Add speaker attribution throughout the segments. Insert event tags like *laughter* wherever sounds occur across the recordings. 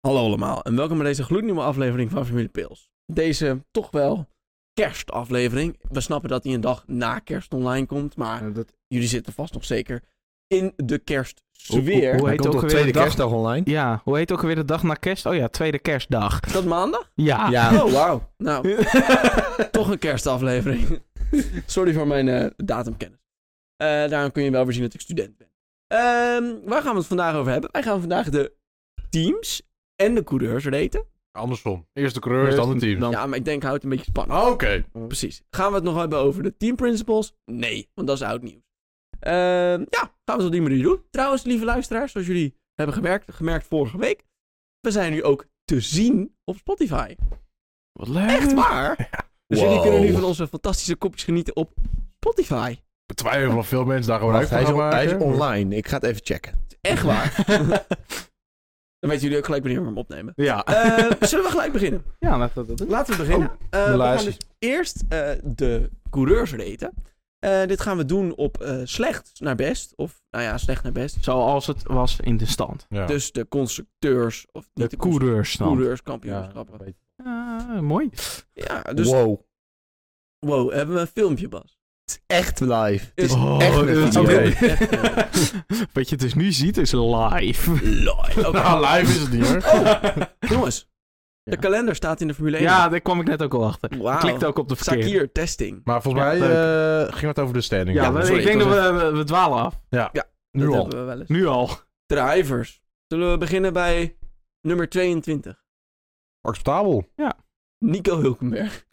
Speaker 1: Hallo allemaal en welkom bij deze gloednieuwe aflevering van Familie Pils. Deze toch wel kerstaflevering. We snappen dat die een dag na kerst online komt, maar
Speaker 2: Ja, dat,
Speaker 1: jullie zitten vast nog zeker in de
Speaker 2: Hoe- hoe-
Speaker 1: kerstsfeer.
Speaker 2: hoe-
Speaker 3: Hij
Speaker 2: heet
Speaker 3: komt
Speaker 2: ook
Speaker 3: op
Speaker 2: weer
Speaker 3: tweede
Speaker 2: de dag?
Speaker 3: kerstdag online.
Speaker 2: ja, hoe heet ook weer de dag na kerst? Oh ja, tweede kerstdag.
Speaker 1: Is dat maandag?
Speaker 2: Ja.
Speaker 1: *laughs*
Speaker 3: Ja.
Speaker 1: Oh, wauw. Nou, toch een
Speaker 2: *laughs*
Speaker 1: kerstaflevering. Sorry voor mijn eh, datumkennis. Eh, daarom kun je wel weer zien dat ik student ben. Ehm, waar gaan we het vandaag over hebben? Wij gaan vandaag de teams en de coureurs raten.
Speaker 4: Andersom. Eerst de coureur, dan het team.
Speaker 2: Dan-
Speaker 1: Ja, maar ik denk, houdt het een beetje spannend.
Speaker 4: Ah, Oké.
Speaker 1: Precies. Gaan we het nog hebben over de team principles? Nee, want dat is oud nieuws. Ehm, ja, gaan we het op die manier doen. Trouwens, lieve luisteraars, zoals jullie hebben gemerkt, gemerkt vorige week, we zijn nu ook te zien op Spotify.
Speaker 2: Wat leuk.
Speaker 1: Echt waar? Dus jullie
Speaker 4: Wow.
Speaker 1: kunnen nu van onze fantastische kopjes genieten op Spotify.
Speaker 4: Ik betwijfel of veel mensen
Speaker 1: Oh,
Speaker 4: daar gewoon
Speaker 3: Wacht,
Speaker 4: uit
Speaker 3: hij, is
Speaker 4: gaan
Speaker 3: on-
Speaker 4: maken.
Speaker 3: hij is online. Ik ga het even checken.
Speaker 1: Echt waar. Dan weten jullie ook gelijk wanneer we hem opnemen.
Speaker 2: Ja.
Speaker 1: Eh, zullen we gelijk beginnen?
Speaker 2: ja, laten we dat doen.
Speaker 1: Laten we beginnen. Eh, we gaan
Speaker 2: luister.
Speaker 1: dus eerst eh, de coureurs raten. Eh, dit gaan we doen op eh, slecht naar best. Of, nou ja, slecht naar best.
Speaker 2: Zoals het was in de stand.
Speaker 4: Ja.
Speaker 1: Dus de constructeurs. Of niet
Speaker 2: De
Speaker 1: de constructeurs,
Speaker 2: coureursstand.
Speaker 1: kampioenschappen.
Speaker 2: Ah, mooi.
Speaker 1: Ja, dus... Wow.
Speaker 3: Wow.
Speaker 1: hebben we een filmpje, Bas?
Speaker 3: Echt live. Het is
Speaker 2: Oh,
Speaker 3: echt een
Speaker 2: dat is
Speaker 3: video.
Speaker 1: Oh,
Speaker 2: oké.
Speaker 1: echt, eh,
Speaker 2: *laughs* Wat je dus nu ziet is
Speaker 1: *laughs*
Speaker 2: live.
Speaker 4: *laughs*
Speaker 1: Ah, live. Oké.
Speaker 4: Nou, live is het niet hoor. *laughs*
Speaker 1: Jongens, de
Speaker 2: Ja.
Speaker 1: kalender staat in de Formule 1.
Speaker 2: Ja, daar kwam ik net ook al achter.
Speaker 1: Wauw.
Speaker 2: Klikt ook op de verkeerde.
Speaker 1: Sakir testing.
Speaker 4: Maar volgens
Speaker 2: Ja,
Speaker 4: mij
Speaker 2: leuk.
Speaker 4: eh, ging het over de standing.
Speaker 2: Ja,
Speaker 1: Ja,
Speaker 2: maar
Speaker 1: sorry,
Speaker 2: ik denk
Speaker 1: ik
Speaker 2: dat
Speaker 1: was
Speaker 2: we, we, we dwalen af.
Speaker 4: nu
Speaker 1: dat
Speaker 4: al.
Speaker 1: hebben we wel eens.
Speaker 2: Nu al.
Speaker 1: Drivers. Zullen we beginnen bij nummer 22?
Speaker 4: Acceptabel.
Speaker 1: Nico
Speaker 4: Eh,
Speaker 1: Hulkenberg.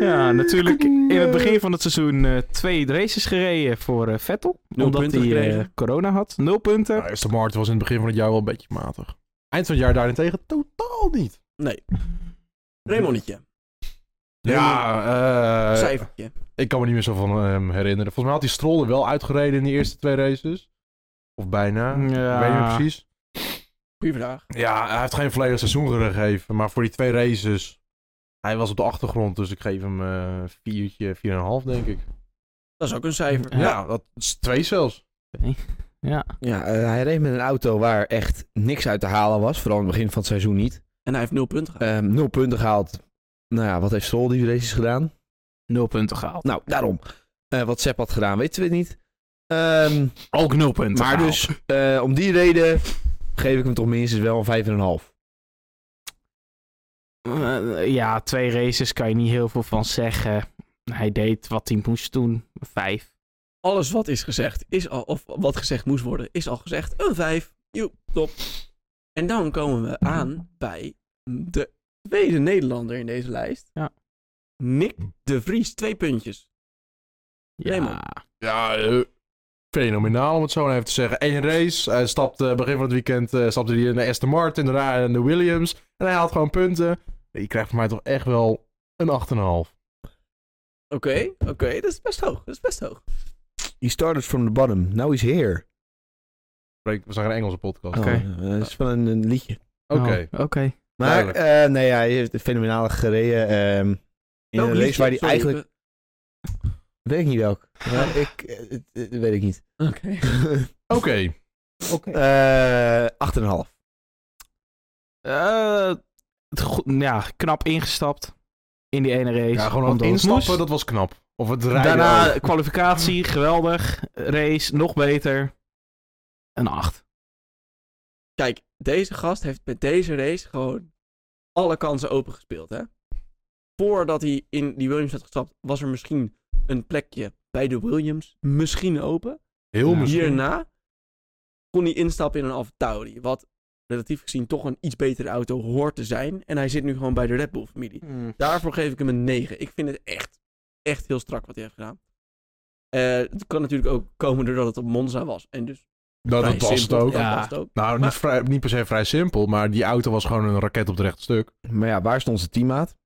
Speaker 2: Ja, natuurlijk in het begin van het seizoen eh, twee races gereden voor eh, Vettel.
Speaker 1: Nul
Speaker 2: omdat
Speaker 1: punten
Speaker 2: hij eh,
Speaker 1: gekregen.
Speaker 2: corona had. Nul punten.
Speaker 4: Nou, de markt was in het begin van het jaar wel een beetje matig. Eind van het jaar daarentegen totaal niet.
Speaker 1: Raymondetje.
Speaker 4: Ja, eh,
Speaker 1: Cijfertje.
Speaker 4: ik kan me niet meer zo van hem herinneren. Volgens mij had hij Stroll er wel uitgereden in die eerste twee races. Of bijna.
Speaker 2: Ja.
Speaker 4: Ik weet niet meer precies.
Speaker 1: Goeie vraag.
Speaker 4: Ja, hij heeft geen volledig seizoen gegeven, maar voor die twee races, hij was op de achtergrond, dus ik geef hem eh viertje, vier en een half denk ik.
Speaker 1: Dat is ook een cijfer.
Speaker 4: Ja, dat is twee zelfs.
Speaker 2: Ja.
Speaker 3: Ja, eh, hij reed met een auto waar echt niks uit te halen was. Vooral in het begin van het seizoen niet.
Speaker 1: En hij heeft nul punten gehad.
Speaker 3: Ehm, nul punten gehaald. Nou ja, wat heeft Stroll die races gedaan?
Speaker 2: Nul punten gehaald.
Speaker 3: Nou, daarom. Eh, wat Sepp had gedaan, weten we niet. Ehm,
Speaker 2: Ook nul punten
Speaker 3: maar
Speaker 2: gehaald.
Speaker 3: dus, eh, om die reden geef ik hem toch minstens wel een vijf en een half.
Speaker 2: Eh, ja, twee races kan je niet heel veel van zeggen. Hij deed wat hij moest doen. Vijf.
Speaker 1: Alles wat is gezegd, is al, of wat gezegd moest worden, is al gezegd. Een 5. Joep, top. En dan komen we aan bij de tweede Nederlander in deze lijst.
Speaker 2: Ja.
Speaker 1: Nick de Vries, twee puntjes.
Speaker 2: Ja.
Speaker 1: Raymond.
Speaker 4: Ja, eh, fenomenaal om het zo maar even te zeggen. Eén race, hij stapte eh, begin van het weekend eh, stapte hij in de Aston Martin, daarna in de Williams, en hij haalt gewoon punten. Die krijgt voor mij toch echt wel een 8,5.
Speaker 1: Oké, oké, dat is best hoog. Dat is best hoog.
Speaker 3: He started from the bottom, now he's here.
Speaker 4: Spreek- We zijn een Engelse podcast.
Speaker 3: Oh,
Speaker 2: Oké.
Speaker 3: eh, dat is van een, een liedje.
Speaker 4: Oké.
Speaker 2: Oh, Oké.
Speaker 3: Maar, eh nee, ja, hij heeft het fenomenaal gereden. ehm, in
Speaker 1: Welk
Speaker 3: een race
Speaker 1: liedje?
Speaker 3: waar hij
Speaker 1: Sorry,
Speaker 3: eigenlijk...
Speaker 1: we-
Speaker 3: Weet ik niet *laughs* welk. Ja, ik, eh, het- het- weet ik *laughs* niet.
Speaker 1: Oké.
Speaker 2: Oh.
Speaker 4: Oké.
Speaker 3: Eh, Acht en een half.
Speaker 2: Eh, het go- ja, knap ingestapt. In die ene race.
Speaker 4: Ja, gewoon aan het
Speaker 2: Omdat het
Speaker 4: instappen,
Speaker 2: moest.
Speaker 4: dat was knap. Of het rijden ook.
Speaker 2: Daarna *laughs* kwalificatie, geweldig. Race, nog beter. Een 8.
Speaker 1: Kijk, deze gast heeft met deze race gewoon alle kansen opengespeeld, hè? Voordat hij in die Williams had gestapt, was er misschien een plekje bij de Williams misschien open.
Speaker 4: Heel
Speaker 2: Ja.
Speaker 4: misschien.
Speaker 1: Hierna kon hij instappen in een Alfa Tauri, wat relatief gezien toch een iets betere auto hoort te zijn. En hij zit nu gewoon bij de Red Bull-familie.
Speaker 2: Hmm.
Speaker 1: Daarvoor geef ik hem een 9. Ik vind het echt, echt heel strak wat hij heeft gedaan. Eh, het kan natuurlijk ook komen doordat het op Monza was. En dus
Speaker 4: Nou, dat
Speaker 1: vrij
Speaker 4: was het
Speaker 1: simpel.
Speaker 4: ook.
Speaker 1: Dat
Speaker 2: Ja.
Speaker 1: was het ook.
Speaker 4: Nou,
Speaker 1: Maar-
Speaker 4: niet, vrij, niet per se vrij simpel, maar die auto was gewoon een raket op het rechte stuk.
Speaker 3: Maar ja, waar is onze teammaat?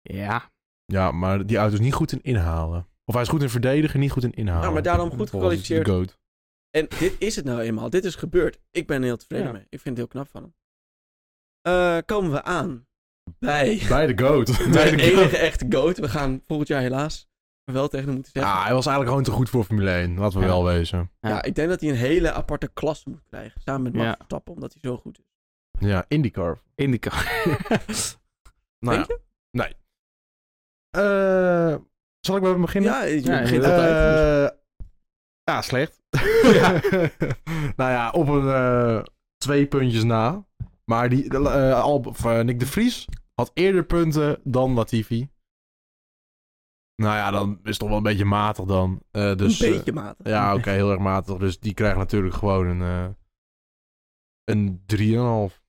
Speaker 2: Ja.
Speaker 4: Ja, maar die auto is niet goed in inhalen. Of hij is goed in verdedigen, niet goed in inhalen.
Speaker 1: Ja, Nou, maar daarom goed
Speaker 4: Of was het
Speaker 1: gekwalificeerd.
Speaker 4: de goat?
Speaker 1: En dit is het nou eenmaal. Dit is gebeurd. Ik ben er heel tevreden
Speaker 2: Ja.
Speaker 1: mee. Ik vind het heel knap van hem. Eh, komen we aan bij,
Speaker 4: Bij de goat.
Speaker 1: bij de
Speaker 4: goat.
Speaker 1: *laughs* enige echte goat. We gaan volgend jaar helaas wel tegen hem moeten zeggen.
Speaker 4: Ja, hij was eigenlijk gewoon te goed voor Formule 1. Laten we
Speaker 2: Ja.
Speaker 4: wel wezen.
Speaker 1: ja. ik denk dat hij een hele aparte klasse moet krijgen. Samen met Max
Speaker 2: Ja.
Speaker 1: Verstappen, omdat hij zo goed is.
Speaker 4: Ja, IndyCar.
Speaker 2: In de kar. *laughs*
Speaker 4: Nou
Speaker 1: Denk je?
Speaker 4: ja. Eh, zal ik maar beginnen?
Speaker 1: Ja, je
Speaker 2: Ja,
Speaker 1: begint
Speaker 2: eh,
Speaker 1: altijd.
Speaker 4: Eh, ja, slecht. nou ja, op een eh, twee puntjes na. Maar die, eh, Alb- of, eh, Nick de Vries had eerder punten dan Latifi. Nou ja, dan is het toch wel een beetje matig dan. Eh, dus,
Speaker 1: een
Speaker 4: eh,
Speaker 1: beetje matig.
Speaker 4: ja, oké, heel erg matig. Dus die krijgt natuurlijk gewoon een, eh een 3,5.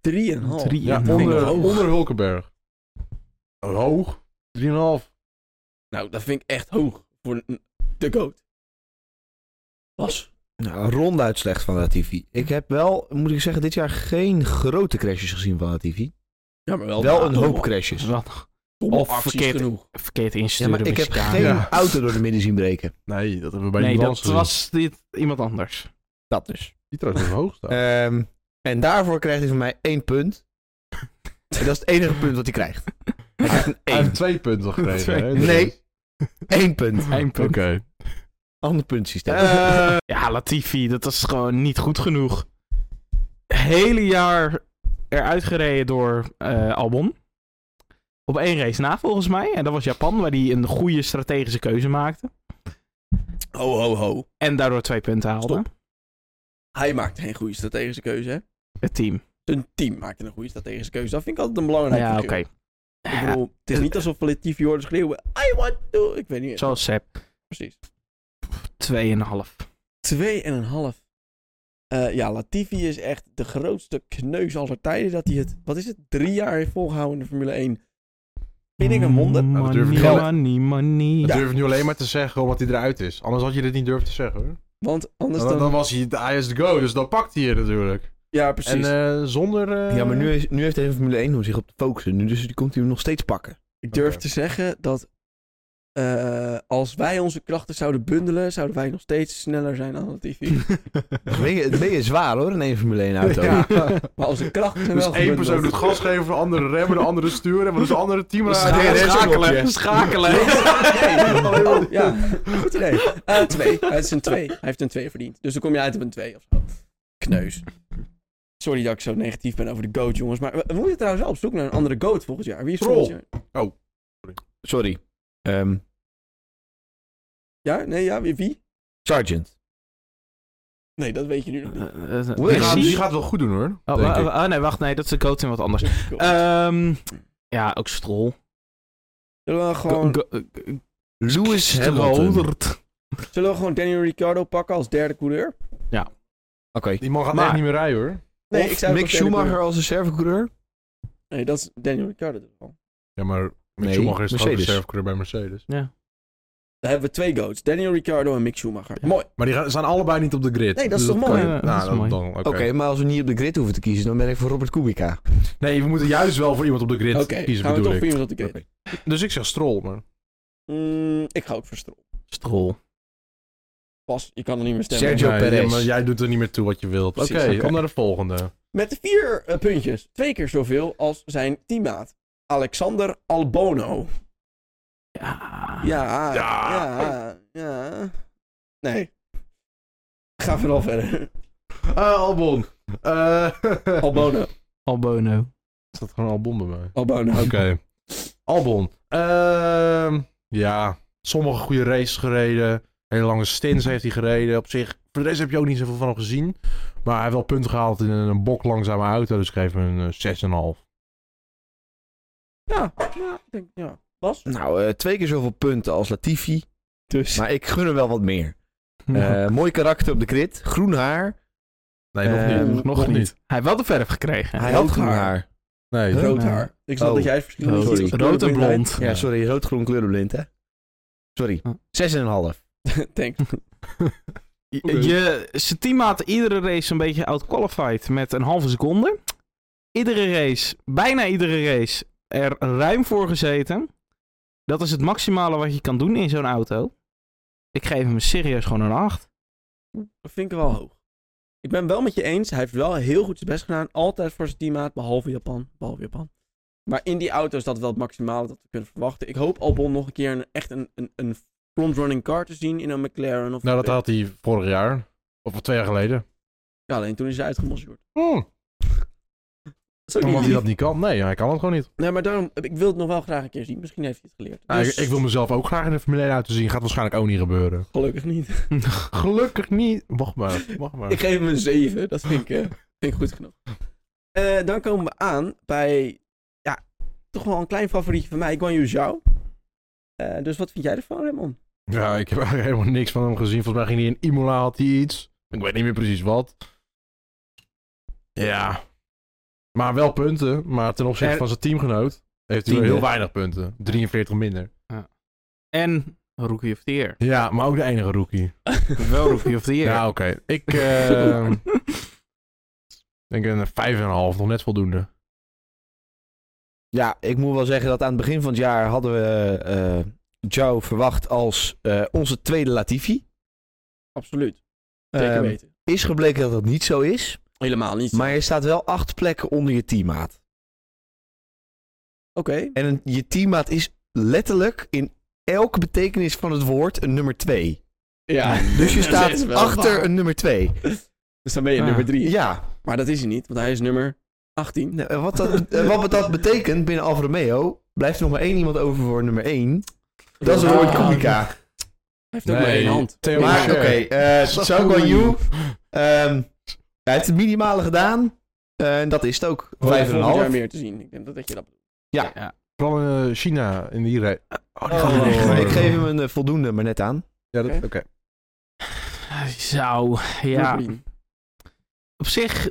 Speaker 1: Drieënhalf.
Speaker 2: Drie-
Speaker 4: Ja,
Speaker 2: Vind ik
Speaker 4: onder,
Speaker 1: hoog.
Speaker 4: onder Hulkenberg. Hoog? 3,5.
Speaker 1: Nou, dat vind ik echt hoog voor een- de goat. Bas.
Speaker 3: Nou, ronduit slecht van Latifi. Ik heb wel, moet ik zeggen, dit jaar geen grote crashes gezien van Latifi.
Speaker 1: Ja, maar wel,
Speaker 3: Wel een hoop
Speaker 1: domme-
Speaker 3: crashes.
Speaker 2: Wel
Speaker 1: domme
Speaker 2: Of
Speaker 1: acties
Speaker 2: verkeerd.
Speaker 1: genoeg.
Speaker 2: Dus verkeerd
Speaker 3: Ja,
Speaker 2: insturen.
Speaker 3: maar ik
Speaker 2: bij
Speaker 3: heb
Speaker 2: chicane.
Speaker 3: geen *laughs*
Speaker 4: Ja.
Speaker 3: auto door de midden zien breken.
Speaker 4: Nee, dat hebben we bij
Speaker 2: Nee, dat
Speaker 4: die balans gezien.
Speaker 2: was dit iemand anders.
Speaker 3: Dat dus.
Speaker 4: Die trouwens nog hoog staat.
Speaker 3: Ehm, en daarvoor krijgt hij van mij één punt. *laughs* En dat is het enige punt wat hij krijgt. Hij krijgt een
Speaker 4: Hij
Speaker 3: één.
Speaker 4: heeft twee punten gekregen.
Speaker 2: Twee.
Speaker 4: hè?
Speaker 3: Nee. Eén punt.
Speaker 2: Eén
Speaker 4: Oké.
Speaker 2: punt.
Speaker 3: Ander puntsysteem.
Speaker 4: Eh,
Speaker 2: *laughs* Ja, Latifi, dat is gewoon niet goed genoeg. Hele jaar eruit gereden door eh, Albon. Op één race na, volgens mij. En dat was Japan, waar hij een goede strategische keuze maakte.
Speaker 1: Ho, ho, ho.
Speaker 2: En daardoor twee punten haalde.
Speaker 1: Stop. Hij maakt geen goede strategische keuze, hè?
Speaker 2: Het team.
Speaker 1: Zijn team maakt een goede strategische keuze. Dat vind ik altijd een belangrijk
Speaker 2: ja, oké.
Speaker 1: verschil. Ik bedoel, het is niet alsof Latifi hoorde schreeuwen... I want to... Ik weet niet
Speaker 2: Zoals Sepp,
Speaker 1: precies.
Speaker 2: 2,5.
Speaker 1: Twee en een half. Eh, ja, Latifi is echt de grootste kneus aller tijden dat hij het... Wat is het? Drie jaar heeft volgehouden in de Formule 1. Vind ik een wonder.
Speaker 4: Nou, dat
Speaker 2: Money,
Speaker 4: durf ik wel.
Speaker 2: money, money.
Speaker 4: Dat durf ik nu alleen maar te zeggen omdat hij eruit is. Anders had je dit niet durven te zeggen hoor.
Speaker 1: Want anders
Speaker 4: Dan, dan
Speaker 1: dan...
Speaker 4: was hij de hij is de go, dus dan pakt hij je natuurlijk.
Speaker 1: Ja, precies.
Speaker 4: En eh, zonder. eh,
Speaker 3: ja, maar nu, is, nu heeft hij een Formule 1 om zich op te focussen. Nu, dus die komt hij hem nog steeds pakken.
Speaker 1: Ik durf
Speaker 4: Oké.
Speaker 1: te zeggen dat eh, als wij onze krachten zouden bundelen, zouden wij nog steeds sneller zijn dan de TV.
Speaker 3: Het ben je, het ben je zwaar hoor, in één Formule 1 auto.
Speaker 4: Ja.
Speaker 1: *laughs* Maar als de krachten zijn
Speaker 4: Dus
Speaker 1: wel
Speaker 4: één
Speaker 1: gebundeld.
Speaker 4: persoon doet gas geven, de andere remmen, de andere sturen. Maar dus de andere team
Speaker 3: Dus
Speaker 4: aan
Speaker 3: scha-
Speaker 4: het
Speaker 2: schakelen.
Speaker 3: schakelen.
Speaker 2: Schakelen.
Speaker 1: Nee, oh, ja, *laughs* goed idee. Eh, twee. Hij is een twee. Hij heeft een twee verdiend. Dus dan kom je uit op een twee of zo. Kneus. Sorry dat ik zo negatief ben over de goat, jongens. Maar we we moeten trouwens wel op zoek naar een andere goat volgend jaar. Wie is
Speaker 4: Troll.
Speaker 1: volgend jaar?
Speaker 3: Sorry. Ehm
Speaker 1: Ja? Nee, ja? Wie? wie?
Speaker 3: Sergeant.
Speaker 1: Nee, dat weet je nu nog
Speaker 2: Eh,
Speaker 1: niet.
Speaker 4: Die gaat, die
Speaker 2: Precies.
Speaker 4: gaat het wel goed doen hoor.
Speaker 2: Oh,
Speaker 4: denk
Speaker 2: wa-
Speaker 4: ik.
Speaker 2: wa- oh, nee, wacht. Nee, dat is de coach in wat anders.
Speaker 1: Goat.
Speaker 2: Ehm, ja, ook Strol.
Speaker 1: Zullen we gewoon
Speaker 3: Lewis Hamilton. Oké.
Speaker 2: Stroldert.
Speaker 1: Zullen we gewoon Daniel Ricciardo pakken als derde coureur?
Speaker 4: Die man gaat
Speaker 2: Maar-
Speaker 4: echt niet meer rijden hoor.
Speaker 3: Of
Speaker 1: zou het
Speaker 3: Mick
Speaker 1: als derde
Speaker 3: Schumacher als reservecoureur.
Speaker 1: coureur- Nee, dat is Daniel Ricciardo. toch wel.
Speaker 4: Ja, maar Mick
Speaker 3: Nee,
Speaker 4: Schumacher is toch ook
Speaker 3: Mercedes.
Speaker 4: reservecoureur bij Mercedes.
Speaker 1: Dan hebben we twee goats. Daniel Ricciardo en Mick Schumacher. Mooi.
Speaker 4: Maar die gaan- staan allebei niet op de grid.
Speaker 1: Nee, dat is
Speaker 4: Dus
Speaker 1: toch
Speaker 4: kan
Speaker 1: mooi?
Speaker 4: je-
Speaker 2: Ja, dat
Speaker 4: nou,
Speaker 2: is
Speaker 4: dan-
Speaker 2: mooi.
Speaker 4: dan- oké.
Speaker 3: Oké, maar als we niet op de grid hoeven te kiezen, dan ben ik voor Robert Kubica.
Speaker 4: Nee, we moeten juist wel voor iemand op de grid
Speaker 1: Oké,
Speaker 4: kiezen
Speaker 1: gaan we
Speaker 4: bedoel
Speaker 1: toch
Speaker 4: ik.
Speaker 1: voor iemand op de grid.
Speaker 4: Dus ik zeg Strol, maar...
Speaker 1: Mm, ik ga ook voor Stroll.
Speaker 2: Strol.
Speaker 1: Pas, je kan er niet meer stemmen.
Speaker 3: Sergio
Speaker 4: Nee,
Speaker 3: Perez.
Speaker 4: Maar jij doet er niet meer toe wat je wilt. Oké,
Speaker 1: Precies, oké.
Speaker 4: op naar de volgende.
Speaker 1: Met de vier eh, puntjes. Twee keer zoveel als zijn teammaat. Alexander Albono.
Speaker 2: Ja.
Speaker 1: Ja,
Speaker 4: Ja.
Speaker 1: ja, ja. Nee. Ga vooral verder. *laughs*
Speaker 4: Eh, Albon. Eh, *laughs*
Speaker 1: Albono.
Speaker 2: Albono.
Speaker 4: staat gewoon Albon bij mij.
Speaker 1: Albono.
Speaker 4: Oké. *laughs* Albon. Ehm, ja, sommige goede races gereden. Hele lange stints heeft hij gereden. Op zich, voor de rest heb je ook niet zoveel van hem gezien. Maar hij heeft wel punten gehaald in een bok langzame auto. Dus ik geef hem een eh, 6,5.
Speaker 1: Ja, ja, ik denk, ja. Bas?
Speaker 3: Nou, eh, twee keer zoveel punten als Latifi.
Speaker 1: Dus.
Speaker 3: Maar ik gun hem wel wat meer.
Speaker 2: Ja.
Speaker 3: Eh, mooi karakter op de grid. Groen haar.
Speaker 4: Nee, nog
Speaker 3: Eh,
Speaker 4: niet.
Speaker 2: nog, niet. Hij heeft wel de verf gekregen.
Speaker 3: Hij
Speaker 1: rood
Speaker 3: had groen
Speaker 1: haar.
Speaker 3: haar.
Speaker 4: Nee.
Speaker 3: Huh?
Speaker 1: Rood
Speaker 2: Nee.
Speaker 1: haar. Ik snap
Speaker 3: Oh.
Speaker 1: dat jij het verschil
Speaker 3: Oh,
Speaker 1: niet ziet.
Speaker 3: sorry.
Speaker 2: Rood en blond.
Speaker 3: Ja, sorry. Rood-groen kleurenblind, hè? Sorry.
Speaker 1: Oh.
Speaker 2: Huh.
Speaker 3: Zes en een half.
Speaker 1: *laughs* Thanks.
Speaker 2: Je- Je, zijn team had iedere race een beetje outqualified met een halve seconde. Iedere race, bijna iedere race, er ruim voor gezeten. Dat is het maximale wat je kan doen in zo'n auto. Ik geef hem serieus gewoon een 8.
Speaker 1: Dat vind ik wel hoog. Ik ben wel met je eens. Hij heeft wel heel goed zijn best gedaan. Altijd voor zijn teammaat. Behalve Japan. Behalve Japan. Maar in die auto is dat wel het maximale dat we kunnen verwachten. Ik hoop Albon nog een keer een, echt een, een, een frontrunning car te zien in een McLaren. Of
Speaker 4: Nou, dat had hij vorig jaar. Of twee jaar geleden.
Speaker 1: Ja, alleen toen is hij uitgemosjord.
Speaker 4: Hm,
Speaker 1: Dat is ook
Speaker 4: Omdat
Speaker 1: niet
Speaker 4: hij
Speaker 1: lief.
Speaker 4: dat niet kan. Nee, hij kan het gewoon niet.
Speaker 1: Nee, maar daarom, ik wil het nog wel graag een keer zien. Misschien heeft hij het geleerd.
Speaker 4: Nou, ik-
Speaker 1: Dus-
Speaker 4: ik, wil mezelf ook graag in de Formule 1 laten zien. Gaat waarschijnlijk ook niet gebeuren.
Speaker 1: Gelukkig niet.
Speaker 4: Gelukkig niet. Wacht maar. Wacht maar.
Speaker 1: *laughs* Ik geef hem een 7. Dat vind ik, eh, vind ik goed genoeg. Eh, dan komen we aan bij. Ja, toch wel een klein favorietje van mij, Guan Yu Zhao. Eh, dus wat vind jij ervan, Raymond?
Speaker 4: Ja, ik heb eigenlijk helemaal niks van hem gezien. Volgens mij ging hij in Imola, had hij iets. Ik weet niet meer precies wat. Ja. Maar wel punten. Maar ten opzichte
Speaker 2: En-
Speaker 4: van zijn teamgenoot heeft hij
Speaker 3: Tiende.
Speaker 4: wel heel weinig punten. 43 minder.
Speaker 2: En Rookie of the Year.
Speaker 4: Ja, maar ook de enige rookie.
Speaker 2: Wel Rookie of the Year.
Speaker 4: Ja, oké. *laughs* Ik eh, denk een 5,5. Nog net voldoende.
Speaker 3: Ja, ik moet wel zeggen dat aan het begin van het jaar hadden we eh Joe verwacht als eh, onze tweede Latifi.
Speaker 1: *laughs* Absoluut. Zeker
Speaker 3: Ehm,
Speaker 1: weten.
Speaker 3: Is gebleken dat dat niet zo is.
Speaker 1: Helemaal niet.
Speaker 3: Maar je staat wel acht plekken onder je teammaat.
Speaker 1: Oké.
Speaker 3: En een- je teammaat is letterlijk in elke betekenis van het woord een nummer twee.
Speaker 1: Ja.
Speaker 3: *laughs* Dus je
Speaker 1: Dat is
Speaker 3: staat
Speaker 1: wel
Speaker 3: achter
Speaker 1: waar.
Speaker 3: een nummer twee.
Speaker 1: Dus dan ben je
Speaker 4: Ja.
Speaker 1: nummer 3.
Speaker 3: Ja,
Speaker 1: Maar dat is hij niet, want hij is nummer 18.
Speaker 3: nou, en wat dat, en wat dat betekent binnen Alfa Romeo, blijft er nog maar één iemand over voor nummer één. Dat is
Speaker 1: Ah,
Speaker 3: Robert
Speaker 1: Hij
Speaker 3: Kubica.
Speaker 1: heeft ook maar één hand.
Speaker 4: Theo
Speaker 3: Maar oké,
Speaker 4: Macher.
Speaker 3: eh, *laughs* Zhao Guan Yu, ehm, hij heeft het minimale gedaan. eh, en dat is het ook.
Speaker 1: Hoop
Speaker 3: Vijf en een
Speaker 1: volgend jaar
Speaker 3: half.
Speaker 1: meer te zien. Ik denk dat, dat je dat bedoelt.
Speaker 4: Vooral in eh, China. In die rij. Oh, die
Speaker 1: Oh.
Speaker 4: gaat niet door.
Speaker 3: Ik geef hem een eh, voldoende, maar net aan.
Speaker 4: Ja, dat-
Speaker 1: Oké.
Speaker 4: Oké.
Speaker 2: Zo, ja.
Speaker 1: Brooklyn.
Speaker 2: Op zich,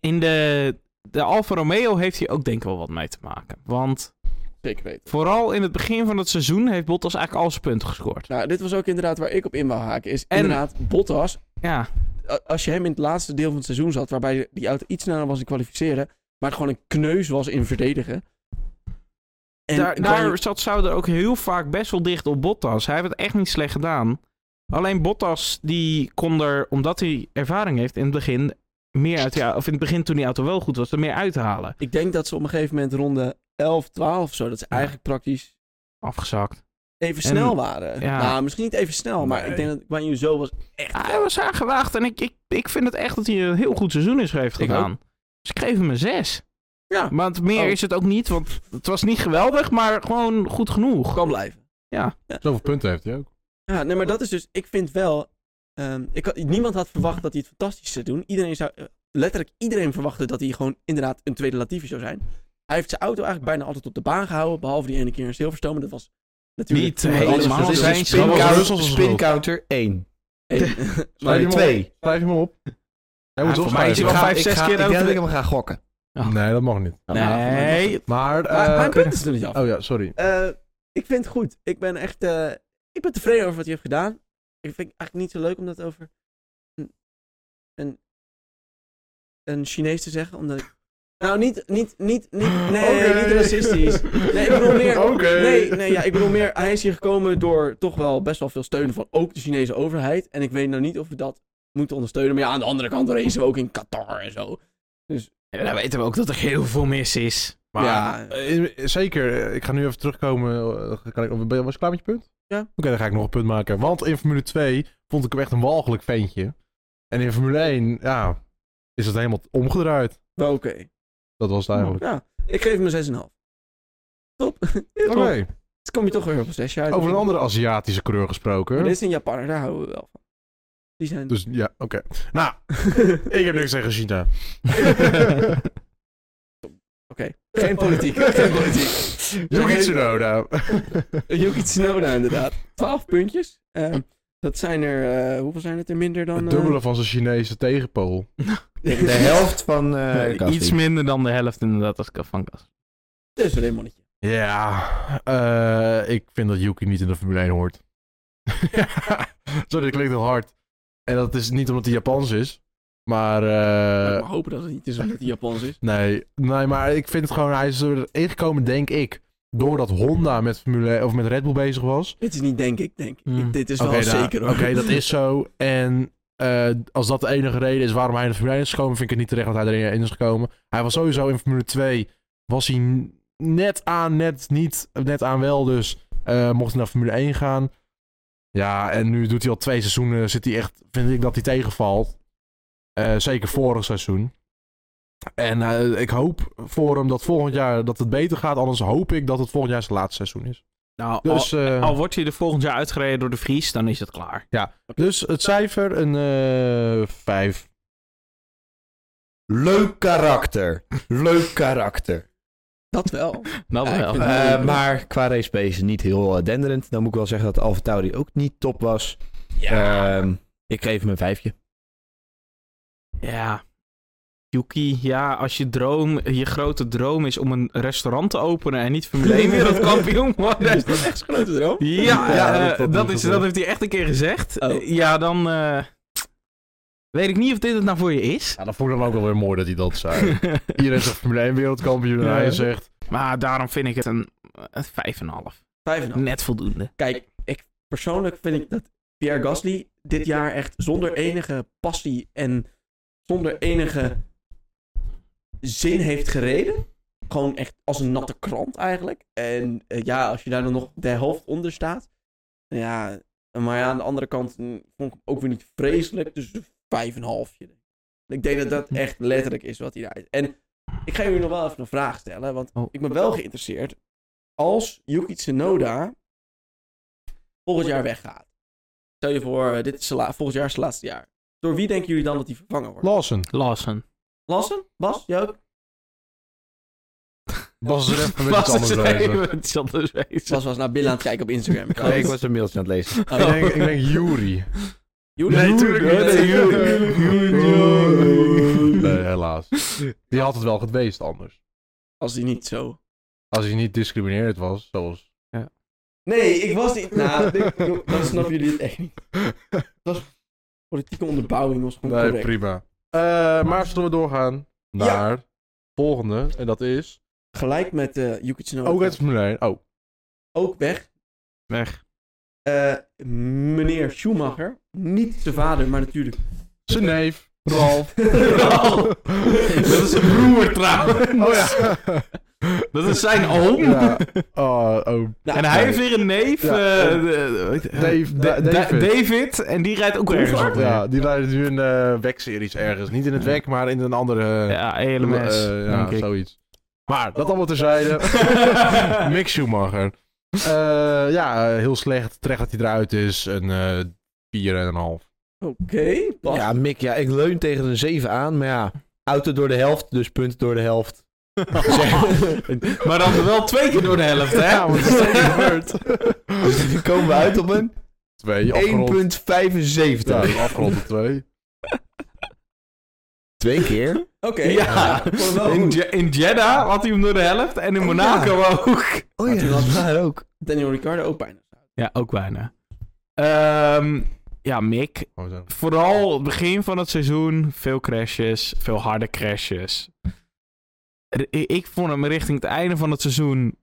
Speaker 2: in de, de Alfa Romeo heeft hier ook denk ik wel wat mee te maken. Want
Speaker 1: Zeker weten.
Speaker 2: vooral in het begin van het seizoen heeft Bottas eigenlijk al zijn punten gescoord.
Speaker 1: Nou, dit was ook inderdaad waar ik op in wou haken. Is
Speaker 2: En-
Speaker 1: inderdaad, Bottas
Speaker 2: Ja,
Speaker 1: a- als je hem in het laatste deel van het seizoen zat, waarbij die auto iets sneller was in kwalificeren, maar gewoon een kneus was in verdedigen. En
Speaker 2: daar,
Speaker 1: Guan Yu-
Speaker 2: daar zat Sauder ook heel vaak best wel dicht op Bottas. Hij heeft het echt niet slecht gedaan. Alleen Bottas, die kon er, omdat hij ervaring heeft in het begin, meer uit die, au- of in het begin toen die auto wel goed was, er meer uithalen.
Speaker 1: ik denk dat ze op een gegeven moment ronde 11, 12 of zo, dat ze
Speaker 2: Ja.
Speaker 1: eigenlijk praktisch
Speaker 2: Afgezakt.
Speaker 1: even
Speaker 2: En-
Speaker 1: snel waren.
Speaker 2: ja.
Speaker 1: Nou, misschien niet even snel, maar
Speaker 4: Nee.
Speaker 1: ik denk dat Guan Yu zo was echt...
Speaker 2: Hij was aangewaagd en ik, ik, ik vind het echt dat hij een heel goed seizoen is heeft
Speaker 1: Ik
Speaker 2: gedaan. Dus ik geef hem een 6.
Speaker 1: Ja.
Speaker 2: Maar het meer
Speaker 1: Oh.
Speaker 2: is het ook niet, want het was niet geweldig, maar gewoon goed genoeg.
Speaker 1: kan blijven.
Speaker 4: Zoveel punten heeft hij ook.
Speaker 1: Ja, nee, maar dat is dus, ik vind wel, ehm, ik had, niemand had verwacht dat hij het fantastisch zou doen. Iedereen zou, eh, letterlijk iedereen verwachtte dat hij gewoon inderdaad een tweede Latifi zou zijn. Hij heeft zijn auto eigenlijk bijna altijd op de baan gehouden, behalve die ene keer in Silverstone. Dat was natuurlijk...
Speaker 2: Niet helemaal
Speaker 3: dat is
Speaker 2: zijn
Speaker 3: een
Speaker 2: schuld.
Speaker 4: Dat was
Speaker 3: spincounter
Speaker 4: Russell's schuld.
Speaker 3: spincounter één.
Speaker 1: *laughs* Eén.
Speaker 4: Schrijf je hem op.
Speaker 3: twee.
Speaker 4: Schrijf je hem op. Hij moet
Speaker 2: voor mij is hij
Speaker 4: opschrijven.
Speaker 2: wel vijf,
Speaker 3: ik
Speaker 2: zes
Speaker 3: ga,
Speaker 2: keer
Speaker 3: ik denk
Speaker 2: over
Speaker 3: dat
Speaker 2: de-
Speaker 3: ik hem ga gokken.
Speaker 4: Nee, dat mag niet.
Speaker 2: Nee,
Speaker 4: Maar...
Speaker 1: Maar
Speaker 4: eh,
Speaker 1: mijn punt is er niet af.
Speaker 4: Oh ja, sorry.
Speaker 1: *laughs* Eh, ik vind het goed. Ik ben echt... eh, ik ben tevreden over wat hij heeft gedaan. Ik vind het eigenlijk niet zo leuk om dat over een, een, een Chinees te zeggen, omdat ik... Nou, niet, niet, niet,
Speaker 4: *laughs*
Speaker 1: niet, nee,
Speaker 4: Oké.
Speaker 1: niet racistisch. Nee, ik bedoel meer...
Speaker 4: Oké.
Speaker 1: Nee, nee, ja, ik bedoel meer... Hij is hier gekomen door toch wel best wel veel steun van ook de Chinese overheid. En ik weet nou niet of we dat moeten ondersteunen. Maar ja, aan de andere kant racen we ook in Qatar en zo.
Speaker 2: En dan weten we ook dat er heel veel mis is.
Speaker 4: Maar,
Speaker 1: Ja.
Speaker 4: eh, eh, zeker, eh, ik ga nu even terugkomen. eh, Kan ik, of ben- was je klaar met je punt?
Speaker 1: Ja.
Speaker 4: Oké, dan ga ik nog een punt maken. Want in Formule 2 vond ik hem echt een walgelijk ventje. En in Formule 1, ja, is het helemaal omgedraaid.
Speaker 1: Maar oké.
Speaker 4: Dat was het eigenlijk.
Speaker 1: Ja, ik geef hem een 6,5. Top. *laughs* Heel
Speaker 4: Oké,
Speaker 1: top. Dus kom je toch weer op een 6 uit.
Speaker 4: over een andere Aziatische kleur gesproken.
Speaker 1: Maar dit is in Japan, daar houden we wel van. Die zijn...
Speaker 4: Dus ja, oké. Nou, ik heb niks tegen China.
Speaker 1: Oké, geen *laughs*
Speaker 4: *laughs*
Speaker 1: politiek. geen politiek.
Speaker 4: Yuki Tsunoda.
Speaker 1: Yuki Tsunoda inderdaad. 12 puntjes. Ehm, dat zijn er... eh, hoeveel zijn het er minder dan...
Speaker 4: Het
Speaker 1: eh,
Speaker 4: dubbele van zijn Chinese tegenpool. *laughs*
Speaker 3: De helft van eh
Speaker 1: Nee,
Speaker 3: Gasly.
Speaker 2: Iets minder dan de helft inderdaad als Ka- van Gas.
Speaker 1: Dus alleen mannetje.
Speaker 4: Ja, eh, ik vind dat Yuki niet in de Formule 1 hoort. *laughs* Sorry, dat klinkt heel hard. En dat is niet omdat hij Japans is. Maar,
Speaker 1: Laat ik
Speaker 4: eh,
Speaker 1: maar hopen dat het niet is omdat hij Japans
Speaker 4: *laughs*
Speaker 1: is.
Speaker 4: nee, nee, maar ik vind het gewoon, hij is er ingekomen, denk ik, doordat Honda met, Formule, of met Red Bull bezig was.
Speaker 1: Dit is niet denk ik, denk ik.
Speaker 2: Hmm.
Speaker 1: Dit is wel
Speaker 4: nou,
Speaker 1: zeker hoor.
Speaker 4: Oké, dat is zo. En eh, als dat de enige reden is waarom hij in de Formule 1 is gekomen, vind ik het niet terecht dat hij erin is gekomen. Hij was sowieso in Formule 2, was hij n- net aan, net niet, net aan wel dus. eh, mocht hij naar Formule 1 gaan. Ja, en nu doet hij al twee seizoenen, zit hij echt, vind ik dat hij tegenvalt. Eh, zeker vorig seizoen. En eh, ik hoop voor hem dat volgend jaar dat het beter gaat. Anders hoop ik dat het volgend jaar zijn laatste seizoen is.
Speaker 2: Nou,
Speaker 4: Dus, eh,
Speaker 2: al, al wordt hij er volgend jaar uitgereden door de Vries, dan is het klaar.
Speaker 4: dus het cijfer een eh 5.
Speaker 3: Leuk karakter. Leuk karakter.
Speaker 1: *laughs* Dat
Speaker 4: *laughs*
Speaker 1: wel.
Speaker 2: Nou,
Speaker 1: Ja, ik vind-
Speaker 3: Eh,
Speaker 1: leuk.
Speaker 3: maar qua racepace niet heel eh, denderend. Dan moet ik wel zeggen dat Alfa Tauri ook niet top was. Ehm, ik geef hem een vijfje.
Speaker 2: Ja. Yuki, ja, als je droom, je grote droom is om een restaurant te openen en niet Formule 1 wereldkampioen *laughs* worden.
Speaker 1: Dat is echt een grote droom.
Speaker 2: Ja, eh,
Speaker 4: Ja, dat-
Speaker 2: dat,
Speaker 4: dat moet
Speaker 2: is,
Speaker 4: wel.
Speaker 2: dat heeft hij echt een keer gezegd.
Speaker 1: Oh.
Speaker 2: Eh, Ja, dan eh, weet ik niet of dit het nou voor je is.
Speaker 4: Ja, dat vond ik dan ook wel weer mooi dat hij dat *laughs* zei. Iedereen zegt Formule 1 wereldkampioen en
Speaker 2: Ja.
Speaker 4: hij zegt...
Speaker 2: *laughs* maar daarom vind ik het een, een 5,5.
Speaker 1: Vijf en een half.
Speaker 2: Net voldoende.
Speaker 1: Kijk, ik, persoonlijk vind ik dat Pierre Gasly dit jaar echt zonder enige passie en zonder enige zin heeft gereden. Gewoon echt als een natte krant eigenlijk. En eh, ja, als je daar dan nog de helft onder staat. Ja, maar ja, aan de andere kant mm, vond ik hem ook weer niet vreselijk. Dus een vijf en een halfje. Ik denk dat dat echt letterlijk is wat hij daar is. En ik ga jullie nog wel even een vraag stellen. Want
Speaker 2: Oh.
Speaker 1: ik ben wel geïnteresseerd. Als Yuki Tsunoda volgend jaar weggaat. Stel je voor, eh, dit is zijn la- volgend jaar zijn laatste jaar. Door wie denken jullie dan dat hij vervangen wordt?
Speaker 4: Lawson.
Speaker 2: Lawson.
Speaker 1: Lassen? Bas? Jij ook?
Speaker 4: Bas is er even *laughs* met
Speaker 2: Bas
Speaker 4: iets anders
Speaker 2: is
Speaker 4: bezig.
Speaker 2: even met iets anders bezig.
Speaker 1: Bas was naar Bill aan het kijken op Instagram.
Speaker 4: *laughs*
Speaker 1: Ik
Speaker 3: Nee, ik was een mailtje aan het lezen.
Speaker 1: Oh.
Speaker 4: Ik denk, ik denk Yuri.
Speaker 1: Jullie?
Speaker 4: Nee,
Speaker 1: Jullie?
Speaker 4: tuurlijk niet.
Speaker 1: Nee, jullie.
Speaker 4: Nee, helaas. Die had het wel geweest anders.
Speaker 1: Als die niet zo...
Speaker 4: Als hij niet discrimineerd was, *laughs* zoals...
Speaker 1: Nee, ik was niet... Nou, dit- dan snappen jullie het echt niet. Politieke onderbouwing was gewoon
Speaker 4: Nee,
Speaker 1: correct.
Speaker 4: prima. Eh, maar zullen we doorgaan naar volgende. En dat is...
Speaker 1: Gelijk met eh Yuki Tsunoda.
Speaker 4: Ook uit Formule 1. Oh,
Speaker 1: Ook weg.
Speaker 2: Weg.
Speaker 1: Eh, meneer Schumacher. Niet zijn vader, maar natuurlijk.
Speaker 4: zijn neef. *laughs* Ralf.
Speaker 2: *laughs* Dat is een broer trouwens.
Speaker 4: Oh ja. *laughs*
Speaker 2: Dat is zijn oom.
Speaker 4: ja. *laughs* Oh, oh.
Speaker 1: Nou,
Speaker 2: En hij heeft weer een neef. eh,
Speaker 4: Ja.
Speaker 2: de- de-
Speaker 4: Dave-
Speaker 2: Da- Da-
Speaker 4: Da- David.
Speaker 2: David, En die rijdt ook ergens op.
Speaker 4: Ja, die rijden nu een eh wegseries ergens. Niet in het wek, maar in een andere...
Speaker 2: Ja, ELMS.
Speaker 4: Eh, ja,
Speaker 2: denk ik.
Speaker 4: zoiets. Maar, dat allemaal *laughs* terzijde.
Speaker 2: *laughs*
Speaker 4: *laughs* Mick Schumacher. Eh, ja, eh, heel slecht. Terecht dat hij eruit is. Een eh 4,5.
Speaker 1: Oké, Bas.
Speaker 3: Ja, Mick, ja, ik leun tegen een 7 aan. Maar ja, auto door de helft, dus punten door de helft.
Speaker 2: maar dan wel twee keer door de helft, hè?
Speaker 4: Ja, want het is zeker gebeurd.
Speaker 3: Dus dan komen we uit op een
Speaker 4: 2, afgerond.
Speaker 3: 1,75.
Speaker 4: Ja, afgerond op 2.
Speaker 3: Twee keer.
Speaker 1: Oké.
Speaker 2: Ja.
Speaker 1: ik vond het wel
Speaker 2: In,
Speaker 1: goed.
Speaker 2: Je- in Jeddah had hij hem door de helft. En in
Speaker 3: Oh,
Speaker 2: Monaco ook.
Speaker 3: Oh ja, dat is waar ook.
Speaker 1: Daniel Ricciardo ook bijna.
Speaker 2: Ja, ook bijna. Ehm, ja, Mick.
Speaker 4: Oh, zo.
Speaker 2: Vooral het begin van het seizoen. Veel crashes. Veel harde crashes. R- i- Ik vond hem richting het einde van het seizoen...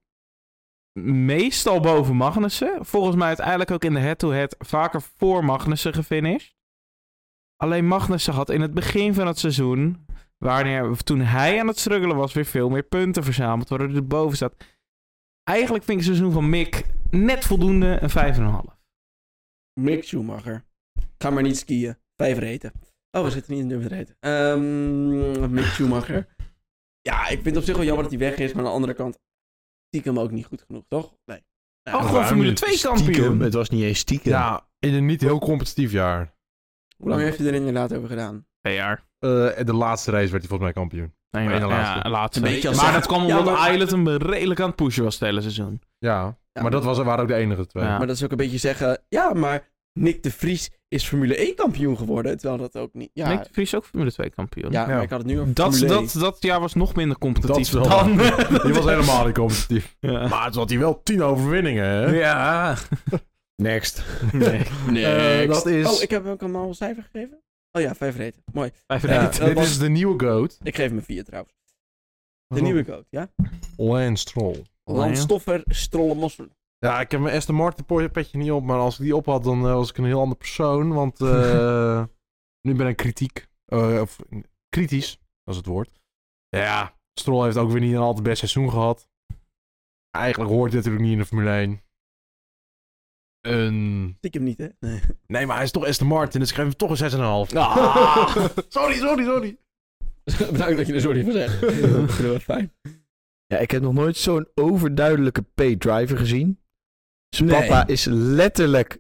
Speaker 2: Meestal boven Magnussen. Volgens mij uiteindelijk ook in de head-to-head vaker voor Magnussen gefinished. Alleen Magnussen had in het begin van het seizoen, wanneer, toen hij aan het struggelen was, weer veel meer punten verzameld, waardoor hij er boven staat. Eigenlijk vind ik het seizoen van Mick net voldoende een 5,5.
Speaker 1: Mick Schumacher. Ga maar niet skiën. Vijf reten. Oh, we zitten niet in de nummer reten. Ehm, Mick Schumacher. Ja, ik vind het op zich wel jammer dat hij weg is. Maar aan de andere kant, stiekem ook niet goed genoeg, toch? Nee. Nou,
Speaker 2: Oh, gewoon
Speaker 4: waarom
Speaker 2: Formule
Speaker 4: niet?
Speaker 2: 2 kampioen.
Speaker 3: Het was niet eens stiekem.
Speaker 4: Ja, in een niet heel competitief jaar.
Speaker 1: Hoe lang heeft hij er inderdaad over gedaan?
Speaker 2: Twee jaar.
Speaker 4: Eh, en de laatste race werd hij volgens mij kampioen.
Speaker 2: Nee,
Speaker 4: Ene
Speaker 2: maar-
Speaker 4: laatste.
Speaker 2: ja, laatste.
Speaker 1: Een beetje als-
Speaker 2: Maar dat kwam
Speaker 1: Ja,
Speaker 2: omdat
Speaker 1: maar-
Speaker 2: Island hem redelijk aan het pushen was het hele seizoen.
Speaker 4: Ja,
Speaker 1: Ja,
Speaker 4: maar dat was, waren ook de enige twee.
Speaker 2: Ja.
Speaker 1: Maar dat is ook een beetje zeggen... Ja, maar Nick de Vries is Formule 1 kampioen geworden. Terwijl dat ook niet... Ja,
Speaker 2: Nick de Vries is ook Formule 2 kampioen.
Speaker 1: ja, maar
Speaker 4: Ja.
Speaker 1: ik had het nu over
Speaker 2: Dat,
Speaker 1: Formule
Speaker 2: dat, dat jaar was nog minder competitief
Speaker 4: Dat is
Speaker 2: *laughs*
Speaker 4: wel
Speaker 2: dan...
Speaker 4: Die was helemaal niet competitief.
Speaker 2: Ja.
Speaker 4: Maar het had hij wel 10 overwinningen, hè?
Speaker 2: Ja.
Speaker 3: Next.
Speaker 2: Nee.
Speaker 4: Eh, dat is...
Speaker 1: Oh, ik heb hem ook allemaal een cijfer gegeven? Oh ja, vijf reten. Mooi.
Speaker 2: Vijf
Speaker 4: Ja,
Speaker 2: reten.
Speaker 1: dat
Speaker 4: dit
Speaker 1: was-
Speaker 4: is de nieuwe GOAT.
Speaker 1: Ik geef hem een vier trouwens. De nieuwe code, ja?
Speaker 4: Lance Stroll.
Speaker 1: Landstoffer, strollen, mosterd.
Speaker 4: Ja, ik heb mijn Aston Martin po- petje niet op, maar als ik die op had, dan eh, was ik een heel ander persoon.
Speaker 1: *laughs*
Speaker 4: Want eh, nu ben ik kritiek. eh, of, kritisch, dat is het woord. Ja, Stroll heeft ook weer niet een al te best seizoen gehad. Eigenlijk hoort dit natuurlijk niet in de Formule 1. Een...
Speaker 1: Ik hem niet, hè? Nee. *laughs*
Speaker 4: Nee, maar hij is toch Aston Martin, dus ik geef hem toch een 6,5.
Speaker 1: Ah.
Speaker 4: *laughs* sorry, sorry, sorry.
Speaker 1: Bedankt dat je er sorry voor zegt. Dat vind ik wel fijn.
Speaker 3: Ja, ik heb nog nooit zo'n overduidelijke P-driver gezien. Zijn
Speaker 1: Nee.
Speaker 3: papa is letterlijk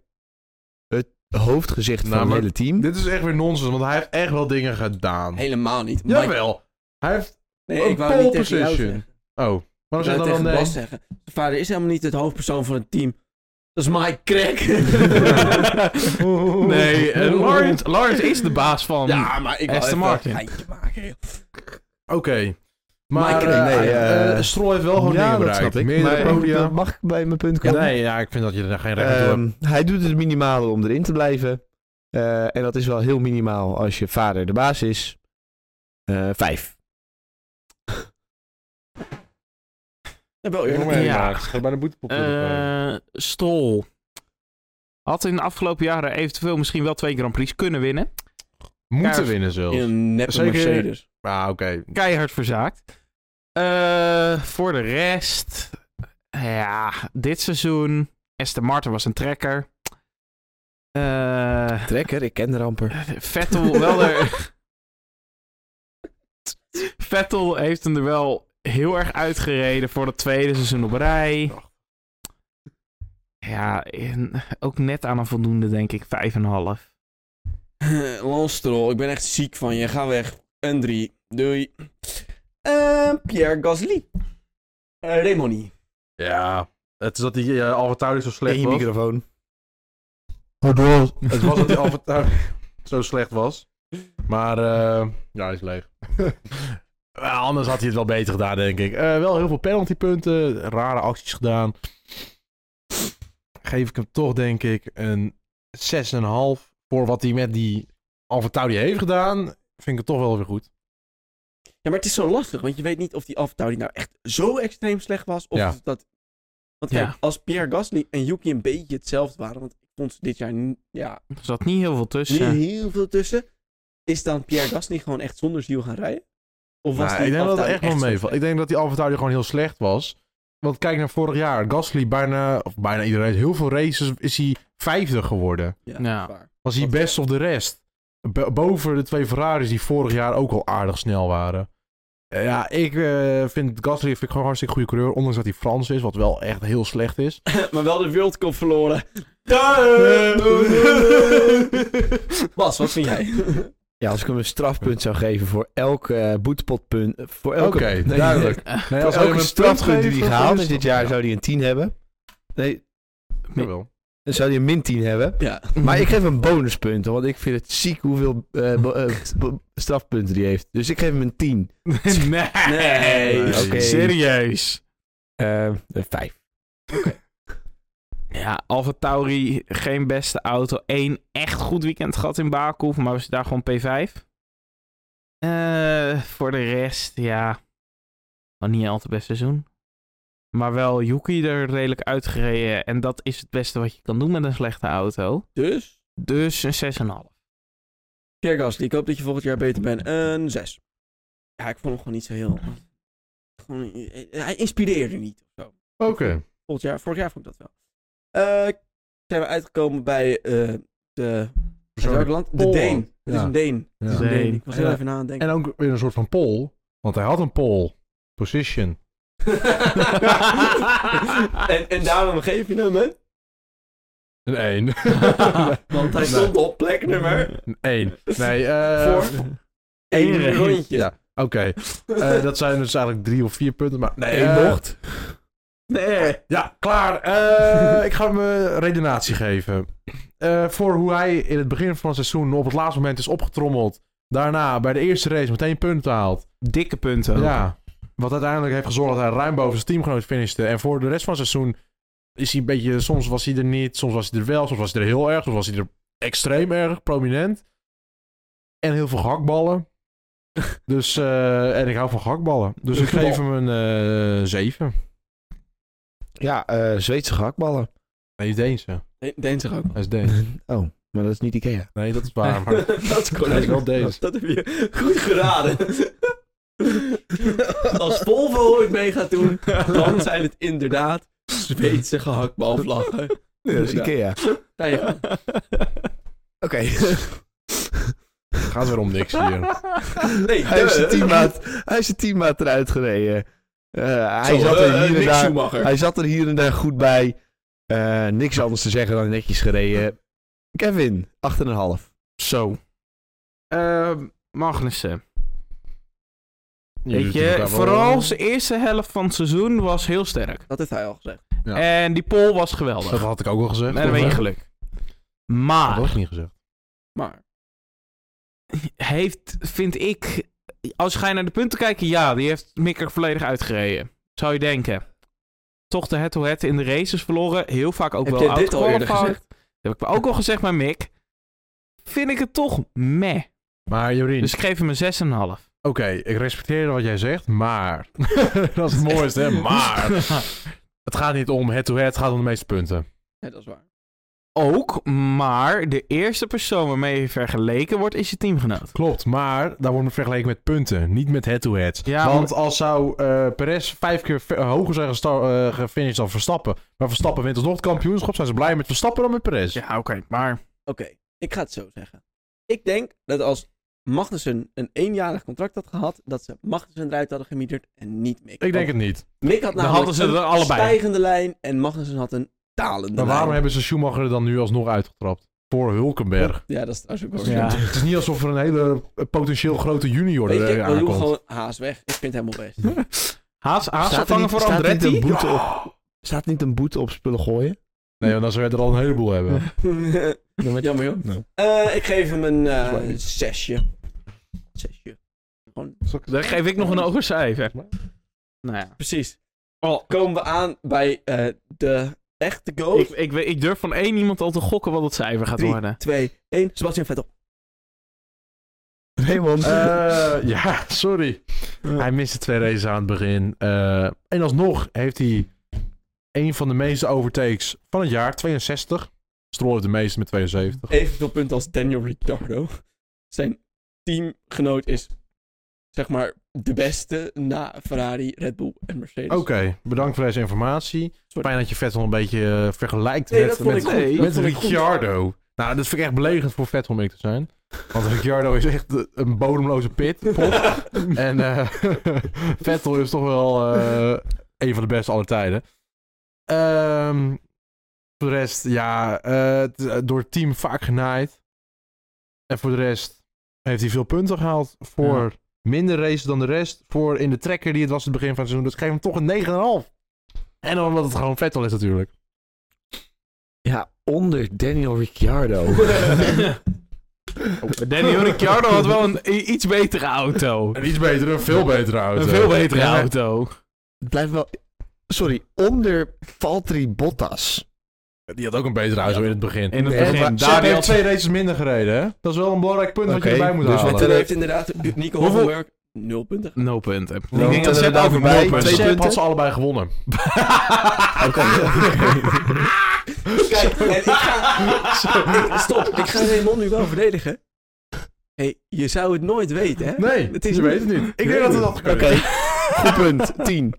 Speaker 3: het hoofdgezicht
Speaker 4: Nou,
Speaker 3: van het
Speaker 4: maar
Speaker 3: hele team.
Speaker 4: Dit is echt weer nonsens, want hij heeft echt wel dingen gedaan.
Speaker 1: Helemaal niet. Mike-
Speaker 4: Jawel. Hij heeft...
Speaker 1: Nee, ik
Speaker 4: Een
Speaker 1: wou niet
Speaker 4: pole
Speaker 1: tegen jou
Speaker 4: position.
Speaker 1: zeggen.
Speaker 4: Oh. Waarom
Speaker 1: Ik wou
Speaker 4: zeg je dan
Speaker 1: tegen
Speaker 4: dan nee?
Speaker 1: Bas zeggen. Zijn vader is helemaal niet het hoofdpersoon van het team. Dat is Mike Crack. *laughs*
Speaker 2: Nee, eh, Lawrence, Lawrence is de baas van.
Speaker 1: ja, maar ik wou
Speaker 2: Aston
Speaker 1: even
Speaker 2: Martin.
Speaker 1: een geintje maken.
Speaker 4: Oké. Maar
Speaker 1: Mike,
Speaker 4: eh,
Speaker 3: nee,
Speaker 4: eh,
Speaker 3: eh,
Speaker 4: Stroll heeft wel gewoon
Speaker 3: ja,
Speaker 4: dingen
Speaker 3: dat
Speaker 4: bereikt.
Speaker 3: snap ik.
Speaker 4: Meerdere
Speaker 3: Maar
Speaker 4: podia.
Speaker 3: dat mag ik bij mijn punt komen?
Speaker 4: Nee, ja, ik vind dat je er geen recht aan hebt.
Speaker 3: Ehm, hij doet het minimale om erin te blijven. Eh, en dat is wel heel minimaal als je vader de baas is. Eh, vijf.
Speaker 1: Ja, wel eerlijk.
Speaker 2: Ja.
Speaker 4: Ga bij de boetepop.
Speaker 2: Eh, Stroll. Had in de afgelopen jaren eventueel misschien wel twee Grand Prix kunnen winnen.
Speaker 4: Moeten
Speaker 2: Kaars.
Speaker 4: winnen
Speaker 1: In
Speaker 4: zelfs.
Speaker 1: een neppe
Speaker 4: Zeker-
Speaker 1: Mercedes. *laughs*
Speaker 4: Ah, oké.
Speaker 2: Keihard verzaakt. Eh, voor de rest. Ja, dit seizoen. Aston Martin was een trekker. Eh,
Speaker 3: Trekker, ik ken de ramper. *laughs*
Speaker 2: Vettel wel er. Vettel heeft hem er wel heel erg uitgereden voor het tweede seizoen op rij. Ja, en ook net aan een voldoende, denk ik. Vijf en een half.
Speaker 1: Lance Stroll, ik ben echt ziek van je. Ga weg. En drie. Doei. Eh, Pierre Gasly. Eh, Remoni.
Speaker 4: Ja. Het is dat die uh, zo
Speaker 3: In
Speaker 4: slecht
Speaker 3: je
Speaker 4: was.
Speaker 3: microfoon.
Speaker 4: Het was dat *laughs* die Alfa Tauri zo slecht was. Maar eh, ja, hij is leeg. *laughs* Wel, anders had hij het wel beter gedaan, denk ik. Eh, wel heel veel penaltypunten, rare acties gedaan. Geef ik hem toch, denk ik, een 6,5 voor wat hij met die Alfa Tauri heeft gedaan. Vind ik het toch wel weer goed.
Speaker 1: Ja, maar het is zo lastig, want je weet niet of die Alfa-Tauri nou echt zo extreem slecht was. Of
Speaker 4: Ja.
Speaker 1: dat... Want
Speaker 2: Ja.
Speaker 1: kijk, als Pierre Gasly en Yuki een beetje hetzelfde waren, want ik vond ze dit jaar ni- ja,
Speaker 2: Er zat niet heel veel
Speaker 1: niet
Speaker 2: tussen.
Speaker 1: heel veel tussen. Is dan Pierre Gasly gewoon echt zonder ziel gaan rijden? Of was
Speaker 4: Nou,
Speaker 1: die
Speaker 4: ik denk dat het
Speaker 1: Alfa-Tauri
Speaker 4: echt wel
Speaker 1: zo
Speaker 4: meevalt.
Speaker 1: slecht?
Speaker 4: Ik denk dat die Alfa Tauri gewoon heel slecht was. Want kijk naar vorig jaar. Gasly bijna, of bijna iedereen, heel veel races is hij vijfde geworden.
Speaker 1: Ja,
Speaker 2: Ja.
Speaker 1: dat is waar.
Speaker 4: Was hij
Speaker 1: Dat-
Speaker 4: best of de rest. Bo- boven de twee Ferraris die vorig jaar ook al aardig snel waren. Eh, Ja, ik eh, vind Gasly vind ik gewoon een hartstikke goede coureur. Ondanks dat hij Frans is, wat wel echt heel slecht is.
Speaker 1: maar wel de World Cup verloren. *laughs* Bas, wat vind jij?
Speaker 3: Ja, als ik hem een strafpunt zou geven voor elke eh, boetepotpunt. eh, Voor elke,
Speaker 4: Oké, duidelijk. *laughs* Nee,
Speaker 3: Voor
Speaker 4: als hij hem
Speaker 3: elke
Speaker 4: een
Speaker 3: strafpunt die hij gehaald heeft
Speaker 4: is
Speaker 3: dit jaar, zou hij een 10 hebben. Nee,
Speaker 4: Jawel.
Speaker 3: dan zou hij een min 10 hebben.
Speaker 1: ja.
Speaker 3: *laughs* Maar ik geef hem bonuspunten, want ik vind het ziek hoeveel eh, bo- eh, bo- strafpunten die heeft. Dus ik geef hem een 10.
Speaker 2: *laughs* nee.
Speaker 1: Nee.
Speaker 4: Oké.
Speaker 2: Serieus.
Speaker 3: Eh, een 5.
Speaker 2: Ja, Alfa Tauri, geen beste auto. Eén echt goed weekend gehad in Baku, maar was daar gewoon P5. Eh, voor de rest, ja. Nog niet al te best seizoen. Maar wel Yuki er redelijk uitgereden. En dat is het beste wat je kan doen met een slechte auto.
Speaker 1: Dus,
Speaker 2: Dus een 6,5.
Speaker 1: Pierre Gasly, ik hoop dat je volgend jaar beter bent. Een 6. Ja, ik vond hem gewoon niet zo heel... Gewoon, eh, hij inspireerde niet. of zo.
Speaker 4: Oké.
Speaker 1: Volgend jaar, vorig jaar vond ik dat wel. Eh, zijn we uitgekomen bij eh de... Uit welk land? De
Speaker 4: Polen.
Speaker 1: Deen. Het is
Speaker 4: Ja.
Speaker 1: een Deen. Het is een
Speaker 2: Deen.
Speaker 1: Deen. Ik was heel
Speaker 4: Ja.
Speaker 1: even na aan het denken.
Speaker 4: En ook weer een soort van pole. Want hij had een pole. Position.
Speaker 1: *laughs* en, en daarom geef je hem, hè?
Speaker 4: Een *laughs* 1.
Speaker 1: Want hij stond op plek nummer
Speaker 4: Een 1. Nee, eh
Speaker 1: Voor? één
Speaker 2: Eén
Speaker 1: rondje.
Speaker 4: Ja, oké. Eh, dat zijn dus eigenlijk drie of vier punten. Maar nee,
Speaker 3: Eén
Speaker 4: eh,
Speaker 3: bocht.
Speaker 1: Nee.
Speaker 4: Ja, klaar. Eh, ik ga hem eh, redenatie geven. Eh, voor hoe hij in het begin van het seizoen op het laatste moment is opgetrommeld. Daarna bij de eerste race meteen punten haalt.
Speaker 2: Dikke punten. ook.
Speaker 4: Ja. Wat uiteindelijk heeft gezorgd dat hij ruim boven zijn teamgenoot finishte. En voor de rest van het seizoen is hij een beetje... Soms was hij er niet, soms was hij er wel, soms was hij er heel erg. Soms was hij er extreem erg, prominent. En heel veel *laughs* hakballen. Dus, eh, en ik hou van hakballen. Dus *laughs* ik geef hem een eh 7.
Speaker 3: Ja, eh, Zweedse gehaktballen.
Speaker 4: Nee, Deense.
Speaker 1: De- Deen
Speaker 3: *laughs*
Speaker 1: zich ook.
Speaker 4: Hij is Deens.
Speaker 3: Oh, maar dat is niet Ikea.
Speaker 4: Nee, dat is waar. maar-
Speaker 1: dat is
Speaker 4: Hij is
Speaker 1: correct.
Speaker 4: wel Deens.
Speaker 1: Dat heb je goed geraden. *laughs* Als Volvo ooit mee gaat doen, dan zijn het inderdaad Zweedse gehaktbalvlaggen.
Speaker 3: Ja, dat is
Speaker 1: Ja.
Speaker 3: Ikea.
Speaker 1: Ga je gang.
Speaker 3: Oké.
Speaker 4: Gaat weer om niks *laughs* hier.
Speaker 1: Nee,
Speaker 3: hij, heeft
Speaker 1: duh.
Speaker 3: zijn teammaat, hij heeft zijn teammaat eruit gereden. Eh, hij,
Speaker 1: Zo,
Speaker 3: zat
Speaker 1: eh,
Speaker 3: er
Speaker 1: eh,
Speaker 3: hier en
Speaker 1: Mick
Speaker 3: daar,
Speaker 1: Schumacher.
Speaker 3: hij zat er hier en daar goed bij. Eh, niks anders te zeggen dan netjes gereden. Kevin, 8,5.
Speaker 2: Zo. Ehm, Magnussen.
Speaker 4: Jullie
Speaker 2: Weet
Speaker 4: doen elkaar
Speaker 2: je,
Speaker 4: wel-
Speaker 2: vooral zijn eerste helft van het seizoen was heel sterk.
Speaker 1: Dat heeft hij al gezegd.
Speaker 4: Ja.
Speaker 2: En die pole was geweldig.
Speaker 4: Dat had ik ook al gezegd.
Speaker 2: en dan ben je
Speaker 4: toch, hè?
Speaker 2: geluk.
Speaker 4: Dat
Speaker 2: Maar
Speaker 4: was niet gezegd.
Speaker 1: Maar
Speaker 2: heeft, vind ik, als ga je naar de punten kijken, ja, die heeft Mick er volledig uitgereden. Zou je denken. Toch de head-to-head in de races verloren. Heel vaak ook
Speaker 1: heb
Speaker 2: wel
Speaker 1: jij dit al eerder
Speaker 2: outqualified.
Speaker 1: gezegd?
Speaker 2: Dat heb ik ook al gezegd bij Mick. Vind ik het toch meh.
Speaker 4: Maar Jorien,
Speaker 2: Dus ik geef hem een 6,5.
Speaker 4: oké, ik respecteer wat jij zegt, maar... *laughs* dat is het mooiste, hè? Maar... *laughs* het gaat niet om head-to-head, het gaat om de meeste punten.
Speaker 1: Nee, dat is waar.
Speaker 2: Ook, maar de eerste persoon waarmee je vergeleken wordt is je teamgenoot.
Speaker 4: Klopt, maar daar wordt het vergeleken met punten, niet met head-to-head.
Speaker 2: Ja,
Speaker 4: Want als zou eh, Perez vijf keer ve- hoger zijn gesta- eh, gefinished dan Verstappen, maar Verstappen wint alsnog het kampioenschap, zijn ze blij met Verstappen dan met Perez.
Speaker 2: Ja, oké, maar...
Speaker 1: Oké, ik ga het zo zeggen. Ik denk dat als Magnussen een eenjarig contract had gehad, dat ze Magnussen eruit hadden gemieterd en niet Mick.
Speaker 4: Ik denk
Speaker 1: Want
Speaker 4: het niet.
Speaker 1: Mick had
Speaker 2: Dan
Speaker 1: namelijk
Speaker 2: hadden ze er
Speaker 1: een
Speaker 2: allebei.
Speaker 1: stijgende lijn en Magnussen had een dalende
Speaker 4: Maar waarom
Speaker 1: lijn.
Speaker 4: hebben ze Schumacher er dan nu alsnog uitgetrapt? Voor Hulkenberg.
Speaker 1: Ja, dat is trouwens ook wel
Speaker 2: Ja.
Speaker 1: zo.
Speaker 4: Het is niet alsof er een hele eh, potentieel grote junior
Speaker 1: Weet je,
Speaker 4: er
Speaker 1: ik
Speaker 4: eh,
Speaker 1: wil
Speaker 4: aankomt.
Speaker 1: gewoon Haas weg. Ik vind hem best.
Speaker 4: Hm?
Speaker 2: Haas, Haas
Speaker 3: Staat er
Speaker 2: vervangen
Speaker 3: niet-
Speaker 2: voor
Speaker 3: staat er niet
Speaker 2: Andretti?
Speaker 3: een boete op- Staat niet een boete op spullen gooien?
Speaker 4: Nee, want dan zou je er al een heleboel hebben.
Speaker 2: *laughs*
Speaker 4: Hm?
Speaker 1: Jammer joh.
Speaker 3: Nou.
Speaker 1: Eh, ik geef hem een
Speaker 4: Dat is waar.
Speaker 1: eh zesje. Zesje. Gewoon,
Speaker 2: Daar geef ik nog een hoger cijfer.
Speaker 4: Maar-
Speaker 2: Nou ja.
Speaker 1: precies.
Speaker 2: Oh,
Speaker 1: Komen we aan bij eh, de echte
Speaker 2: ik,
Speaker 1: goal.
Speaker 2: ik, weet- ik durf van één iemand al te gokken wat het cijfer gaat
Speaker 1: Drie.
Speaker 2: worden.
Speaker 1: 2, 1. Sebastian Vettel.
Speaker 3: Raymond.
Speaker 4: Eh, ja, sorry. Hij miste twee races aan het begin. Eh, en alsnog heeft hij een van de meeste overtakes van het jaar, 62. Stroll heeft de meeste met 72.
Speaker 1: Evenveel punten als Daniel Ricciardo. Zijn teamgenoot is, zeg maar, de beste na Ferrari, Red Bull en Mercedes.
Speaker 4: Oké, bedankt voor deze informatie.
Speaker 1: Sorry.
Speaker 4: Fijn dat je Vettel een beetje eh, vergelijkt
Speaker 1: Nee, dat
Speaker 4: met,
Speaker 1: vond
Speaker 4: met,
Speaker 1: ik goed.
Speaker 2: nee,
Speaker 1: Dat
Speaker 4: met
Speaker 1: vond ik goed.
Speaker 4: Ricciardo. Nou, dat vind ik echt belegend voor Vettel om ik te zijn. Want Ricciardo is echt eh, een bodemloze pit.
Speaker 1: *laughs*
Speaker 4: pot. en eh, *laughs* Vettel is toch wel eh, een van de beste aller tijden. Ehm, voor de rest, ja, eh, het is, eh, door het team vaak genaaid. En voor de rest heeft hij veel punten gehaald voor minder races dan de rest. Voor in de trekker die het was het begin van het seizoen. Dus ik geef hem toch een 9,5. En dan omdat het gewoon Vettel is natuurlijk.
Speaker 3: Ja, onder Daniel *laughs*
Speaker 4: Oh,
Speaker 3: Ricciardo.
Speaker 2: Daniel Ricciardo had wel een i- iets betere auto.
Speaker 4: Een iets betere, een veel betere auto.
Speaker 2: Een veel betere
Speaker 3: Ja, maar-
Speaker 2: auto.
Speaker 3: Het blijft wel... Sorry, onder Valtteri Bottas.
Speaker 4: Die had ook een betere auto in het begin.
Speaker 2: In het
Speaker 3: Nee,
Speaker 2: begin.
Speaker 3: maar-
Speaker 2: Daar
Speaker 4: Daar
Speaker 2: die
Speaker 4: heeft
Speaker 2: had
Speaker 4: twee races minder gereden, hè? Dat is wel een belangrijk punt wat
Speaker 3: Oké,
Speaker 4: je erbij moet
Speaker 3: dus
Speaker 4: halen.
Speaker 1: Vettel heeft inderdaad Nico
Speaker 2: Hoeveel-
Speaker 1: Hulkenberg 0 punten.
Speaker 2: nul punten. Ik
Speaker 3: Nou,
Speaker 2: denk dat
Speaker 3: tellen
Speaker 2: Sepp
Speaker 3: we daar
Speaker 2: ook
Speaker 3: voorbij.
Speaker 2: nul
Speaker 4: Maar
Speaker 3: Twee
Speaker 2: punten.
Speaker 4: Sepp
Speaker 3: punten?
Speaker 4: had ze allebei gewonnen.
Speaker 3: Ah,
Speaker 1: Kijk, en ik ga... ik- stop, ik ga Raymond nu wel verdedigen. hey, je zou het nooit weten, hè?
Speaker 4: Nee,
Speaker 1: Het is-
Speaker 4: je weet het niet. Ik denk dat we dat
Speaker 3: *laughs* Oké, goed punt. 10.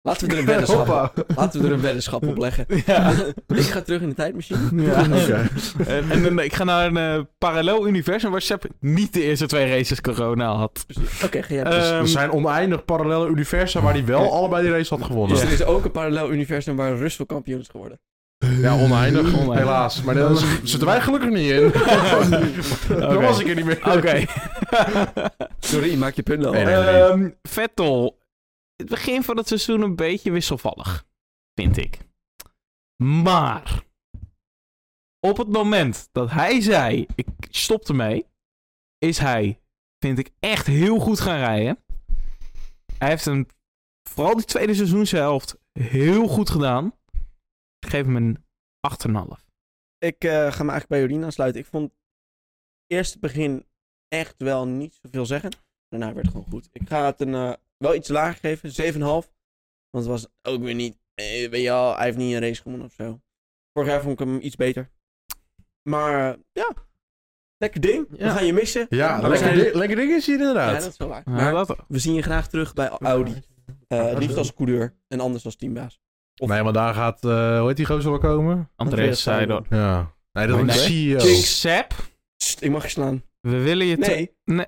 Speaker 1: Laten we er een weddenschap,
Speaker 3: Hoppa.
Speaker 1: laten we er een weddenschap op
Speaker 4: *laughs*
Speaker 1: leggen. ik ga terug in de tijdmachine.
Speaker 3: Oké.
Speaker 2: En, en dan- ik ga naar een eh, parallel universum waar Sepp niet de eerste twee races corona had.
Speaker 1: *laughs* Oké, ga jij
Speaker 2: Eh,
Speaker 4: Dus Er zijn oneindig parallele universa waar hij wel allebei die race had gewonnen.
Speaker 1: Dus er is ook een parallel universum waar Russell kampioen is geworden.
Speaker 4: Ja, *laughs* oneindig,
Speaker 2: Oneindig.
Speaker 4: helaas. Maar daar zitten wij gelukkig niet *laughs* in. Dan was ik er niet meer.
Speaker 2: Oké.
Speaker 1: Sorry, maak je punt al.
Speaker 4: Nee, nee.
Speaker 2: Ehm, Vettel. Het begin van het seizoen een beetje wisselvallig. Vind ik. Maar. Op het moment dat hij zei. Ik stop ermee. Is hij. Vind ik echt heel goed gaan rijden. Hij heeft hem. Vooral die tweede seizoenshelft. Heel goed gedaan. Ik geef hem een 8,5.
Speaker 1: Ik eh, ga me eigenlijk bij Jorien aansluiten. Ik vond eerst het begin echt wel niet zoveel zeggen. Daarna werd het gewoon goed. Ik ga het een, eh, wel iets lager geven, 7,5. Want het was ook weer niet, eh, weet je wel, hij heeft niet een race gewonnen of zo. Vorig jaar vond ik hem iets beter. Maar eh, ja, Lekker ding.
Speaker 2: Ja.
Speaker 1: We gaan je missen.
Speaker 4: Ja,
Speaker 1: Maar we
Speaker 4: lekker,
Speaker 1: zijn-
Speaker 4: ding, lekker ding is hier
Speaker 1: Ja,
Speaker 4: inderdaad.
Speaker 1: dat is wel waar.
Speaker 2: Ja,
Speaker 1: Maar
Speaker 2: dat...
Speaker 1: we zien je graag terug bij Audi. Eh, het liefst als coureur en anders als teambaas. Of-
Speaker 4: Nee, maar daar gaat, eh, hoe heet die gozer wel komen?
Speaker 2: Andreas zei dat.
Speaker 4: Ja. Nee, dat
Speaker 2: Nee.
Speaker 4: is E een CEO.
Speaker 1: Jinx.
Speaker 2: Sep,
Speaker 1: Sst, ik mag je slaan.
Speaker 2: we willen je... te-
Speaker 1: Nee.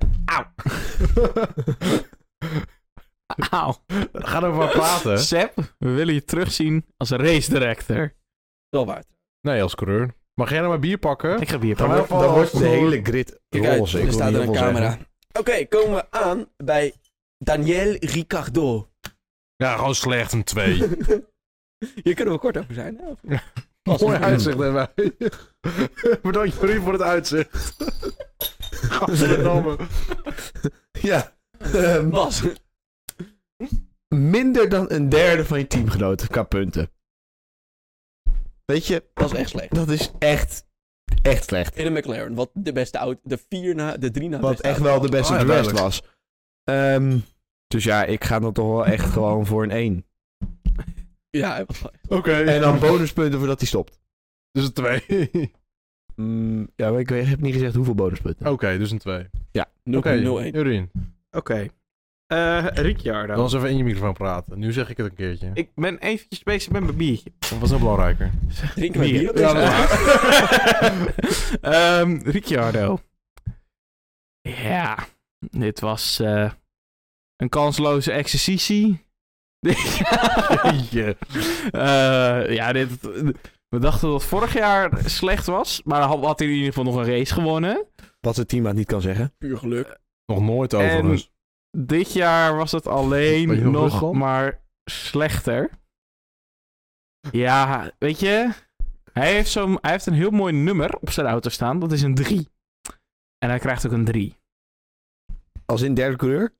Speaker 2: Auw.
Speaker 4: Ga er maar praten.
Speaker 2: Sep, we willen je terugzien als race director.
Speaker 1: Wel waard.
Speaker 4: *laughs* Nee, als coureur. Mag jij nou maar bier pakken?
Speaker 2: Ik ga bier
Speaker 4: Gaan we-
Speaker 2: pakken.
Speaker 3: Dan wordt de
Speaker 4: Door-
Speaker 3: hele grid
Speaker 1: Kijk uit,
Speaker 3: roze. Ik
Speaker 1: er
Speaker 3: wil
Speaker 1: staat
Speaker 3: niet
Speaker 1: er een
Speaker 3: heel veel
Speaker 1: camera.
Speaker 3: zeggen.
Speaker 1: Oké, komen we aan bij Daniel Ricardo.
Speaker 4: Ja, gewoon slecht een *laughs* 2.
Speaker 1: *laughs* Hier kunnen we kort over zijn. Hè? Of-
Speaker 4: Mooi uitzicht hebben wij. *laughs* Bedankt jullie voor het uitzicht. Gadverdamme.
Speaker 3: Ja. *laughs* Ehm,
Speaker 1: Bas,
Speaker 3: minder dan een derde van je teamgenoten qua punten. Weet je,
Speaker 1: dat is echt slecht.
Speaker 3: dat is echt, echt slecht.
Speaker 1: In een McLaren, wat de beste auto, de vier na, de drie na
Speaker 3: Wat
Speaker 1: beste
Speaker 3: echt
Speaker 1: auto.
Speaker 3: wel de beste
Speaker 4: Oh ja,
Speaker 3: de rest
Speaker 4: duidelijk.
Speaker 3: was. Ehm, dus ja, ik ga dan toch wel
Speaker 4: *laughs*
Speaker 3: echt gewoon voor een 1.
Speaker 1: Ja, *laughs* hij was wel-
Speaker 4: Oké.
Speaker 3: En dan bonuspunten voordat hij stopt.
Speaker 4: Dus een 2. Oké,
Speaker 3: Mm, ja, maar ik weet- heb niet gezegd hoeveel bonuspunten.
Speaker 4: dus een 2. *laughs* Oké,
Speaker 1: 0,01.
Speaker 4: Jurien.
Speaker 2: Oké. Eh Ricciardo.
Speaker 4: Dan eens even in je microfoon praten. Nu zeg ik het een keertje.
Speaker 2: Ik ben eventjes bezig met mijn biertje.
Speaker 4: Dat was nog belangrijker.
Speaker 1: Drinken we
Speaker 2: Bier.
Speaker 1: bier op
Speaker 4: Ja,
Speaker 1: deze
Speaker 4: dat is *laughs*
Speaker 1: avond?
Speaker 2: Ehm, Ricciardo. Ja, dit was eh, een kansloze exercitie. *laughs*
Speaker 4: Jeetje.
Speaker 2: Eh, ja, dit, we dachten dat vorig jaar slecht was, maar dan had- had hij in ieder geval nog een race gewonnen.
Speaker 3: Wat het team aan niet kan zeggen.
Speaker 1: Puur geluk.
Speaker 4: Nog nooit overigens.
Speaker 2: Dit jaar was het
Speaker 4: Ben je
Speaker 2: alleen
Speaker 4: nog
Speaker 2: nog
Speaker 4: teruggekomen?
Speaker 2: maar slechter. Ja, weet je, hij heeft, zo hij heeft een heel mooi nummer op zijn auto staan, dat is een 3. En hij krijgt ook een 3.
Speaker 3: Als in derde coureur?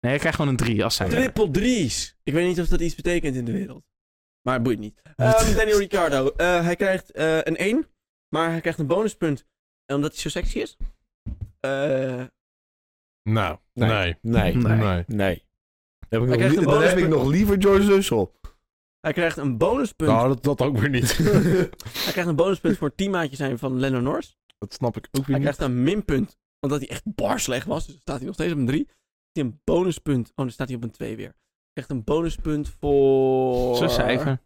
Speaker 2: Nee, hij krijgt gewoon een 3 als hij.
Speaker 1: Triple drie's. Ik weet niet of dat iets betekent in de wereld. Maar boeit niet.
Speaker 3: Eh,
Speaker 1: Ehm, Daniel Ricciardo. eh, hij krijgt eh, een 1. Maar hij krijgt een bonuspunt. En omdat hij zo sexy is. Eh,
Speaker 4: Nou,
Speaker 3: Nee.
Speaker 4: nee. Nee.
Speaker 3: Nee.
Speaker 2: Nee.
Speaker 3: Nee. Dan heb ik,
Speaker 1: Hij
Speaker 3: nog,
Speaker 1: krijgt
Speaker 3: li-
Speaker 1: een
Speaker 3: dan heb
Speaker 1: bonuspunt.
Speaker 3: ik nog liever George Russell.
Speaker 1: hij krijgt een bonuspunt.
Speaker 4: Nou, dat, dat ook weer
Speaker 3: *laughs*
Speaker 4: niet.
Speaker 1: Hij krijgt een bonuspunt voor het teammaatje zijn van Lennon Norris.
Speaker 4: dat snap ik ook
Speaker 1: Hij
Speaker 4: weer niet.
Speaker 1: krijgt een minpunt, omdat hij echt bar slecht was. Dus staat hij nog steeds op een 3. Hij een bonuspunt. Oh, dan staat hij op een 2 weer. Hij krijgt een bonuspunt voor...
Speaker 2: Zijn cijfer.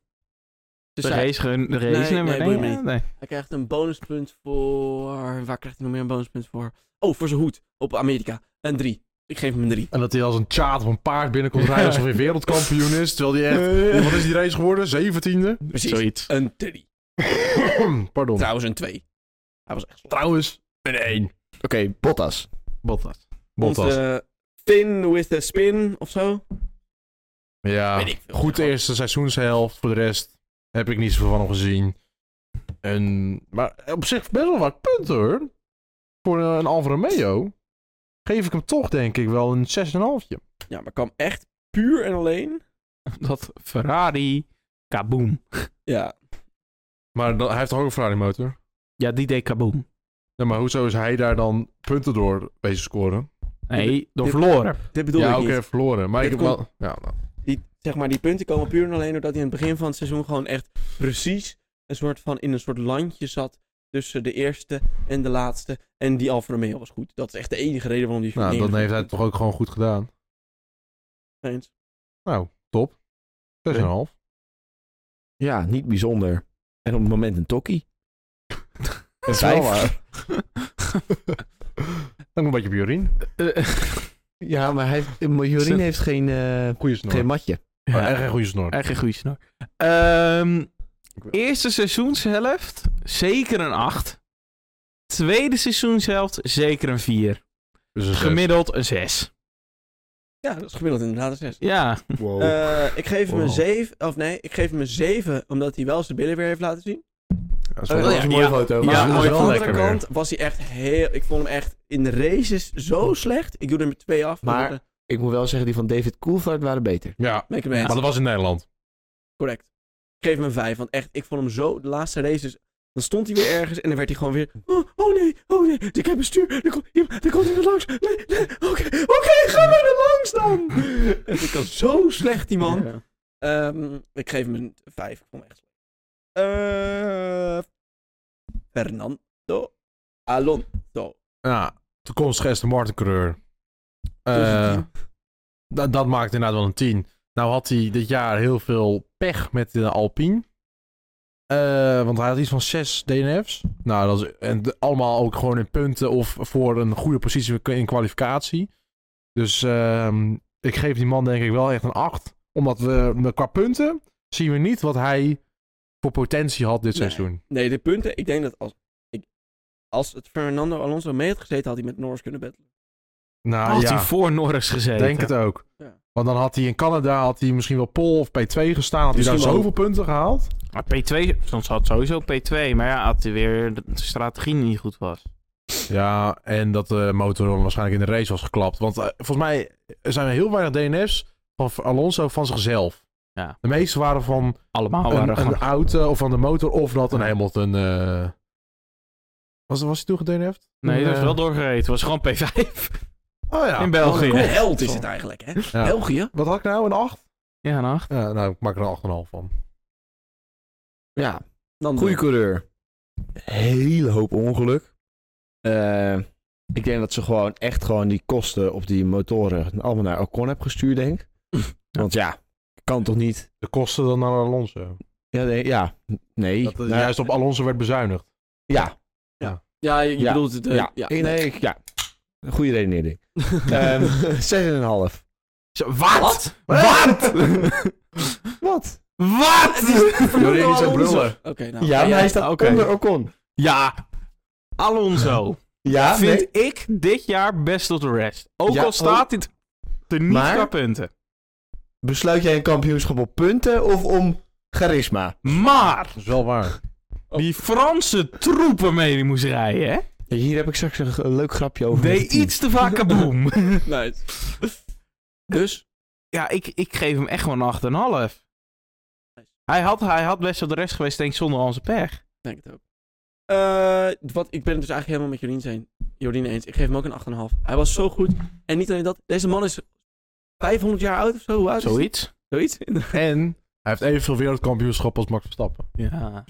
Speaker 1: De
Speaker 2: De
Speaker 1: cijfer.
Speaker 2: race, gun- de
Speaker 1: Nee,
Speaker 2: race
Speaker 1: nee,
Speaker 2: nummer. Nee,
Speaker 1: boeit me
Speaker 2: nee,
Speaker 1: niet. Hij krijgt een bonuspunt voor... Waar krijgt hij nog meer een bonuspunt voor? Oh, voor zijn hoed op Amerika. Een 3. Ik geef hem een 3.
Speaker 4: En dat hij als een chaat of een paard binnenkomt rijden alsof hij wereldkampioen is. Terwijl hij echt... Eh, Wat is die race geworden? Zeventiende?
Speaker 1: Precies.
Speaker 2: Zoiets.
Speaker 1: Een 3.
Speaker 4: Pardon.
Speaker 1: Trouwens, een 2. Hij was echt slecht.
Speaker 4: Trouwens, een 1.
Speaker 3: Oké, Bottas.
Speaker 2: Bottas.
Speaker 4: Bottas.
Speaker 1: Onze eh, Finn with a spin of zo.
Speaker 4: ja.
Speaker 1: Weet ik veel.
Speaker 4: Goed de eerste seizoenshelft. Voor de rest heb ik niet zoveel van hem gezien. En, maar op zich best wel wat punten hoor. Voor eh, een Alfa Romeo geef ik hem toch denk ik wel een 6,5.
Speaker 1: Ja, maar kwam echt puur en alleen.
Speaker 2: Dat Ferrari. Kaboom.
Speaker 1: Ja.
Speaker 4: Maar dan, hij heeft toch ook een Ferrari motor?
Speaker 2: Ja, die deed kaboom.
Speaker 4: Ja, maar hoezo is hij daar dan punten door bezig scoren?
Speaker 2: Nee, door
Speaker 1: dit-
Speaker 2: verloren.
Speaker 1: Dit bedoel
Speaker 4: ja,
Speaker 1: ik
Speaker 4: ook
Speaker 1: niet.
Speaker 4: even verloren. Maar
Speaker 1: Dit
Speaker 4: ik heb wel... Ja, nou.
Speaker 1: die, zeg maar, die punten komen puur en alleen doordat hij aan het begin van het seizoen gewoon echt precies een soort van in een soort landje zat tussen de eerste en de laatste. En die Alfa Romeo was goed. Dat is echt de enige reden waarom die
Speaker 4: nou,
Speaker 1: dat
Speaker 4: dan heeft hij het toch ook gewoon goed gedaan.
Speaker 1: Eens.
Speaker 4: Nou, top. 6,5.
Speaker 3: Ja, niet bijzonder. En op het moment een
Speaker 4: *laughs*
Speaker 3: tokkie. Een
Speaker 4: is
Speaker 3: vijf.
Speaker 4: wel waar. Dan een beetje bij Jorien.
Speaker 3: Ja, maar hij, Jorien heeft geen, eh,
Speaker 4: Goeie snor.
Speaker 3: geen matje.
Speaker 4: Maar
Speaker 1: Oh,
Speaker 2: Ja,
Speaker 4: echt een goede snor.
Speaker 2: echt een goede snor. Ehm, eerste seizoenshelft. Zeker een 8. Tweede seizoenshelft. Zeker een 4.
Speaker 4: Dus een zes.
Speaker 2: Gemiddeld een 6.
Speaker 1: Ja, dat is gemiddeld inderdaad een 6.
Speaker 2: Ja.
Speaker 4: Oh.
Speaker 3: Wow.
Speaker 1: Eh, ik geef hem een
Speaker 4: Wow.
Speaker 1: 7, of nee, ik geef hem een 7 omdat hij wel zijn billen weer heeft laten zien.
Speaker 4: Ja, is
Speaker 1: Eh,
Speaker 3: Oh,
Speaker 4: wel-
Speaker 1: dat is een mooie
Speaker 3: foto.
Speaker 2: maar- Ja,
Speaker 1: aan
Speaker 2: mooi
Speaker 1: de
Speaker 4: wel
Speaker 1: andere
Speaker 4: lekker weer.
Speaker 1: kant was hij echt heel, ik vond hem echt in de races zo slecht. Ik doe er met twee af.
Speaker 3: Maar-
Speaker 1: omdat, eh,
Speaker 3: Ik moet wel zeggen, die van David Coulthard waren beter.
Speaker 4: Ja,
Speaker 1: ben ik hem eens.
Speaker 4: maar dat was in Nederland.
Speaker 1: Correct. Ik geef hem een 5, want echt, ik vond hem zo, de laatste races, dan stond hij weer ergens en dan werd hij gewoon weer, oh, oh nee, oh nee, ik heb een stuur, daar komt iemand, daar komt iemand langs, nee, nee, oké, oké, ga maar er langs dan. En *laughs* ik was zo slecht, die man. Ehm, ik geef hem een 5, ik vond hem echt slecht. Eh, Fernando Alon. Zo.
Speaker 4: Ja, toekomstige Aston Martin coureur. Eh,
Speaker 1: Tussen die-
Speaker 4: da- dat maakt inderdaad wel een 10. Nou had hij dit jaar heel veel pech met de Alpine. Eh, want hij had iets van 6 DNF's. Nou, dat is, en de- allemaal ook gewoon in punten of voor een goede positie in kwalificatie. Dus ehm, ik geef die man denk ik wel echt een 8. Omdat we qua punten zien we niet wat hij voor potentie had dit
Speaker 1: Nee.
Speaker 4: seizoen.
Speaker 1: Nee, de punten. Ik denk dat als, ik, als het Fernando Alonso mee had gezeten, had hij met Norris kunnen battlen.
Speaker 4: Nou,
Speaker 2: Had
Speaker 4: ja.
Speaker 2: hij voor Norris
Speaker 4: Ik
Speaker 2: gezeten?
Speaker 4: denk het ook.
Speaker 1: Ja.
Speaker 4: Want dan had hij in Canada had hij misschien wel Pol of P2 gestaan. Had hij daar
Speaker 1: Misschien wel.
Speaker 4: zoveel punten gehaald.
Speaker 2: Maar P2, soms had het sowieso P2, maar ja, had hij weer dat de strategie niet goed was.
Speaker 4: Ja, en dat de motor dan waarschijnlijk in de race was geklapt. Want eh, volgens mij zijn er heel weinig DNF's van Alonso van zichzelf.
Speaker 2: Ja.
Speaker 4: De meeste waren van
Speaker 2: Allemaal
Speaker 4: een,
Speaker 2: waren
Speaker 4: een
Speaker 2: gewoon...
Speaker 4: auto of van de motor of dat een Hamilton. eh, Was, was hij toen gedNF'd?
Speaker 2: nee, dat is
Speaker 4: Eh,
Speaker 2: wel doorgereden. Het was gewoon P5
Speaker 4: Oh ja.
Speaker 2: in België.
Speaker 1: Een held is het eigenlijk, hè?
Speaker 4: Ja.
Speaker 1: België?
Speaker 4: Wat had ik nou? Een 8?
Speaker 2: Ja, nou.
Speaker 4: Ja, nou, ik maak er een 8,5 van.
Speaker 3: Ja,
Speaker 1: Dan
Speaker 3: goede coureur. Hele hoop ongeluk. Eh, ik denk dat ze gewoon echt gewoon die kosten op die motoren allemaal naar Ocon heb gestuurd, denk *laughs* ik. Want ja, kan toch niet?
Speaker 4: De kosten dan naar Alonso.
Speaker 3: Ja, nee. Ja, nee.
Speaker 4: Dat eh, er
Speaker 3: Nou,
Speaker 4: juist op Alonso werd bezuinigd.
Speaker 3: ja,
Speaker 1: Ja, je, je
Speaker 3: Ja.
Speaker 1: bedoelt het. eh,
Speaker 3: ja,
Speaker 1: ja.
Speaker 3: Ik- nee, ik- ja. Goede *laughs* redenering. Ehm 6,5.
Speaker 2: Wat? *laughs* Wat?
Speaker 3: Wat? Wat?
Speaker 4: Jorien is aan het brullen.
Speaker 1: Oké, nou.
Speaker 3: Ja, maar hij staat
Speaker 2: oké.
Speaker 3: onder Ocon.
Speaker 2: Ja, Alonso
Speaker 3: Ja,
Speaker 2: vind
Speaker 3: Ah, nee.
Speaker 2: ik dit jaar best of the rest. Ook
Speaker 3: Ja, oh.
Speaker 2: al staat dit er niet
Speaker 3: Maar-
Speaker 2: qua punten.
Speaker 3: Besluit jij een kampioenschap op punten of om charisma?
Speaker 2: Maar
Speaker 4: Dat is wel waar.
Speaker 3: Oh.
Speaker 2: die Franse troep waarmee hij moest rijden, hè,
Speaker 3: Hier heb ik straks een, een leuk grapje over. met
Speaker 2: deed
Speaker 3: het team.
Speaker 2: iets te
Speaker 3: *laughs*
Speaker 2: vaak kaboom.
Speaker 1: Nice. *laughs* Dus,
Speaker 2: ja, ik, ik geef hem echt gewoon een 8,5. Hij had, hij had best wel de rest geweest, denk ik, zonder onze pech.
Speaker 1: ik denk het ook. Eh, wat, ik ben het dus eigenlijk helemaal met Jorien, zijn, Jorien eens. Ik geef hem ook een 8,5. Hij was zo goed. En niet alleen dat, deze man is 500 jaar oud of zo.
Speaker 3: dus-
Speaker 1: Hoe oud is hij?
Speaker 2: Zoiets.
Speaker 1: Zoiets. *laughs*
Speaker 4: En hij heeft evenveel wereldkampioenschap als Max Verstappen.
Speaker 2: Ja.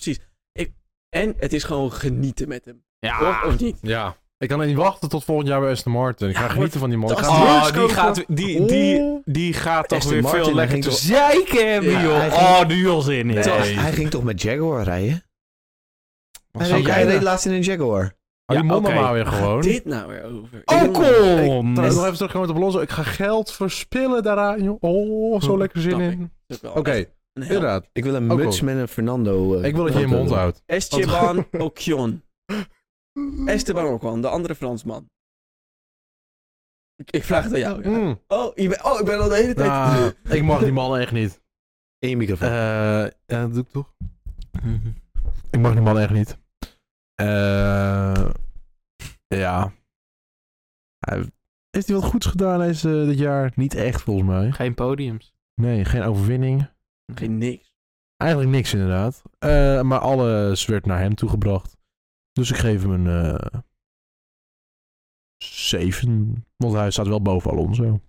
Speaker 1: En het is gewoon genieten met hem.
Speaker 2: Ja.
Speaker 1: Of, of niet?
Speaker 4: Ja. Ik kan niet wachten tot volgend jaar bij Aston Martin. Ik ga
Speaker 1: Ja,
Speaker 4: genieten van die man. Ik
Speaker 1: dat
Speaker 4: ga-
Speaker 1: is-
Speaker 4: Oh,
Speaker 2: Oh,
Speaker 1: Lewis
Speaker 2: die
Speaker 1: kopen.
Speaker 2: gaat, die, die,
Speaker 3: Oeh.
Speaker 2: die gaat toch
Speaker 3: Aston
Speaker 2: weer
Speaker 3: Martin,
Speaker 2: veel
Speaker 3: hij
Speaker 2: lekker
Speaker 3: ging
Speaker 2: te
Speaker 3: toch-
Speaker 2: zeiken hebben,
Speaker 1: Ja,
Speaker 2: joh.
Speaker 3: hij ging-
Speaker 2: Oh, nu al zin in.
Speaker 3: Nee,
Speaker 2: Toch?
Speaker 3: Hij ging toch met Jaguar rijden?
Speaker 2: Wat
Speaker 3: Hij
Speaker 2: zou
Speaker 3: reed,
Speaker 2: jij
Speaker 3: hij
Speaker 2: doen?
Speaker 3: reed laatst in een Jaguar.
Speaker 4: Hou Oh, die
Speaker 2: Ja,
Speaker 4: mond dan
Speaker 2: oké.
Speaker 4: maar weer gewoon.
Speaker 1: Dit nou weer over.
Speaker 2: Oh,
Speaker 4: Ik-
Speaker 2: kom!
Speaker 4: Trouwens, nog even teruggaan met de Alonso. Ik ga geld verspillen daaraan. joh. Oh, zo
Speaker 2: Hm,
Speaker 4: lekker zin
Speaker 1: snap ik.
Speaker 4: in.
Speaker 1: Oké,
Speaker 4: Oké, inderdaad.
Speaker 3: Ik wil een
Speaker 4: Ook
Speaker 3: muts
Speaker 4: al.
Speaker 3: met een Fernando. eh,
Speaker 4: Ik wil dat je je
Speaker 3: foto
Speaker 4: mond
Speaker 3: doen.
Speaker 4: houdt.
Speaker 1: Esteban Ocon. Esteban Ocon, de andere Fransman. Ik, ik vraag het aan jou. ja.
Speaker 4: Mm.
Speaker 1: Oh, je bent- oh, ik ben al de hele tijd...
Speaker 4: Nou, ik mag die man echt niet.
Speaker 3: In je microfoon. *clears throat*
Speaker 4: Eh, ja, dat doe ik toch? Ik mag die man echt niet. Eh, ja. Hij- heeft hij wat goeds gedaan deze, dit jaar? Niet echt, volgens mij.
Speaker 2: Geen podiums.
Speaker 4: Nee, geen overwinning.
Speaker 1: Geen niks.
Speaker 4: Eigenlijk niks inderdaad. Eh, maar alles werd naar hem toegebracht. Dus ik geef hem een eh 7. Want hij staat wel boven Alonso.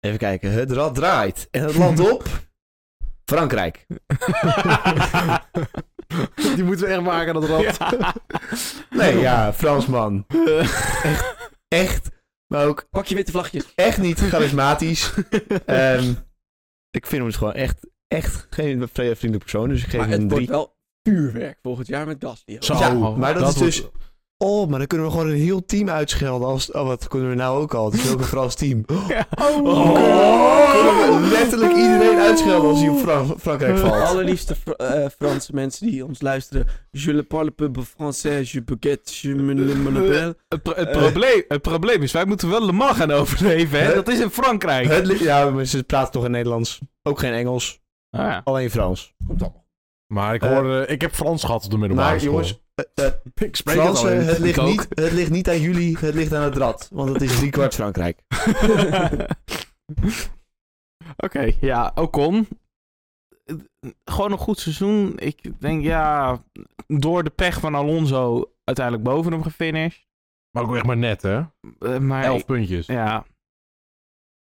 Speaker 3: Even kijken. Het rad draait. En het landt op... Frankrijk.
Speaker 4: Die moeten we echt maken, dat rad.
Speaker 2: Ja.
Speaker 3: Nee, ja, *laughs* Fransman. Echt, maar ook
Speaker 1: Pak je witte vlagjes.
Speaker 3: echt niet *laughs* charismatisch. Ehm, ik vind hem dus gewoon echt, echt geen vri- vriendelijk persoon. Dus ik geef
Speaker 1: Maar
Speaker 3: hem
Speaker 1: het
Speaker 3: een
Speaker 1: wordt
Speaker 3: 3.
Speaker 1: wel vuurwerk volgend jaar met Gasly.
Speaker 4: Zo,
Speaker 3: Ja, maar dat is
Speaker 4: wordt-
Speaker 3: dus- Oh, maar dan kunnen we gewoon een heel team uitschelden. Als, oh, wat kunnen we nou ook al? Het is ook een Frans *laughs* team.
Speaker 2: Oh,
Speaker 3: Kunnen we letterlijk iedereen uitschelden als hij op Fran- *laughs* Frankrijk valt.
Speaker 1: *laughs* Allerliefste Fr- eh, Franse mensen die ons luisteren. Je le parle peu français, je baguette, je me le me le
Speaker 4: *laughs*
Speaker 1: belle.
Speaker 2: Het, pro- het probleem, het probleem is, wij moeten wel Le Mans gaan overleven, hè?
Speaker 3: Hè?
Speaker 2: Dat is in Frankrijk.
Speaker 3: Het li- ja, maar ze praten toch in Nederlands. Ook geen Engels.
Speaker 2: Ah, ja. *laughs*
Speaker 3: Alleen Frans.
Speaker 1: Komt allemaal.
Speaker 4: Maar ik
Speaker 3: Eh,
Speaker 4: hoor... eh, Nou, ik heb Frans gehad op de middelbare
Speaker 3: Maar
Speaker 4: school.
Speaker 3: jongens, eh, *laughs* eh,
Speaker 4: ik spreek
Speaker 3: Fransen,
Speaker 4: het
Speaker 3: het
Speaker 4: alleen.
Speaker 3: ligt,
Speaker 2: Ik ook.
Speaker 3: niet, het ligt niet aan jullie. Het ligt aan het rad. Want het is driekwart Frankrijk.
Speaker 2: Oké, ja, Ocon. Eh, Gewoon een goed seizoen. Ik denk, ja, door de pech van Alonso uiteindelijk boven hem gefinished.
Speaker 4: Maar ook echt maar net, hè?
Speaker 2: Eh, maar
Speaker 4: Elf puntjes.
Speaker 2: ja.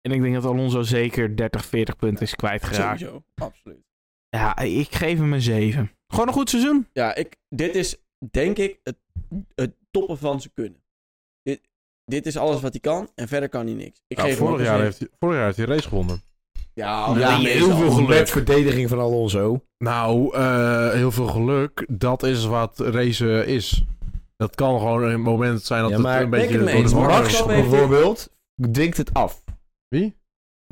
Speaker 2: En ik denk dat Alonso zeker 30, 40 punten is kwijtgeraakt.
Speaker 1: Sowieso, absoluut.
Speaker 2: Ja, ik geef hem een 7. Gewoon een goed seizoen.
Speaker 1: Ja, ik, dit is denk ik, het, het toppen van zijn kunnen. Dit, dit is alles wat hij kan en verder kan hij niks. Ik
Speaker 4: Nou,
Speaker 1: geef hem ook
Speaker 4: vorig,
Speaker 1: een
Speaker 4: jaar
Speaker 1: zeven.
Speaker 4: heeft hij, vorig jaar heeft hij een race gewonnen.
Speaker 1: Ja,
Speaker 3: Oh, Ja,
Speaker 1: maar
Speaker 3: met
Speaker 1: is al-
Speaker 3: Met verdediging van Alonso.
Speaker 4: Nou, eh, heel veel geluk. Dat is wat racen is. Dat kan gewoon een moment zijn dat
Speaker 3: Ja,
Speaker 4: het
Speaker 3: maar
Speaker 4: een
Speaker 1: denk
Speaker 4: beetje
Speaker 1: ik mee.
Speaker 4: door de war
Speaker 1: Max
Speaker 4: is.
Speaker 1: kan mee.
Speaker 3: bijvoorbeeld dwingt het af.
Speaker 4: Wie?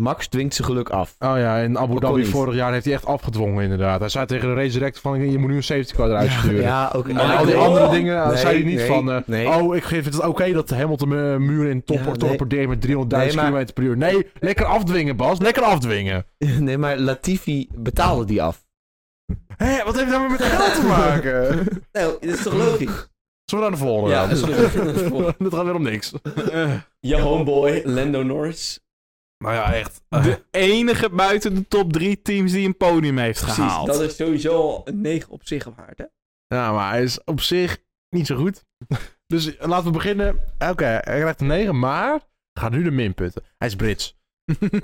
Speaker 3: Max dwingt zijn geluk af.
Speaker 4: Oh ja, in Abu
Speaker 3: Dat kon
Speaker 4: Dhabi
Speaker 3: niet.
Speaker 4: vorig jaar heeft hij echt afgedwongen inderdaad. Hij zei tegen de race direct van je moet nu een safety car eruit sturen.
Speaker 3: ook.
Speaker 4: En al die andere dingen eh, zei hij niet van... eh, Oh, ik geef het oké dat Hamilton mijn muur in top
Speaker 3: Ja,
Speaker 4: wordt
Speaker 3: nee.
Speaker 4: torpedeerd met 300.000
Speaker 3: Nee, maar-
Speaker 4: km per uur. Nee, lekker afdwingen Bas, lekker afdwingen.
Speaker 3: *laughs* nee, maar Latifi betaalde die af.
Speaker 4: Hé, wat heeft dat weer met geld te maken?
Speaker 1: Nee, dat Nou, is toch
Speaker 4: *laughs*
Speaker 1: logisch?
Speaker 4: Zullen we naar de volgende
Speaker 1: Ja,
Speaker 4: gaan?
Speaker 1: dat is goed. Dat is
Speaker 4: *laughs*
Speaker 1: goed.
Speaker 4: Dit gaat weer om niks.
Speaker 3: Eh.
Speaker 1: Je homeboy, Lando Norris.
Speaker 4: Nou ja, echt.
Speaker 2: De enige buiten de top drie teams die een podium heeft
Speaker 1: Precies,
Speaker 2: gehaald.
Speaker 1: dat is sowieso al een 9 op zich waard, hè?
Speaker 4: Ja, maar hij is op zich niet zo goed. *laughs* Dus laten we beginnen. Oké, hij krijgt een 9, maar gaat nu de minpunten. Hij is
Speaker 2: *laughs*
Speaker 4: Brits.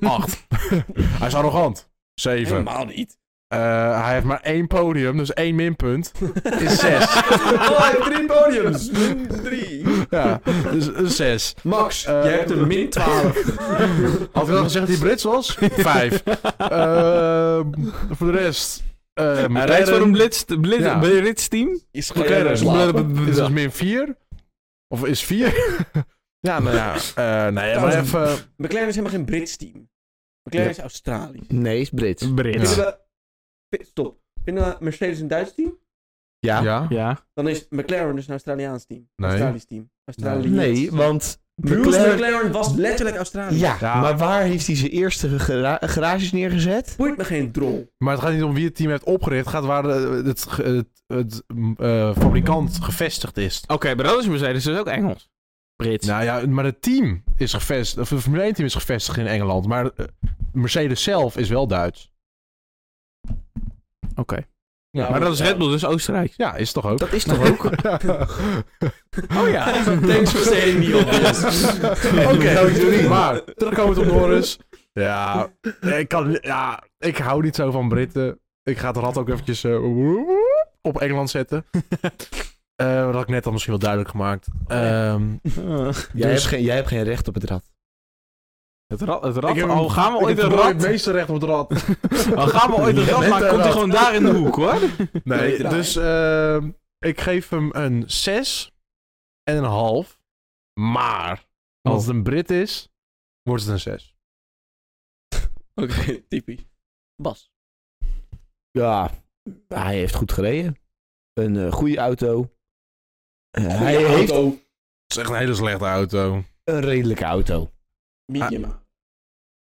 Speaker 4: 8. *laughs* hij is arrogant. 7.
Speaker 1: Helemaal niet.
Speaker 4: hij heeft maar één podium, dus één minpunt. *laughs* Is 6.
Speaker 1: *laughs* Oh, hij heeft drie podiums. Drie.
Speaker 4: ja, dus een 6.
Speaker 1: Max,
Speaker 4: Eh,
Speaker 1: jij hebt een min 12.
Speaker 4: Had ik al gezegd dat hij Brits
Speaker 2: *laughs*
Speaker 4: was? 5. voor de rest. eh,
Speaker 2: Hij
Speaker 4: McLaren
Speaker 2: rijdt voor een blitz, blitz,
Speaker 4: Ja.
Speaker 2: blitz team.
Speaker 1: Is
Speaker 4: McLaren is,
Speaker 1: slaap.
Speaker 4: is dus min 4. Of is 4. *laughs* ja, nou ja. eh, nee, maar even.
Speaker 1: McLaren is helemaal geen Brits team. McLaren is Australisch.
Speaker 3: Nee, is Brits.
Speaker 2: Brits.
Speaker 1: Vinden we... Stop. Vinden we Mercedes een Duits team?
Speaker 3: Ja.
Speaker 4: ja.
Speaker 2: Ja.
Speaker 1: Dan is McLaren dus een Australiaans team.
Speaker 4: Nee.
Speaker 1: Australisch team. Australië.
Speaker 3: Nee, want
Speaker 1: Bruce
Speaker 3: McLaren...
Speaker 1: McLaren... was letterlijk Australië.
Speaker 3: Ja,
Speaker 4: Ja.
Speaker 3: maar waar heeft hij zijn eerste gara- garages neergezet?
Speaker 1: Boeit me geen drol.
Speaker 4: Maar het gaat niet om wie het team heeft opgericht. Het gaat waar de- het, ge- het, het, mm, eh, fabrikant gevestigd is.
Speaker 2: Oké, maar dat is Mercedes dus ook Engels. Brits.
Speaker 4: Nou ja, maar het team is gevestigd. Of het Formule 1 team is gevestigd in Engeland. Maar eh, Mercedes zelf is wel Duits.
Speaker 2: Oké.
Speaker 4: Ja,
Speaker 2: Maar dat is Red Bull dus Oostenrijk.
Speaker 4: Ja, is toch ook.
Speaker 3: Dat is toch ook?
Speaker 4: *laughs*
Speaker 2: Oh ja.
Speaker 1: *laughs* Thanks for saying me on this. *laughs*
Speaker 4: Oké, maar terugkomend op Norris. Ja, ik, kan, ja, ik hou niet zo van Britten. Ik ga het rad ook eventjes eh, op Engeland *laughs* zetten. Eh, dat had ik net al misschien wel duidelijk gemaakt. Ehm,
Speaker 3: *laughs* Jij,
Speaker 4: Dus-
Speaker 3: hebt geen, jij hebt geen recht op het rad.
Speaker 2: Het rad, het
Speaker 4: Ik
Speaker 2: rad.
Speaker 4: heb
Speaker 2: Al
Speaker 4: hem-
Speaker 2: gaan we
Speaker 4: ik
Speaker 2: ooit
Speaker 4: heb
Speaker 2: een
Speaker 4: het
Speaker 2: rad.
Speaker 4: meeste recht op het *laughs* rad.
Speaker 2: Al gaan we
Speaker 4: *laughs*
Speaker 2: ooit een
Speaker 4: Je
Speaker 2: rad
Speaker 4: bent
Speaker 2: maken,
Speaker 4: een
Speaker 2: komt hij
Speaker 4: rad.
Speaker 2: gewoon daar in de hoek *laughs* hoor.
Speaker 4: Nee,
Speaker 1: Nee,
Speaker 4: dus ehm, ik geef hem een 6 en een half. Maar als het een Brit is, wordt het een 6.
Speaker 1: Oké, typisch. Bas.
Speaker 3: Ja, hij heeft goed gereden. Een eh, goede auto. Eh, hij
Speaker 1: Goeie
Speaker 3: heeft
Speaker 1: auto.
Speaker 4: Het is echt een hele slechte *laughs* auto.
Speaker 3: een redelijke auto.
Speaker 1: Medium.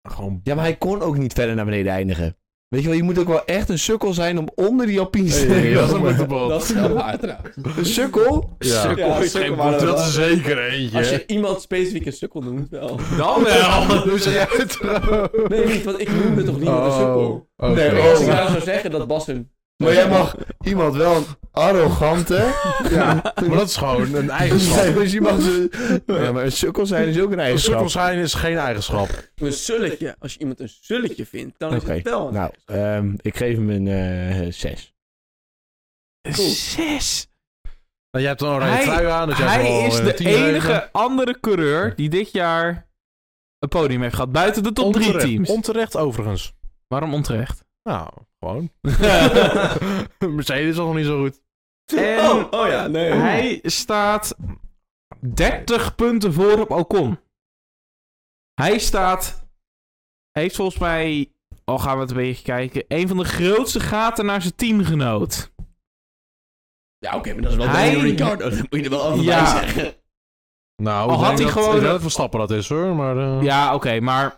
Speaker 4: Gewoon.
Speaker 3: Ja, maar hij kon ook niet verder naar beneden eindigen. Weet je wel, je moet ook wel echt een sukkel zijn om onder die Alpine te
Speaker 4: *laughs* dat is
Speaker 3: komen.
Speaker 4: een witte bal.
Speaker 1: dat is wel waar trouwens.
Speaker 3: Een sukkel?
Speaker 4: Ja.
Speaker 1: Sukkel Ja, is sukkel geen waren woord. er
Speaker 4: Dat
Speaker 1: wel.
Speaker 4: is zeker eentje.
Speaker 1: Als je iemand specifiek een sukkel noemt, wel.
Speaker 2: Dan
Speaker 3: *laughs*
Speaker 4: Ja,
Speaker 2: wel.
Speaker 4: hoe zei jij het Oh, trouwens?
Speaker 1: Nee, niet, want ik noemde toch niemand een sukkel.
Speaker 4: oké.
Speaker 3: Nee, oh.
Speaker 1: Als ik nou zou zeggen dat Bas een...
Speaker 3: Maar jij mag iemand wel een arrogante...
Speaker 4: Ja, maar dat is gewoon een
Speaker 3: Nee,
Speaker 4: eigenschap.
Speaker 3: dus je mag ze... Ja, maar een sukkel zijn is ook een
Speaker 4: Een
Speaker 3: eigenschap.
Speaker 4: sukkel zijn is geen eigenschap. Nou,
Speaker 1: Een sulletje. Als je iemand een sulletje vindt, dan is
Speaker 3: Oké,
Speaker 1: het wel.
Speaker 3: nou, ehm, ik geef hem een eh 6.
Speaker 2: Zes.
Speaker 4: Nou, jij hebt een oranje
Speaker 2: Hij-
Speaker 4: trui aan. Dus jij zal,
Speaker 2: Hij is
Speaker 4: eh,
Speaker 2: de
Speaker 4: tien geven.
Speaker 2: enige andere coureur die dit jaar een podium heeft gehad. Buiten de top drie
Speaker 4: Onterecht-
Speaker 2: teams.
Speaker 4: Onterecht overigens.
Speaker 2: Waarom onterecht?
Speaker 4: Nou, gewoon. Mercedes was nog niet zo goed.
Speaker 2: En
Speaker 1: Oh, oh ja, nee.
Speaker 2: hij staat 30 punten voor op Ocon. Hij staat... Heeft volgens mij... Al gaan we het een beetje kijken. Een van de grootste gaten naar zijn teamgenoot.
Speaker 1: Ja, oké, maar dat is wel
Speaker 2: Hij-
Speaker 1: Daniel Ricciardo. Dat moet je er wel over
Speaker 2: Ja.
Speaker 1: bij zeggen.
Speaker 4: Nou,
Speaker 2: Al
Speaker 4: ik
Speaker 2: had
Speaker 4: denk
Speaker 2: hij
Speaker 4: dat-
Speaker 2: gewoon-
Speaker 4: Ik weet niet van stappen dat is hoor, maar... eh,
Speaker 2: Ja, oké, maar...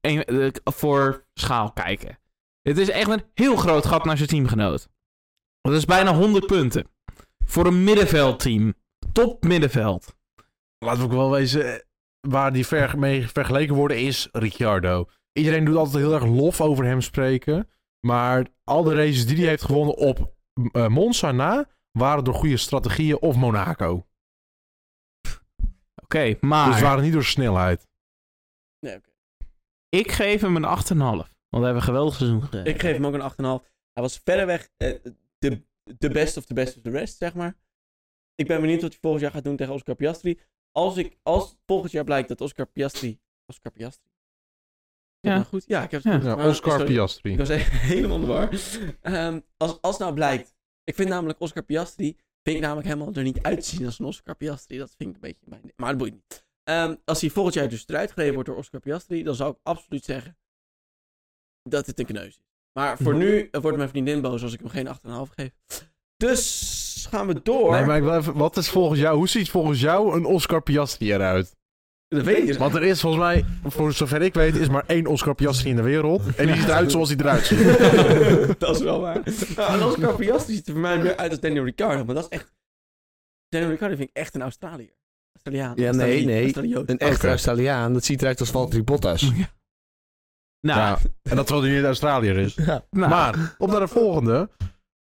Speaker 2: Een- eh, voor schaal kijken. Het is echt een heel groot gat naar zijn teamgenoot. Dat is bijna 100 punten. Voor een middenveldteam. Top middenveld.
Speaker 4: Laten we ook wel wezen, eh, waar die ver mee vergeleken worden is Ricciardo. Iedereen doet altijd heel erg lof over hem spreken. Maar al de races die hij heeft gewonnen op eh, Monza na, waren door goede strategieën of Monaco.
Speaker 2: Oké, maar...
Speaker 4: Dus waren niet door snelheid.
Speaker 1: Nee, oké.
Speaker 2: Ik geef hem een 8,5. Want we hebben een geweldig seizoen gereden.
Speaker 1: Ik geef hem ook een 8,5. Hij was verreweg eh, de de best of the best of the rest, zeg maar. Ik ben benieuwd wat hij volgend jaar gaat doen tegen Oscar Piastri. Als, ik, als volgend jaar blijkt dat Oscar Piastri... Oscar Piastri? Is dat
Speaker 2: Ja.
Speaker 1: nou goed? Ja, ik heb het
Speaker 2: Ja.
Speaker 1: goed.
Speaker 4: Ja,
Speaker 1: Maar-
Speaker 4: Oscar
Speaker 1: sorry.
Speaker 4: Piastri.
Speaker 1: Ik was even *laughs* helemaal in de war. Ehm, als, als nou blijkt... Ik vind namelijk Oscar Piastri... Vind ik namelijk helemaal er niet uitzien als een Oscar Piastri. Dat vind ik een beetje mijn... Maar dat boeit niet. Ehm, als hij volgend jaar dus eruit gereden wordt door Oscar Piastri... Dan zou ik absoluut zeggen... Dat het een kneus is. Maar voor nu eh, wordt mijn vriendin boos als ik hem geen 8,5 geef. Dus gaan we door.
Speaker 4: Nee, maar ik wil even, wat is volgens jou, hoe ziet volgens jou een Oscar Piastri eruit?
Speaker 1: Dat weet je.
Speaker 4: Want er is volgens mij, voor zover ik weet, is maar één Oscar Piastri in de wereld. En die ziet eruit zoals hij eruit ziet.
Speaker 1: dat is wel waar. Nou, en Oscar Piastri ziet er voor mij meer uit als Daniel Ricciardo. Maar dat is echt... Daniel Ricciardo vind ik echt een Australiër. Australiaan.
Speaker 3: Ja, nee,
Speaker 1: Australië-
Speaker 3: nee.
Speaker 1: Australioot.
Speaker 3: Een echte
Speaker 4: Oké.
Speaker 3: Australiaan, dat ziet eruit als Valtteri Bottas.
Speaker 2: Nou,
Speaker 4: Ja. En dat terwijl hij in Australië is.
Speaker 3: Ja.
Speaker 2: nou,
Speaker 4: Maar, op naar de volgende.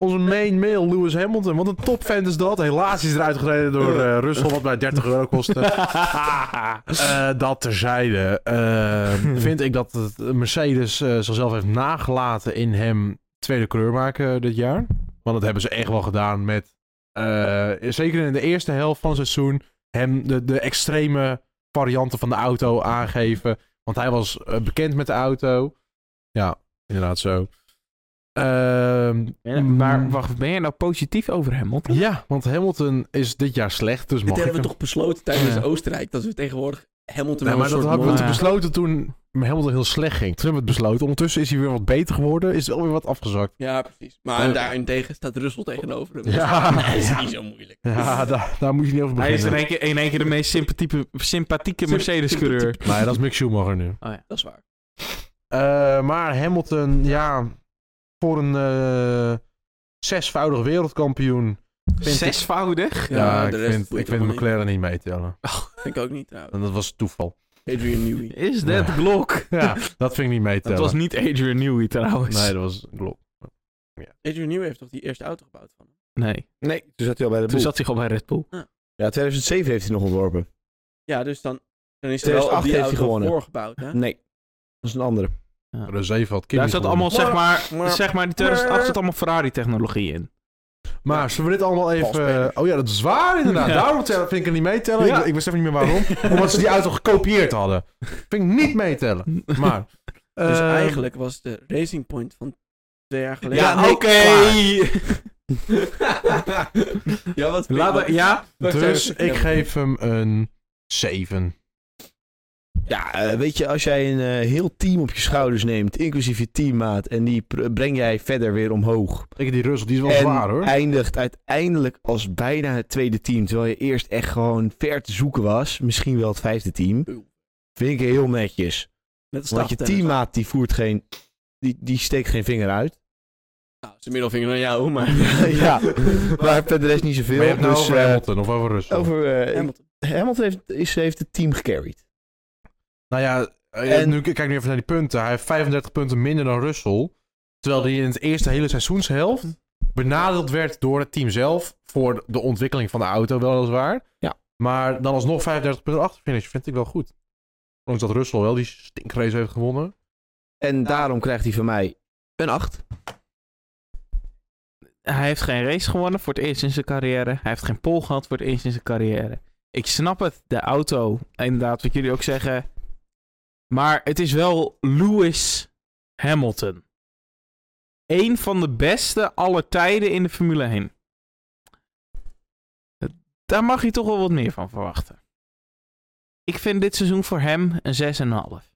Speaker 4: Onze main male, Lewis Hamilton. Wat een topfan is dat. Helaas is eruit gereden door eh, Russell, wat mij 30 euro kostte. Eh, dat terzijde. eh, vind ik dat het Mercedes eh, zichzelf heeft nagelaten in hem tweede kleur maken dit jaar. Want dat hebben ze echt wel gedaan met... eh, zeker in de eerste helft van het seizoen... hem de, de extreme varianten van de auto aangeven. Want hij was eh, bekend met de auto. Ja, inderdaad zo. Ehm,
Speaker 2: maar wacht, ben jij nou positief over Hamilton?
Speaker 4: Ja, want Hamilton is dit jaar slecht, dus
Speaker 1: Dit
Speaker 4: mag ik
Speaker 1: hebben we
Speaker 4: hem-
Speaker 1: toch besloten tijdens
Speaker 2: Ja.
Speaker 1: Oostenrijk. Dat we tegenwoordig Hamilton wel
Speaker 4: Nee,
Speaker 1: een
Speaker 4: maar
Speaker 1: soort
Speaker 4: dat hadden we
Speaker 1: mol-
Speaker 4: toen
Speaker 2: Ja.
Speaker 4: besloten toen Hamilton heel slecht ging. Toen hebben we het besloten. Ondertussen is hij weer wat beter geworden. Is alweer wat afgezakt.
Speaker 1: Ja, precies. Maar
Speaker 4: Ja.
Speaker 1: daarentegen staat Russell tegenover hem.
Speaker 4: Ja.
Speaker 1: dat is niet zo moeilijk.
Speaker 4: *laughs* Ja, daar, daar moet je niet over
Speaker 2: Hij is
Speaker 4: beginnen.
Speaker 2: in één keer, in één keer de meest sympathieke, sympathieke Mercedes-coureur.
Speaker 4: Nee, dat is Mick Schumacher nu.
Speaker 1: Dat is waar.
Speaker 4: Eh, maar Hamilton, ja, voor een eh, zesvoudig wereldkampioen. Vind ik-
Speaker 2: Zesvoudig?
Speaker 4: Ja,
Speaker 1: Ja,
Speaker 4: ik
Speaker 1: de rest
Speaker 4: vind,
Speaker 1: boeit
Speaker 4: ik
Speaker 1: het
Speaker 4: vind
Speaker 1: allemaal
Speaker 4: McLaren niet meetellen.
Speaker 1: Vind ik ook niet trouwens.
Speaker 4: En dat was toeval.
Speaker 1: Adrian Newey.
Speaker 2: Is that Glock?
Speaker 4: Ja, *laughs* dat vind ik niet
Speaker 2: Dat
Speaker 4: meetellen.
Speaker 2: was niet Adrian Newey trouwens.
Speaker 4: Nee, dat was klopt.
Speaker 1: Adrian Newey heeft toch die eerste auto gebouwd van hem?
Speaker 2: Nee.
Speaker 3: Nee, toen zat hij al bij de
Speaker 2: Toen
Speaker 3: boel.
Speaker 2: zat hij gewoon bij Red Bull.
Speaker 3: Ja, 2007 heeft hij nog ontworpen.
Speaker 1: Ja, dus dan, dan is er wel op
Speaker 3: 2008
Speaker 1: die
Speaker 3: heeft hij
Speaker 1: auto
Speaker 3: gewonnen.
Speaker 1: voorgebouwd. Hè?
Speaker 3: Nee, dat is een andere.
Speaker 4: De zeven had Kimi
Speaker 2: Daar zat
Speaker 4: gewonnen.
Speaker 2: allemaal, zeg maar,
Speaker 1: Maar-
Speaker 2: zeg maar, die 2008 zat allemaal Ferrari-technologie in.
Speaker 4: Maar zullen we dit allemaal even...
Speaker 3: Valspelers.
Speaker 4: Oh ja, dat is waar inderdaad.
Speaker 2: Ja.
Speaker 4: Daarom tellen- vind ik het niet meetellen.
Speaker 2: Ja.
Speaker 4: Ik, ik wist even niet
Speaker 2: *laughs*
Speaker 4: meer *laughs* waarom. Omdat ze die auto gekopieerd hadden. Vind ik niet meetellen. *laughs* Maar...
Speaker 1: Dus
Speaker 4: eh,
Speaker 1: eigenlijk was de Racing Point van twee jaar geleden...
Speaker 2: Ja,
Speaker 4: nee,
Speaker 2: oké. *laughs*
Speaker 1: ja, wat vind
Speaker 2: Laten
Speaker 1: je-
Speaker 2: we- Ja,
Speaker 4: Dus ik geef hem een 7.
Speaker 3: Ja, eh, weet je, als jij een eh, heel team op je schouders neemt, inclusief je teammaat, en die pr- breng jij verder weer omhoog.
Speaker 4: Ik die Russell, die is wel
Speaker 3: en
Speaker 4: zwaar hoor.
Speaker 3: eindigt uiteindelijk als bijna het tweede team, terwijl je eerst echt gewoon ver te zoeken was, misschien wel het vijfde team. Vind ik heel netjes.
Speaker 1: Net als
Speaker 3: Want je
Speaker 1: staftennis.
Speaker 3: teammaat die voert geen, die, die steekt geen vinger uit.
Speaker 1: Nou, zijn middelvinger naar jou,
Speaker 2: *laughs*
Speaker 1: maar...
Speaker 3: *laughs* ja, maar verder is niet
Speaker 4: Maar
Speaker 3: zoveel.
Speaker 4: je hebt nou
Speaker 3: dus,
Speaker 4: over
Speaker 3: eh,
Speaker 4: Hamilton of over Russell?
Speaker 3: over, eh,
Speaker 1: Hamilton.
Speaker 3: Hamilton heeft, is, heeft het team gecarried.
Speaker 4: Nou ja, eh,
Speaker 3: En-
Speaker 4: nu, kijk nu even naar die punten. Hij heeft 35 punten minder dan Russell. Terwijl hij in het eerste hele seizoenshelft benadeeld werd door het team zelf. Voor de ontwikkeling van de auto, weliswaar.
Speaker 3: Ja.
Speaker 4: Maar dan alsnog 35 punten achterfinish vind ik wel goed. Ondanks dat Russell wel die stinkrace heeft gewonnen.
Speaker 3: En daarom krijgt hij van mij een 8.
Speaker 2: Hij heeft geen race gewonnen voor het eerst in zijn carrière. Hij heeft geen pole gehad voor het eerst in zijn carrière. Ik snap het, de auto, inderdaad, wat jullie ook zeggen. Maar het is wel Lewis Hamilton. Eén van de beste aller tijden in de Formule 1. Daar mag je toch wel wat meer van verwachten. Ik vind dit seizoen voor hem een 6,5.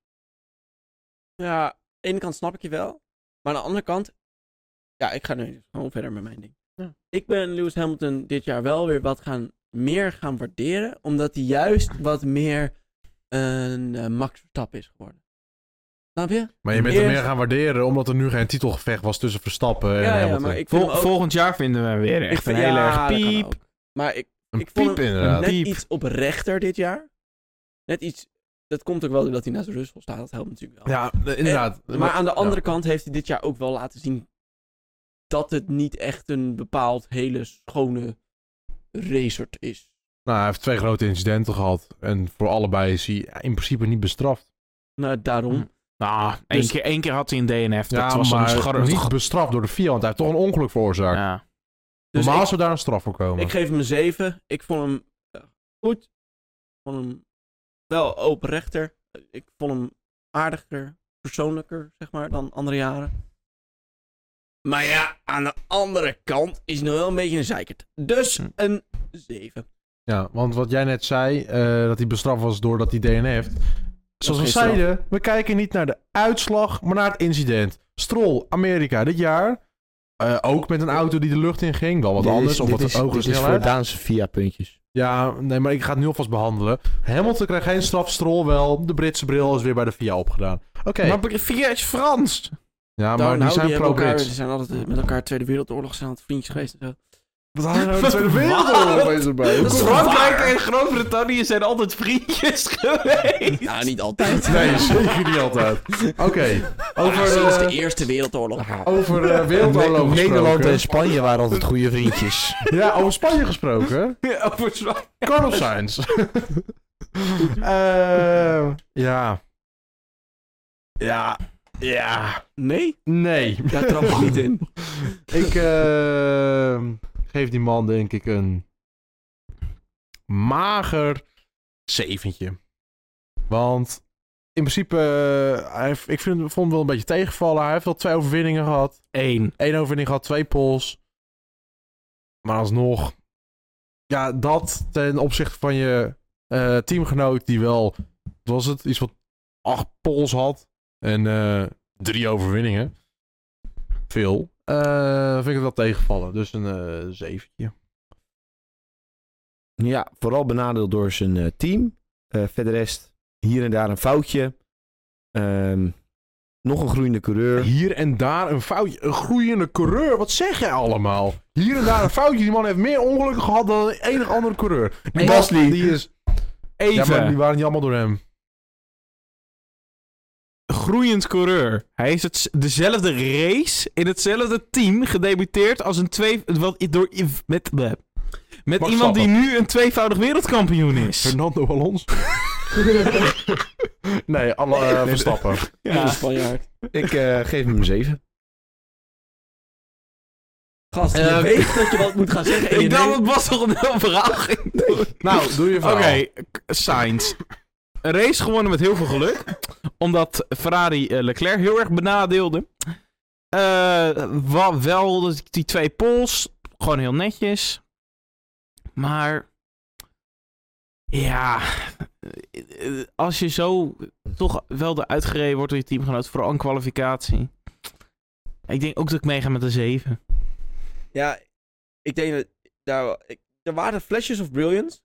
Speaker 1: Ja, aan de ene kant snap ik je wel. Maar aan de andere kant... Ja, ik ga nu gewoon verder met mijn ding. Ik ben Lewis Hamilton dit jaar wel weer wat gaan, meer gaan waarderen. Omdat hij juist wat meer een eh, Max Verstappen is geworden. Snap je?
Speaker 4: Maar je bent hem
Speaker 1: Eerst-
Speaker 4: meer gaan waarderen omdat er nu geen titelgevecht was tussen Verstappen en
Speaker 1: Ja, ja,
Speaker 4: Hamilton.
Speaker 1: maar ik vind
Speaker 2: Eh, Vol-
Speaker 1: hem ook...
Speaker 2: volgend jaar vinden we hem weer
Speaker 1: ik
Speaker 2: echt een
Speaker 1: vind-
Speaker 2: heel
Speaker 1: ja,
Speaker 2: erg
Speaker 1: dat kan
Speaker 2: piep.
Speaker 1: ook. Maar ik,
Speaker 4: Een
Speaker 1: ik vond
Speaker 4: piep
Speaker 1: hem
Speaker 4: inderdaad.
Speaker 1: net
Speaker 2: Diep.
Speaker 1: iets oprechter dit jaar. Net iets... Dat komt ook wel doordat hij naast Russell staat. Dat helpt natuurlijk wel.
Speaker 4: Ja, eh, inderdaad.
Speaker 1: Maar, aan de andere kant heeft hij dit jaar ook wel laten zien dat het niet echt een bepaald hele schone racert is.
Speaker 4: Nou, hij heeft twee grote incidenten gehad. En voor allebei is hij in principe niet bestraft.
Speaker 1: Nou, daarom.
Speaker 2: Hm. Nou, één,
Speaker 1: Dus-
Speaker 2: keer, één keer had hij een DNF. Dat
Speaker 4: ja,
Speaker 2: was
Speaker 4: maar
Speaker 2: een
Speaker 4: niet bestraft door de FIA, want hij heeft toch een ongeluk veroorzaakt.
Speaker 2: Ja.
Speaker 1: Dus
Speaker 4: Normaal
Speaker 1: ik-
Speaker 4: zou daar een straf voor komen.
Speaker 1: Ik geef hem een 7. Ik vond hem eh, goed. Ik vond hem wel openrechter. Ik vond hem aardiger, persoonlijker, zeg maar, dan andere jaren. Maar ja, aan de andere kant is hij nog wel een beetje een zeikert. Dus
Speaker 2: Hm.
Speaker 1: een 7.
Speaker 4: Ja, want wat jij net zei, eh, dat hij bestraft was doordat hij DNA heeft. Zoals we
Speaker 1: geen straf.
Speaker 4: zeiden, we kijken niet naar de uitslag, maar naar het incident. Strol, Amerika, dit jaar. Eh, ook met een auto die de lucht in ging. Wel wat
Speaker 3: Dit is-
Speaker 4: anders, of
Speaker 3: dit
Speaker 4: wat
Speaker 3: is,
Speaker 4: hogere
Speaker 3: dit is voor
Speaker 4: snelheid.
Speaker 3: Daanse via puntjes.
Speaker 4: Ja, nee, maar ik ga het nu alvast behandelen. Hamilton krijgt geen straf, Strol wel. De Britse bril is weer bij de VIA opgedaan. Oké.
Speaker 2: Maar Via is Frans.
Speaker 4: Ja,
Speaker 1: Nou,
Speaker 4: maar die
Speaker 1: nou,
Speaker 4: zijn
Speaker 1: hebben elkaar- Ze
Speaker 4: pro-Brits.
Speaker 1: zijn altijd eh, met elkaar Tweede Wereldoorlog zijn altijd vriendjes geweest en zo.
Speaker 4: Wat hadden we
Speaker 2: de Tweede Wereldoorlog
Speaker 4: bezig bij?
Speaker 1: Dat is
Speaker 2: Frankrijk
Speaker 1: waar.
Speaker 2: en Groot-Brittannië zijn altijd vriendjes *laughs* geweest.
Speaker 1: Nou, *laughs* niet altijd.
Speaker 4: Nee, zeker niet altijd. Oké, over,
Speaker 1: Over sinds de
Speaker 4: eh,
Speaker 1: Eerste Wereldoorlog.
Speaker 4: over eh, wereldoorlog
Speaker 3: Ne- Nederland
Speaker 4: gesproken.
Speaker 3: en Spanje waren altijd goede vriendjes.
Speaker 4: Ja, over Spanje gesproken.
Speaker 2: Over Zwa-
Speaker 4: Carlos Sainz.
Speaker 1: *laughs*
Speaker 4: Eh, ja. Ja. Ja.
Speaker 1: Nee,
Speaker 4: Nee.
Speaker 1: daar trap ik niet
Speaker 4: *laughs*
Speaker 1: in.
Speaker 4: Ik eh, geef die man denk ik een mager zeventje. Want in principe, eh, hij heeft- ik vind, vond hem wel een beetje tegenvallen. Hij heeft wel twee overwinningen gehad.
Speaker 2: Eén.
Speaker 4: Eén overwinning gehad, twee pols. Maar alsnog. Ja, dat ten opzichte van je eh, teamgenoot die wel, wat was het, iets wat acht pols had. En eh, drie overwinningen. Veel. Eh, vind ik het wel tegenvallen. Dus een eh, zeventje.
Speaker 3: *laughs* Ja, vooral benadeeld door zijn eh, team. Eh verder rest hier en daar een foutje. Ehm, nog een groeiende coureur.
Speaker 4: Hier en daar een foutje. Een groeiende coureur. Wat zeg jij allemaal? Hier en daar een foutje. Die man heeft meer ongelukken gehad dan enig andere coureur. Die man,
Speaker 3: Gasly.
Speaker 4: Die is... Ja,
Speaker 2: Even.
Speaker 4: maar die waren niet allemaal door hem.
Speaker 2: groeiend coureur. Hij is het, dezelfde race in hetzelfde team gedebuteerd als een twee... Wat, door, met met iemand die nu een tweevoudig wereldkampioen is.
Speaker 4: Fernando Alonso. *laughs* nee, alle eh, Verstappen.
Speaker 1: Ja. Spanjaard.
Speaker 3: Ik eh, geef hem een 7.
Speaker 1: Gast, je
Speaker 2: Eh,
Speaker 1: weet dat je wat moet gaan zeggen. en je
Speaker 2: Ik dacht
Speaker 1: neemt-
Speaker 2: dat Bas toch een heel verhaal ging doen.
Speaker 4: nou, doe je
Speaker 2: Oké,
Speaker 4: verhaal.
Speaker 2: k- Sainz. Een race gewonnen met heel veel geluk. Omdat Ferrari eh, Leclerc heel erg benadeelde. Eh, wa- wel die twee pols. Gewoon heel netjes. Maar... Ja... eh, eh, Als je zo toch wel eruit gereden wordt door je teamgenoot. Vooral een kwalificatie. Ik denk ook dat ik meega met een 7.
Speaker 1: Ja, ik denk dat daar, ik- er waren flesjes of brilliance.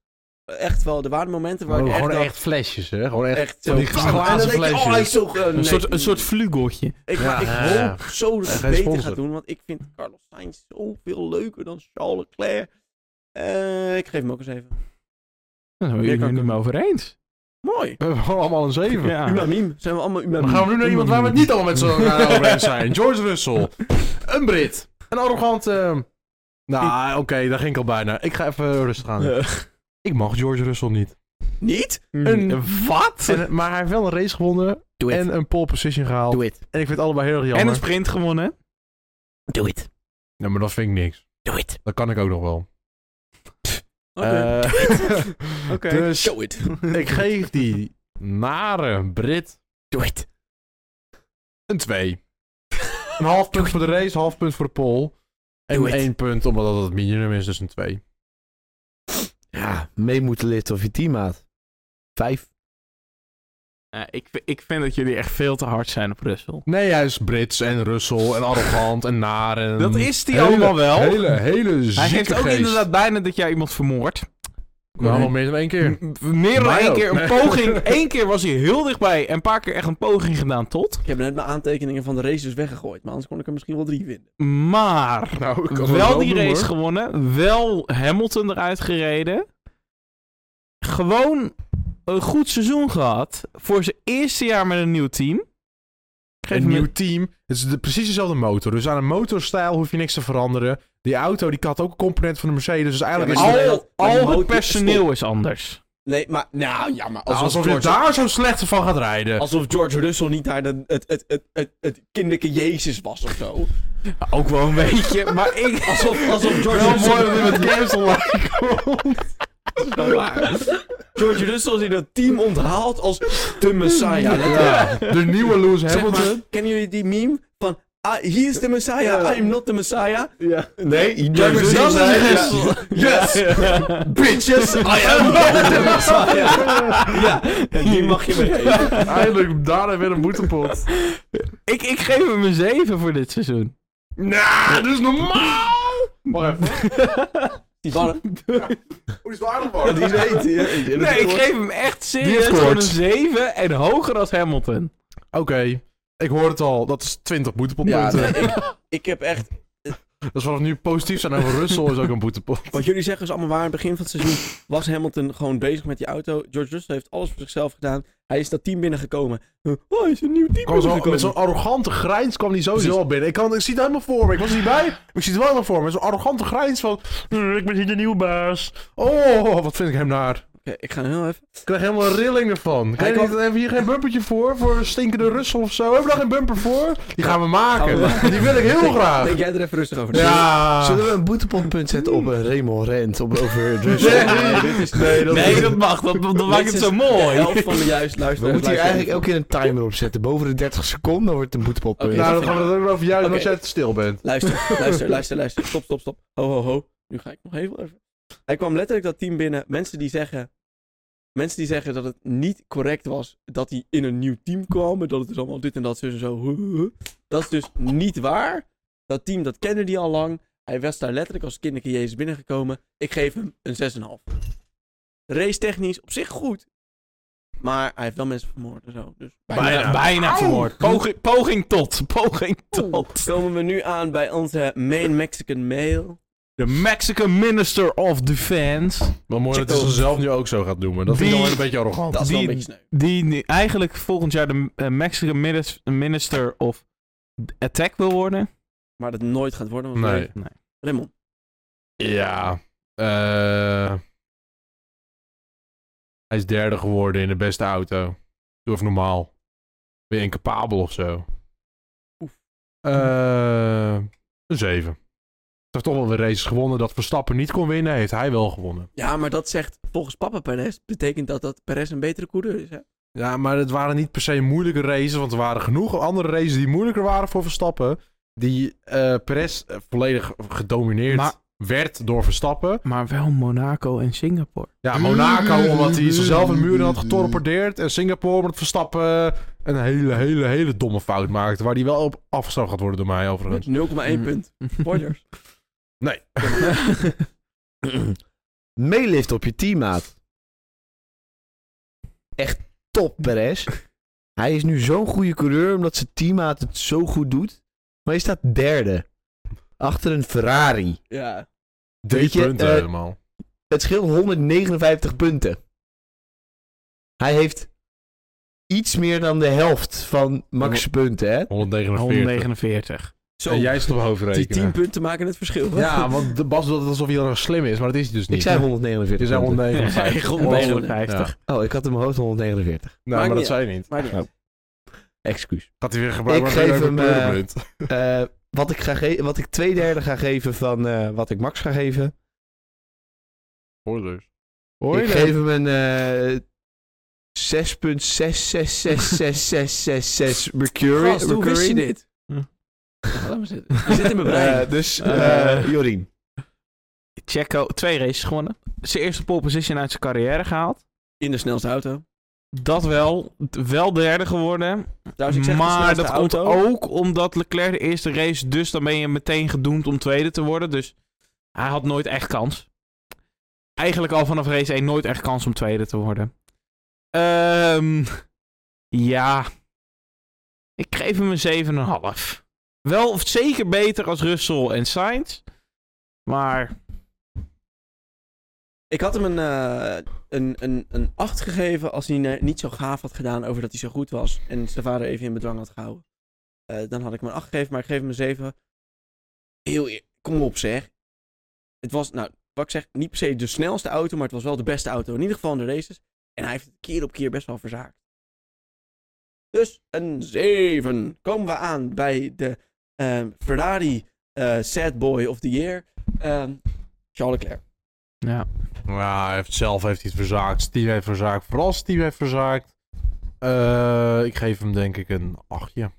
Speaker 1: Echt wel, er waren momenten waar ik echt,
Speaker 4: Oh, gewoon echt,
Speaker 1: dacht,
Speaker 4: flesjes, hè? Gewoon echt,
Speaker 1: echt
Speaker 4: van die
Speaker 1: "Bam!" En dan
Speaker 4: glazen
Speaker 1: denk je, oh, hij is
Speaker 4: flesjes.
Speaker 1: zo... eh, nee,
Speaker 2: Een soort, een soort flugeltje.
Speaker 1: Ik,
Speaker 4: Ja,
Speaker 1: ik
Speaker 4: ja, ja.
Speaker 1: hoop zo dat
Speaker 4: Geen
Speaker 1: hij het beter
Speaker 4: sponsor.
Speaker 1: gaat doen, want ik vind Carlos Sainz zoveel leuker dan Charles Leclerc. Eh, ik geef hem ook eens even.
Speaker 2: Daar zijn we
Speaker 1: Meer
Speaker 2: het
Speaker 1: kan
Speaker 2: niet
Speaker 1: ik
Speaker 2: meer over eens.
Speaker 1: Mooi.
Speaker 4: We hebben gewoon allemaal een 7.
Speaker 2: Ja.
Speaker 1: Unaniem. Zijn we allemaal unaniem.
Speaker 4: Dan gaan we nu naar iemand waar we het niet allemaal met z'n elkaar over eens *laughs* zijn. George Russell. Een Brit. Een arrogante... Nou, oké, daar ging ik al bijna. Ik ga even rustig aan.
Speaker 1: Eh,
Speaker 4: Ik mag George Russell niet.
Speaker 1: niet?
Speaker 4: Mm. Een
Speaker 2: wat?
Speaker 4: En- maar hij heeft wel een race gewonnen
Speaker 1: Doe
Speaker 4: en een pole position gehaald.
Speaker 1: Doe it.
Speaker 4: En ik vind het allebei heel erg jammer.
Speaker 2: En een sprint gewonnen.
Speaker 1: Doe it.
Speaker 4: Ja, maar dat vind ik niks.
Speaker 1: Doe it.
Speaker 4: Dat kan ik ook nog *laughs* wel.
Speaker 1: Oké.
Speaker 4: *laughs* Eh,
Speaker 2: Oké.
Speaker 4: dus
Speaker 1: Doe it.
Speaker 4: ik geef die nare Brit
Speaker 1: Doe it.
Speaker 4: een 2. Een half punt voor de race, half punt voor de pole. En
Speaker 1: Doe it.
Speaker 4: één punt omdat dat het minimum is, dus een 2.
Speaker 3: Ja, mee moeten lid of je teammaat. 5.
Speaker 2: Eh, ik, vi- ik vind dat jullie echt veel te hard zijn op Brussel.
Speaker 4: Nee, hij is Brits en Russel en arrogant en naar en...
Speaker 2: Dat is die
Speaker 4: Hele-
Speaker 2: allemaal wel.
Speaker 4: Hele, hele zieke
Speaker 2: Hij heeft ook
Speaker 4: geest.
Speaker 2: inderdaad bijna dat jij iemand vermoordt.
Speaker 4: Nou, wel meer dan één keer.
Speaker 2: M- Meer dan
Speaker 4: Mij
Speaker 2: één
Speaker 4: ook.
Speaker 2: keer een
Speaker 4: *laughs*
Speaker 2: poging. Eén keer was hij heel dichtbij en een paar keer echt een poging gedaan tot.
Speaker 1: Ik heb net mijn aantekeningen van de races weggegooid, maar anders kon ik er misschien wel drie winnen.
Speaker 2: Maar
Speaker 4: Nou, ik kan het
Speaker 2: wel die
Speaker 4: doen,
Speaker 2: race
Speaker 4: hoor.
Speaker 2: gewonnen. Wel Hamilton eruit gereden. Gewoon een goed seizoen gehad. Voor zijn eerste jaar met een nieuw team. Geef
Speaker 4: Een
Speaker 2: hem
Speaker 4: nieuw team. Het is de, precies dezelfde motor. Dus aan een motorstijl hoef je niks te veranderen. Die auto die had ook een component van de Mercedes. Dus eigenlijk
Speaker 1: Ja,
Speaker 4: is
Speaker 1: maar
Speaker 4: het...
Speaker 1: Al-
Speaker 2: Al,
Speaker 1: al
Speaker 2: al
Speaker 1: het
Speaker 2: het personeel is anders.
Speaker 1: Nee, maar nou ja, maar alsof,
Speaker 4: Alsof je
Speaker 1: George,
Speaker 4: daar zo slecht van gaat rijden.
Speaker 1: alsof George Russell niet daar de, het, het, het, het, het kinderlijke Jezus was of zo.
Speaker 2: Ook wel *laughs* een beetje, maar ik...
Speaker 1: Alsof, alsof George
Speaker 4: Wel
Speaker 1: Russell...
Speaker 4: mooi dat hij met cancel lijkt.
Speaker 1: George Russell is in dat team onthaald als de Messiah.
Speaker 4: Ja, de nieuwe Lewis
Speaker 1: Zeg maar,
Speaker 4: Hamilton.
Speaker 1: kennen jullie die meme van... Ah, he is the Messiah, I am not the Messiah.
Speaker 3: Nee, je
Speaker 1: Jij bent zelf een Russell.
Speaker 3: Yes!
Speaker 1: Bitches, I am not the Messiah. ja, die mag je me geven.
Speaker 4: *laughs* Eindelijk, daarna weer een boetepot.
Speaker 2: Ik, ik geef hem een 7 voor dit seizoen.
Speaker 4: Nou, dat is normaal! Wacht even.
Speaker 1: Die barren-
Speaker 4: Hoe is het aardig
Speaker 1: die weet je.
Speaker 2: Nee, ik geef hem echt
Speaker 4: Die
Speaker 2: serieus
Speaker 4: heeft
Speaker 2: gewoon een
Speaker 4: gehoord.
Speaker 2: 7 en hoger als Hamilton.
Speaker 4: Oké, ik hoor het al. Dat is 20
Speaker 1: Ja,
Speaker 4: boetepotpunten.
Speaker 1: nee, ik, ik heb echt...
Speaker 4: Dat is vanaf nu positief zijn over Russell is ook een boetepot.
Speaker 1: Wat jullie zeggen is allemaal waar. In het begin van het seizoen was Hamilton gewoon bezig met die auto. George Russell heeft alles voor zichzelf gedaan. Hij is dat team binnengekomen. Oh, hij is een nieuw team
Speaker 4: Kwam zo,
Speaker 1: binnengekomen.
Speaker 4: met zo'n arrogante grijns kwam hij sowieso al binnen. Ik, kan, ik zie het helemaal voor me. Ik was er niet bij, maar ik zie het wel helemaal voor me. Zo'n arrogante grijns van... "Eh, Ik ben hier de nieuwe baas. Oh, wat vind ik hem naar.
Speaker 1: Oké, ik ga heel even...
Speaker 4: Ik krijg helemaal een rilling ervan. Kijk,
Speaker 1: kwam-
Speaker 4: niet, hebben we hier geen bumpertje voor? Voor een stinkende Russell of zo? Hebben we daar geen bumper voor? Die gaan we maken.
Speaker 1: Gaan we
Speaker 4: Die wil ik heel graag.
Speaker 1: Denk jij er even rustig over na.
Speaker 4: Ja.
Speaker 3: Zullen we een boetepotpunt zetten op een Remo Rent? Op, over
Speaker 4: *laughs* Nee.
Speaker 3: Russell?
Speaker 1: dit is...
Speaker 4: Nee, dat
Speaker 2: Nee, dat mag. Dat, dat maakt het
Speaker 1: is
Speaker 2: zo
Speaker 1: de
Speaker 2: mooi.
Speaker 1: helft van de juist luisteraars.
Speaker 3: We moeten hier
Speaker 1: luisteren
Speaker 3: eigenlijk elke keer een timer op zetten. Boven de 30 seconden dan wordt het een boetepotpunt.
Speaker 1: Oké.
Speaker 4: Nou, dan gaan we het ook over juist
Speaker 1: Oké.
Speaker 4: als jij te stil bent.
Speaker 1: Luister, luister, luister, luister. Stop, stop, stop. Ho, ho, ho. Nu ga ik nog heel even. Hij kwam letterlijk dat team binnen. Mensen die zeggen. Mensen die zeggen dat het niet correct was dat hij in een nieuw team kwam. En dat het dus allemaal dit en dat, zus en zo. huh, huh, huh. Dat is dus niet waar. Dat team, dat kende die al lang. Hij was daar letterlijk als kinderke Jezus binnengekomen. Ik geef hem een 6,5. Race technisch op zich goed. Maar hij heeft wel mensen vermoord en zo. Dus
Speaker 2: Bijna, bijna vermoord. Poging, poging tot. *laughs* Poging tot.
Speaker 1: komen we nu aan bij onze main Mexican male.
Speaker 2: De Mexican Minister of Defense.
Speaker 4: Wel mooi dat hij
Speaker 1: Chico.
Speaker 4: zichzelf nu ook zo gaat noemen. Dat vind ik
Speaker 2: Die-
Speaker 4: dan wel een beetje arrogant.
Speaker 1: Oh, Dat is wel een
Speaker 2: Die-
Speaker 1: beetje sneu.
Speaker 2: Die nu eigenlijk volgend jaar de eh, Mexican Minis- Minister of Attack wil worden.
Speaker 1: Maar dat nooit gaat worden. Want
Speaker 4: Nee.
Speaker 2: Nee.
Speaker 1: Raymond,
Speaker 4: Ja. eh, hij is derde geworden in de beste auto. Doe even normaal. Ben je incapabel of zo?
Speaker 1: Oef.
Speaker 4: Eh, een zeven. Hij heeft toch wel weer races gewonnen. Dat Verstappen niet kon winnen, heeft hij wel gewonnen.
Speaker 1: Ja, maar dat zegt volgens papa Perez. Betekent dat dat Perez een betere coureur is. Hè?
Speaker 4: Ja, maar het waren niet per se moeilijke races. Want er waren genoeg andere races die moeilijker waren voor Verstappen. Die eh Perez eh, volledig gedomineerd
Speaker 2: Maar-
Speaker 4: werd door Verstappen.
Speaker 2: Maar wel Monaco en
Speaker 1: *laughs*
Speaker 2: Singapore.
Speaker 4: Ja, Monaco, omdat hij zichzelf een muur in had getorpedeerd. En Singapore, omdat Verstappen eh, een hele, hele, hele domme fout maakte. Waar die wel op afgestraft gaat worden door mij,
Speaker 1: Met
Speaker 4: overigens.
Speaker 1: 0,1
Speaker 2: *laughs*
Speaker 1: punt. Spoilers.
Speaker 4: Nee. *laughs*
Speaker 3: *clears throat* Meelift op je teammaat. Echt top, Perez. Hij is nu zo'n goede coureur omdat zijn teammaat het zo goed doet. Maar hij staat derde. Achter een Ferrari.
Speaker 1: ja.
Speaker 4: Drie
Speaker 3: Weet je,
Speaker 4: punten
Speaker 3: eh,
Speaker 4: helemaal.
Speaker 3: Het scheelt 159 punten. Hij heeft iets meer dan de helft van Max' punten, hè?
Speaker 4: 149.
Speaker 2: 149.
Speaker 1: Zo,
Speaker 4: En jij zit op hoofd
Speaker 1: die 10
Speaker 4: rekenen.
Speaker 1: punten maken het verschil. hè?
Speaker 3: *laughs*
Speaker 4: Ja, want de Bas doet het alsof hij heel erg slim is, maar dat is hij dus niet.
Speaker 3: Ik zei
Speaker 4: Je
Speaker 3: 149.
Speaker 4: zei
Speaker 3: punten.
Speaker 4: 159.
Speaker 1: Ja,
Speaker 2: 159.
Speaker 3: Oh, ik had in mijn hoofd 149.
Speaker 4: Nou,
Speaker 1: Maakt
Speaker 4: maar dat
Speaker 1: niet
Speaker 4: zei hij
Speaker 1: *laughs*
Speaker 4: niet.
Speaker 1: Maar niet. uit.
Speaker 3: Excuus.
Speaker 4: Gaat hij weer gebruiken?
Speaker 3: Ik
Speaker 4: maar
Speaker 3: geef
Speaker 4: weer
Speaker 3: hem,
Speaker 4: een
Speaker 3: eh,
Speaker 4: kleurenblind.
Speaker 3: Eh, wat, ik ga ge- wat ik twee derde ga geven van eh, wat ik Max ga geven. dus.
Speaker 4: Spoilers.
Speaker 3: Ik geef hem een eh 6.666666 Mercury.
Speaker 1: Gast, hoe wist je
Speaker 3: Mercury.
Speaker 1: dit?
Speaker 2: Hm.
Speaker 1: Laat me zitten. Je zit in mijn brein.
Speaker 3: *laughs* Eh, dus
Speaker 2: Eh,
Speaker 3: eh, Jorien.
Speaker 2: Checo, twee races gewonnen. Zijn eerste pole position uit zijn carrière gehaald.
Speaker 1: in de snelste auto.
Speaker 2: Dat wel. Wel derde geworden.
Speaker 1: Trouwens, ik zeg
Speaker 2: maar
Speaker 1: de
Speaker 2: dat
Speaker 1: snelste auto.
Speaker 2: komt ook omdat Leclerc de eerste race, dus dan ben je meteen gedoemd om tweede te worden. Dus hij had nooit echt kans. Eigenlijk al vanaf race 1 nooit echt kans om tweede te worden. Ehm ja. Ik geef hem een 7,5. Wel zeker beter als Russell en Sainz. Maar
Speaker 1: Ik had hem een, eh, een, een, een 8 gegeven als hij eh, niet zo gaaf had gedaan over dat hij zo goed was. En zijn vader even in bedwang had gehouden. Eh, dan had ik hem e-, een 8 gegeven, maar ik geef hem een 7. Heel eer- Kom op zeg. Het was, nou, wat ik zeg, niet per se de snelste auto, maar het was wel de beste auto. In ieder geval in de races. En hij heeft het keer op keer best wel verzaakt. Dus een 7. Komen we aan bij de ehm, Ferrari eh, Sad Boy of the Year. ehm, Charles Leclerc.
Speaker 2: Ja.
Speaker 4: Ja, hij heeft zelf heeft hij het verzaakt. Steve heeft verzaakt. Vooral Steve heeft verzaakt. Eh, ik geef hem denk ik een achtje.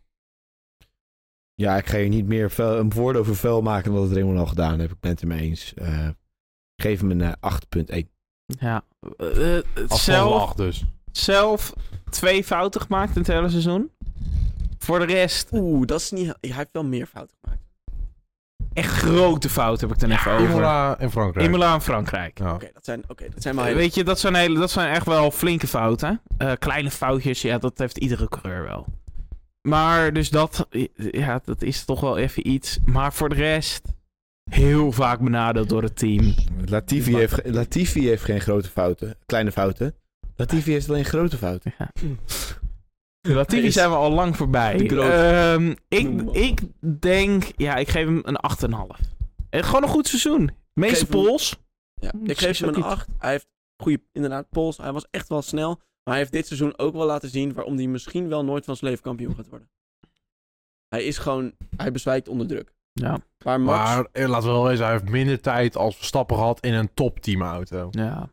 Speaker 3: Ja, ik ga hier niet meer vuil, een woord over vuil maken dan dat Raymond al gedaan heeft. Ik ben het ermee eens. Eh, ik geef hem een eh, 8.1.
Speaker 2: ja. Eh, eh,
Speaker 4: Zelf?
Speaker 2: zelf,
Speaker 4: acht dus.
Speaker 2: zelf twee fouten gemaakt in het hele seizoen. Voor de rest,
Speaker 1: Oeh, dat is niet... Hij heeft wel meer fouten gemaakt.
Speaker 2: echt grote fouten heb ik dan even over.
Speaker 4: Imola en Frankrijk.
Speaker 2: Imola en Frankrijk.
Speaker 4: Ja.
Speaker 1: Oké, dat zijn, oké, dat zijn maar
Speaker 2: Eh,
Speaker 1: hele...
Speaker 2: Weet je, dat zijn, hele, dat zijn echt wel flinke fouten. Eh, kleine foutjes, ja, dat heeft iedere coureur wel. Maar dus dat, ja, dat is toch wel even iets. Maar voor de rest, heel vaak benadeeld door het team.
Speaker 3: Latifi heeft, ge- Latifi heeft geen grote fouten. Kleine fouten. Latifi heeft alleen grote fouten.
Speaker 2: Ja. Latifi
Speaker 1: Is-
Speaker 2: zijn we al lang voorbij.
Speaker 1: De groot.
Speaker 2: Ehm,
Speaker 1: Noem
Speaker 2: ik,
Speaker 1: maar.
Speaker 2: ik denk, ja, ik geef hem een 8,5. Eh, Gewoon een goed seizoen. Meeste
Speaker 1: Geef hem-
Speaker 2: pols.
Speaker 1: Ja,
Speaker 2: Hmm,
Speaker 1: ik
Speaker 2: is-
Speaker 1: geef
Speaker 2: is
Speaker 1: hem
Speaker 2: ook
Speaker 1: een
Speaker 2: niet-
Speaker 1: 8. Hij heeft goede, inderdaad, pols. Hij was echt wel snel. Maar hij heeft dit seizoen ook wel laten zien waarom hij misschien wel nooit van zijn leven kampioen gaat worden. Hij is gewoon, hij bezwijkt onder druk.
Speaker 2: Ja,
Speaker 1: Maar Max,
Speaker 4: Maar eh, laten we wel wezen, hij heeft minder tijd als Verstappen gehad in een topteam auto.
Speaker 2: ja.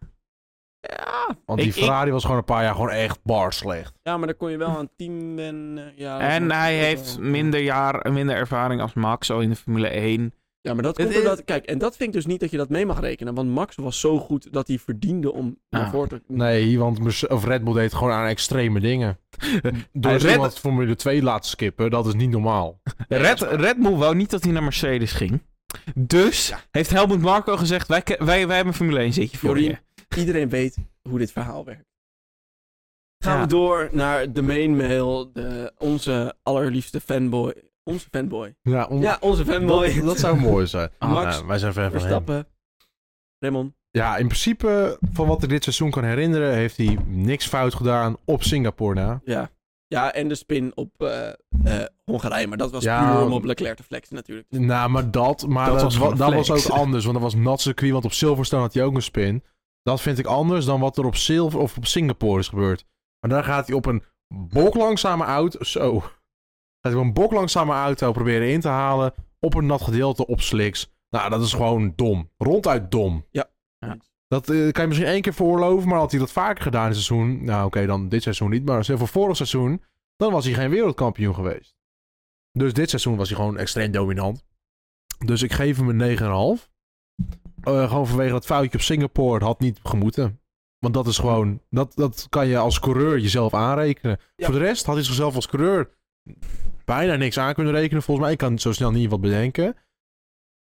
Speaker 2: Ja.
Speaker 4: Want die
Speaker 2: Ik- ik-
Speaker 4: Ferrari was gewoon een paar jaar gewoon echt bar slecht.
Speaker 1: ja, maar dan kon je wel aan team en eh, ja, dat
Speaker 2: En
Speaker 1: is-
Speaker 2: hij
Speaker 1: dat is
Speaker 2: heeft
Speaker 1: wel-
Speaker 2: minder, jaar, minder ervaring als Max al in de Formule 1.
Speaker 1: Ja, maar dat
Speaker 2: Het
Speaker 1: komt
Speaker 2: is-
Speaker 1: omdat, kijk, en dat vind ik dus niet dat je dat mee mag rekenen. Want Max was zo goed dat hij verdiende om naar
Speaker 2: Ah.
Speaker 1: voren te...
Speaker 4: Nee, want Merce- of Red Bull deed gewoon aan extreme *laughs* dingen. Door
Speaker 2: Hij
Speaker 4: Red...
Speaker 2: Red-
Speaker 4: iemand Formule 2 laten skippen, dat is niet normaal.
Speaker 2: Red, Red Bull wou niet dat hij naar Mercedes ging. Dus heeft Helmut Marko gezegd, wij, ke- wij, wij hebben een Formule 1 zitje voor
Speaker 1: Jorien,
Speaker 2: je.
Speaker 1: Iedereen weet hoe dit verhaal werkt. Gaan
Speaker 2: Ja.
Speaker 1: we door naar de main mail, de, onze allerliefste fanboy. Onze fanboy.
Speaker 4: Ja, om-
Speaker 1: Ja, onze fanboy.
Speaker 4: Dat, dat
Speaker 1: *laughs*
Speaker 4: zou mooi zijn.
Speaker 2: Ah,
Speaker 1: Max
Speaker 4: Nou, wij zijn fan van hem.
Speaker 1: Verstappen. Raymond.
Speaker 4: Ja, in principe, van wat ik dit seizoen kan herinneren, heeft hij niks fout gedaan op Singapore na.
Speaker 1: Ja. Ja, en de spin op eh, eh, Hongarije. Maar dat was
Speaker 4: Ja.
Speaker 1: puur om op Leclerc te flexen natuurlijk.
Speaker 4: Nou, maar dat, maar
Speaker 2: Dat was
Speaker 4: dat, was,
Speaker 2: gewoon
Speaker 4: dat
Speaker 2: flex.
Speaker 4: was ook anders. Want dat was nat circuit, want op Silverstone had hij ook een spin. Dat vind ik anders dan wat er op, Silver, of op Singapore is gebeurd. Maar daar gaat hij op een boklangzame auto... Zo. Gaat hij op een boklangzame auto proberen in te halen op een nat gedeelte op slicks. Nou, dat is gewoon dom. Ronduit dom.
Speaker 1: Ja.
Speaker 2: Ja.
Speaker 4: Dat eh, kan je misschien één keer veroorloven, maar had hij dat vaker gedaan dit seizoen... Nou, oké, dan dit seizoen niet, maar voor vorig seizoen... dan was hij geen wereldkampioen geweest. Dus dit seizoen was hij gewoon extreem dominant. Dus ik geef hem een 9,5. Eh, gewoon vanwege dat foutje op Singapore. Het had niet gemoeten. Want dat is gewoon... Dat, dat kan je als coureur jezelf aanrekenen.
Speaker 1: Ja.
Speaker 4: Voor de rest had hij zichzelf als coureur... bijna niks aan kunnen rekenen. Volgens mij Ik kan zo snel niet wat bedenken.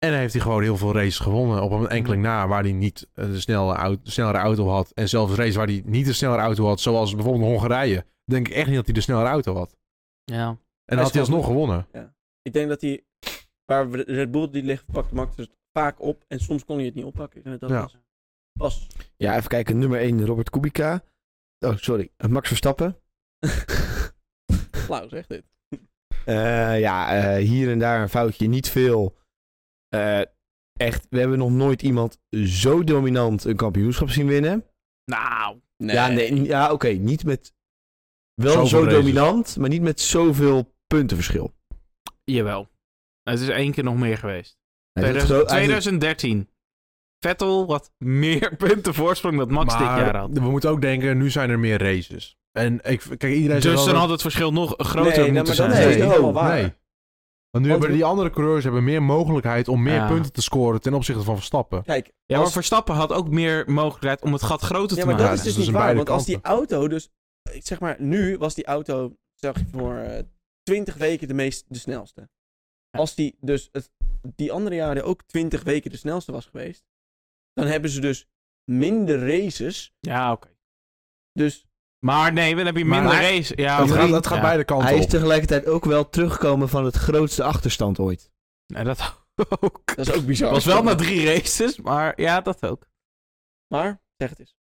Speaker 4: En heeft hij gewoon heel veel races gewonnen. Op een
Speaker 1: Mm.
Speaker 4: enkeling na waar hij niet eh, de snelle au- de snellere auto had. En zelfs races waar hij niet de snellere auto had. Zoals bijvoorbeeld Hongarije. Denk ik echt niet dat hij de snellere auto had.
Speaker 2: Ja.
Speaker 4: En
Speaker 1: Hij
Speaker 4: had hij
Speaker 1: speelt-
Speaker 4: alsnog gewonnen.
Speaker 1: Ik denk dat hij... Waar we- Red Bull die ligt, pakt Max het vaak op. En soms kon hij het niet oppakken. Ik denk dat dat
Speaker 4: Ja.
Speaker 1: was- was. *laughs*
Speaker 3: Ja, even kijken. Nummer 1, Robert Kubica. Oh, sorry. Max Verstappen. *laughs*
Speaker 1: Flauw zeg dit.
Speaker 3: Eh, ja, eh, hier en daar een foutje. Niet veel. Eh, echt, we hebben nog nooit iemand zo dominant een kampioenschap zien winnen.
Speaker 2: Nou,
Speaker 3: Ja, nee, n- ja oké. niet met... Wel
Speaker 4: Zoveel
Speaker 3: zo
Speaker 4: races.
Speaker 3: dominant, maar niet met zoveel puntenverschil.
Speaker 2: jawel. Het is één keer nog meer geweest.
Speaker 3: Hij heeft het
Speaker 2: 2000-
Speaker 3: gro- hij heeft het-
Speaker 2: 2013. Vettel had meer *laughs* punten voorsprong dan Max dit jaar had.
Speaker 4: we moeten ook denken, nu zijn er meer races. En ik, kijk,
Speaker 2: Dus
Speaker 4: iedereen zegt
Speaker 2: dan
Speaker 4: altijd-
Speaker 2: had het verschil nog groter
Speaker 1: Nee, nee,
Speaker 2: moeten
Speaker 1: maar
Speaker 2: zijn.
Speaker 1: dat
Speaker 3: Nee.
Speaker 1: is niet
Speaker 3: Nee.
Speaker 1: helemaal waar.
Speaker 4: Nee. Want
Speaker 1: Want
Speaker 4: nu hebben
Speaker 1: we-
Speaker 4: die andere coureurs hebben meer mogelijkheid om meer
Speaker 2: Ja.
Speaker 4: punten te scoren ten opzichte van Verstappen.
Speaker 1: Kijk,
Speaker 2: Ja, maar
Speaker 1: Als-
Speaker 2: Verstappen had ook meer mogelijkheid om het gat groter
Speaker 1: ja,
Speaker 2: te
Speaker 1: maar dat
Speaker 2: maken.
Speaker 1: is dus
Speaker 4: dus
Speaker 1: niet
Speaker 4: aan
Speaker 1: waar.
Speaker 4: beide
Speaker 1: Want als die auto dus... eh, Zeg maar, nu was die auto, zeg je voor eh, 20 weken de meest de snelste.
Speaker 2: Ja.
Speaker 1: Als die dus het, die andere jaren ook 20 weken de snelste was geweest, dan hebben ze dus minder races.
Speaker 2: Ja, oké.
Speaker 1: Dus
Speaker 2: Maar nee, dan heb je
Speaker 4: Maar-
Speaker 2: minder
Speaker 4: Maar-
Speaker 2: race. Ja,
Speaker 4: dat
Speaker 2: oké.
Speaker 4: gaat, dat gaat
Speaker 2: Ja.
Speaker 4: beide kanten
Speaker 3: Hij is
Speaker 4: op.
Speaker 3: tegelijkertijd ook wel teruggekomen van het grootste achterstand ooit.
Speaker 2: Nee, dat *laughs* ook.
Speaker 1: dat is ook bizar.
Speaker 2: was wel na drie races, maar ja, dat ook.
Speaker 1: Maar, zeg het eens.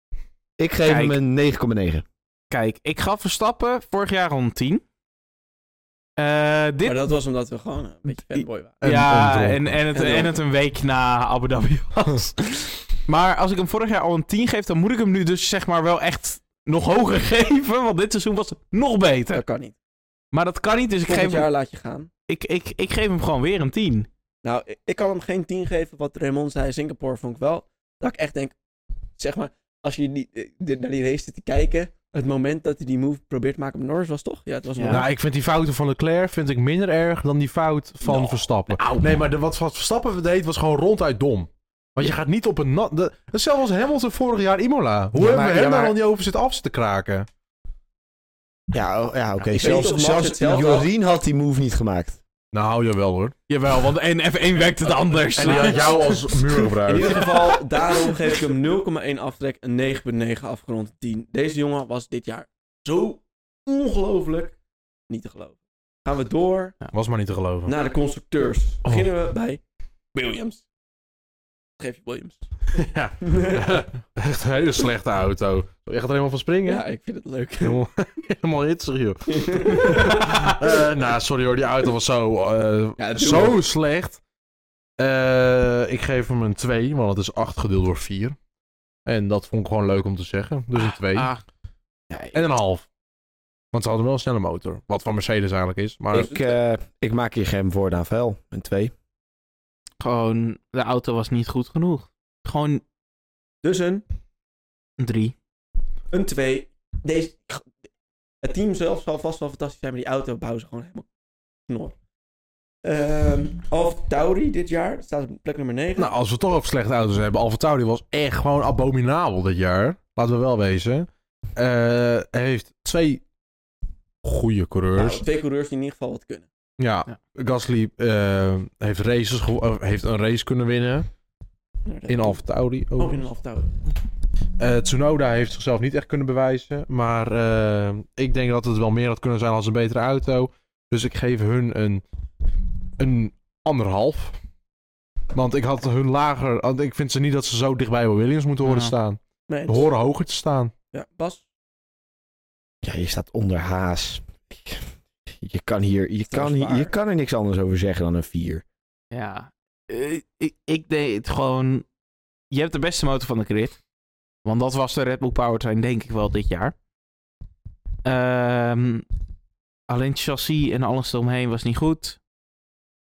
Speaker 3: Ik geef
Speaker 2: Kijk.
Speaker 3: hem een 9,9.
Speaker 2: Kijk, ik gaf Verstappen vorig jaar al een 10. Eh, dit,
Speaker 1: Maar dat was omdat we gewoon een beetje fanboy waren.
Speaker 4: en
Speaker 2: ja, en,
Speaker 4: ondronken.
Speaker 2: en, het,
Speaker 1: En
Speaker 2: en het een week na Abu Dhabi *laughs* was. maar als ik hem vorig jaar al een 10 geef, dan moet ik hem nu dus zeg maar wel echt nog hoger *laughs* geven. Want dit seizoen was het nog beter.
Speaker 1: Dat kan niet.
Speaker 2: Maar dat kan niet, dus ik
Speaker 1: Volgend
Speaker 2: geef, hem,
Speaker 1: jaar laat je gaan.
Speaker 2: ik, ik, ik geef hem gewoon weer een 10.
Speaker 1: Nou, ik- ik kan hem geen 10 geven. Wat Raymond zei in Singapore vond ik wel. Dat ik echt denk, zeg maar, als je die, eh, de- naar die race zit te kijken. Het moment dat hij die move probeert te maken op Norris was toch? Ja, het was
Speaker 2: Ja.
Speaker 1: een
Speaker 4: Nou, ik vind die fouten van Leclerc vind ik minder erg dan die fout van
Speaker 2: Nou,
Speaker 4: Verstappen.
Speaker 2: nou.
Speaker 4: Nee, maar de, wat, wat Verstappen deed was gewoon ronduit dom. Want je gaat niet op een nat... de- Hetzelfde als Hamilton vorig jaar Imola. Hoe
Speaker 3: Ja,
Speaker 4: hebben
Speaker 3: maar-
Speaker 4: we hem
Speaker 3: ja, maar-
Speaker 4: daar al niet over zitten af te kraken?
Speaker 3: Ja, oh, ja oké.
Speaker 1: weet
Speaker 3: zelfs
Speaker 1: niet of Max
Speaker 3: zelfs
Speaker 1: het zelf
Speaker 3: Jorien had die move niet gemaakt.
Speaker 4: Nou, jawel hoor.
Speaker 2: Jawel, want de F1 werkt het anders.
Speaker 4: En die had jou *laughs* als muur
Speaker 1: In
Speaker 4: gebruikt.
Speaker 1: ieder geval, daarom geef ik hem 0,1 aftrek, een 9,9 afgerond 10. Deze jongen was dit jaar zo ongelooflijk niet te geloven. Gaan we door
Speaker 4: Was maar niet te geloven.
Speaker 1: naar de constructeurs.
Speaker 4: Oh.
Speaker 1: Beginnen we bij Williams. Geef je Williams.
Speaker 4: *laughs* Ja. Echt een hele slechte auto. Je gaat er helemaal van springen.
Speaker 1: Ja, ik vind het leuk.
Speaker 4: *laughs* Helemaal, helemaal
Speaker 1: *laughs*
Speaker 4: hitsig, joh. Eh, nou, sorry hoor, die auto was zo, eh,
Speaker 1: Ja, doe
Speaker 4: zo slecht. Eh, ik geef hem een 2, want het is 8 gedeeld door 4. En dat vond ik gewoon leuk om te zeggen. Dus een 2.
Speaker 2: Ah,
Speaker 4: En een half. Want ze hadden wel een snelle motor. Wat van Mercedes eigenlijk Oh, is. Maar
Speaker 3: Ik, eh, ik maak hier geen voordaan vuil. Een twee.
Speaker 2: gewoon, de auto was niet goed genoeg. Gewoon
Speaker 1: Dus een,
Speaker 2: een 3.
Speaker 1: een 2. Deze, het team zelf zal vast wel fantastisch zijn, maar die auto bouwen ze gewoon helemaal knor. Ehm Alfa Tauri dit jaar, staat op plek nummer 9.
Speaker 4: nou, als we het toch over slechte auto's hebben. Alfa Tauri was echt gewoon abominabel dit jaar. Laten we wel wezen. Eh, hij heeft twee goede coureurs.
Speaker 1: Nou, twee coureurs die in ieder geval wat kunnen.
Speaker 4: Ja, Gasly eh, heeft, races gewo- eh, heeft een race kunnen winnen in Alfa Tauri.
Speaker 1: Oh, in Alfa Tauri.
Speaker 4: Eh, Tsunoda heeft zichzelf niet echt kunnen bewijzen. Maar eh, ik denk dat het wel meer had kunnen zijn als een betere auto. Dus ik geef hun een, een anderhalf. Want ik had hun lager... want Ik vind ze niet dat ze zo dichtbij bij Williams moeten horen
Speaker 2: Ja.
Speaker 4: staan.
Speaker 1: Nee,
Speaker 4: Ze horen hoger te staan.
Speaker 1: ja, Bas.
Speaker 3: Ja, je staat onder haas. Je kan, hier, je,
Speaker 1: Dat is
Speaker 3: kan, hier-
Speaker 1: waar.
Speaker 3: je kan er niks anders over zeggen dan een vier.
Speaker 2: Ja. Eh, ik, ik deed het gewoon... Je hebt de beste motor van de grid. Want dat was de Red Bull Powertrain denk ik wel dit jaar. Ehm, alleen het chassis en alles eromheen was niet goed.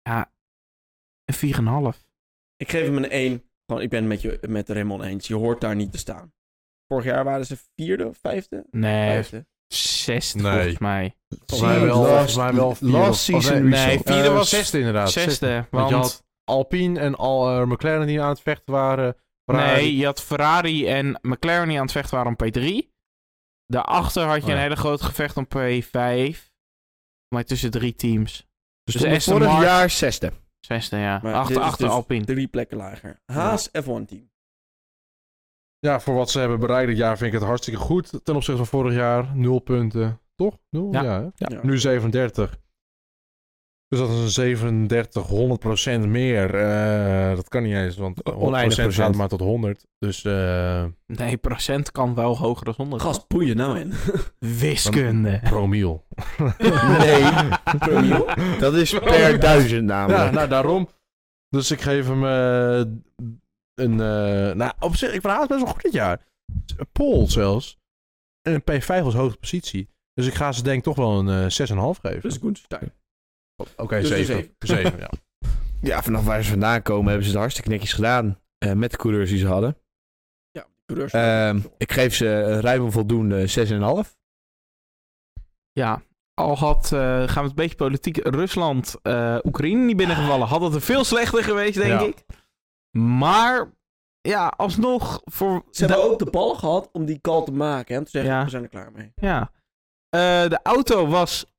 Speaker 2: Ja. Een 4,5.
Speaker 1: Ik geef hem een 1. Gewoon, ik ben het met, je, met Raymond eens. Je hoort daar niet te staan. Vorig jaar waren ze vierde of
Speaker 4: Eh,
Speaker 1: vijfde?
Speaker 2: Nee,
Speaker 1: Vijfde.
Speaker 2: zesde
Speaker 4: Nee.
Speaker 2: volgens mij.
Speaker 4: Volgens mij wel, volgens mij wel vier
Speaker 3: last
Speaker 4: of-
Speaker 3: season
Speaker 4: nee,
Speaker 2: nee,
Speaker 3: result.
Speaker 2: vierde
Speaker 4: Eh,
Speaker 2: was-
Speaker 4: zesde inderdaad.
Speaker 2: Zesde,
Speaker 4: Zesde.
Speaker 2: want...
Speaker 4: Want je had Alpine en al, eh, McLaren die aan het vechten waren.
Speaker 2: Nee, je had Ferrari en McLaren die aan het vechten waren om P3. Daarachter had je
Speaker 4: Oh ja.
Speaker 2: een hele groot gevecht om P5. Maar tussen drie teams.
Speaker 3: Dus
Speaker 2: Dus
Speaker 3: stond
Speaker 2: Aston
Speaker 3: vorig
Speaker 2: Martin-
Speaker 3: jaar zesde.
Speaker 2: Zesde, ja.
Speaker 1: Maar dit
Speaker 2: achter
Speaker 1: is
Speaker 2: achter
Speaker 1: dus
Speaker 2: Alpine.
Speaker 1: Drie plekken lager. Haas F1 team.
Speaker 4: Ja, voor wat ze hebben bereikt dit jaar vind ik het hartstikke goed. Ten opzichte van vorig jaar, nul punten. Toch? Nul?
Speaker 2: Ja.
Speaker 4: Ja. hè?
Speaker 1: Ja.
Speaker 4: Nu 37. Dus dat is een 37, 100% meer. Eh, dat kan niet eens, want 100%
Speaker 3: Oneindig
Speaker 4: gaat
Speaker 3: procent.
Speaker 4: maar tot 100. Dus eh
Speaker 2: Nee, procent kan wel hoger dan 100.
Speaker 1: Gast, boeien nou in. *laughs*
Speaker 2: Wiskunde.
Speaker 4: promiel.
Speaker 3: Nee. Dat is per duizend
Speaker 4: Oh. Ja,
Speaker 3: namelijk.
Speaker 4: nou daarom. Dus ik geef hem eh, een... eh, nou, op zich, ik verhaal het best wel goed dit jaar. Paul zelfs. En een P5 als hoogste positie. Dus ik ga ze denk ik toch wel een eh 6,5 geven.
Speaker 1: Dus Gunstein.
Speaker 4: Oké,
Speaker 1: dus een
Speaker 4: 7. 7,
Speaker 1: *laughs*
Speaker 4: ja.
Speaker 3: Ja, vanaf waar ze vandaan komen hebben ze het hartstikke netjes gedaan. eh, met de coureurs die ze hadden.
Speaker 1: *laughs* Ja, coureurs.
Speaker 3: Ehm, ik geef ze ruim een voldoende
Speaker 4: *laughs*
Speaker 3: 6,5.
Speaker 2: Ja. Al had, eh, gaan we het een beetje politiek, Rusland, eh, Oekraïne niet binnengevallen, had het er veel slechter geweest, denk
Speaker 4: Ja.
Speaker 2: ik. Maar, ja, alsnog voor...
Speaker 1: ze
Speaker 2: de-
Speaker 1: hebben ook de bal gehad om die call te maken. En te zeggen,
Speaker 2: Ja.
Speaker 1: we zijn er klaar mee.
Speaker 2: Ja. Eh, de auto was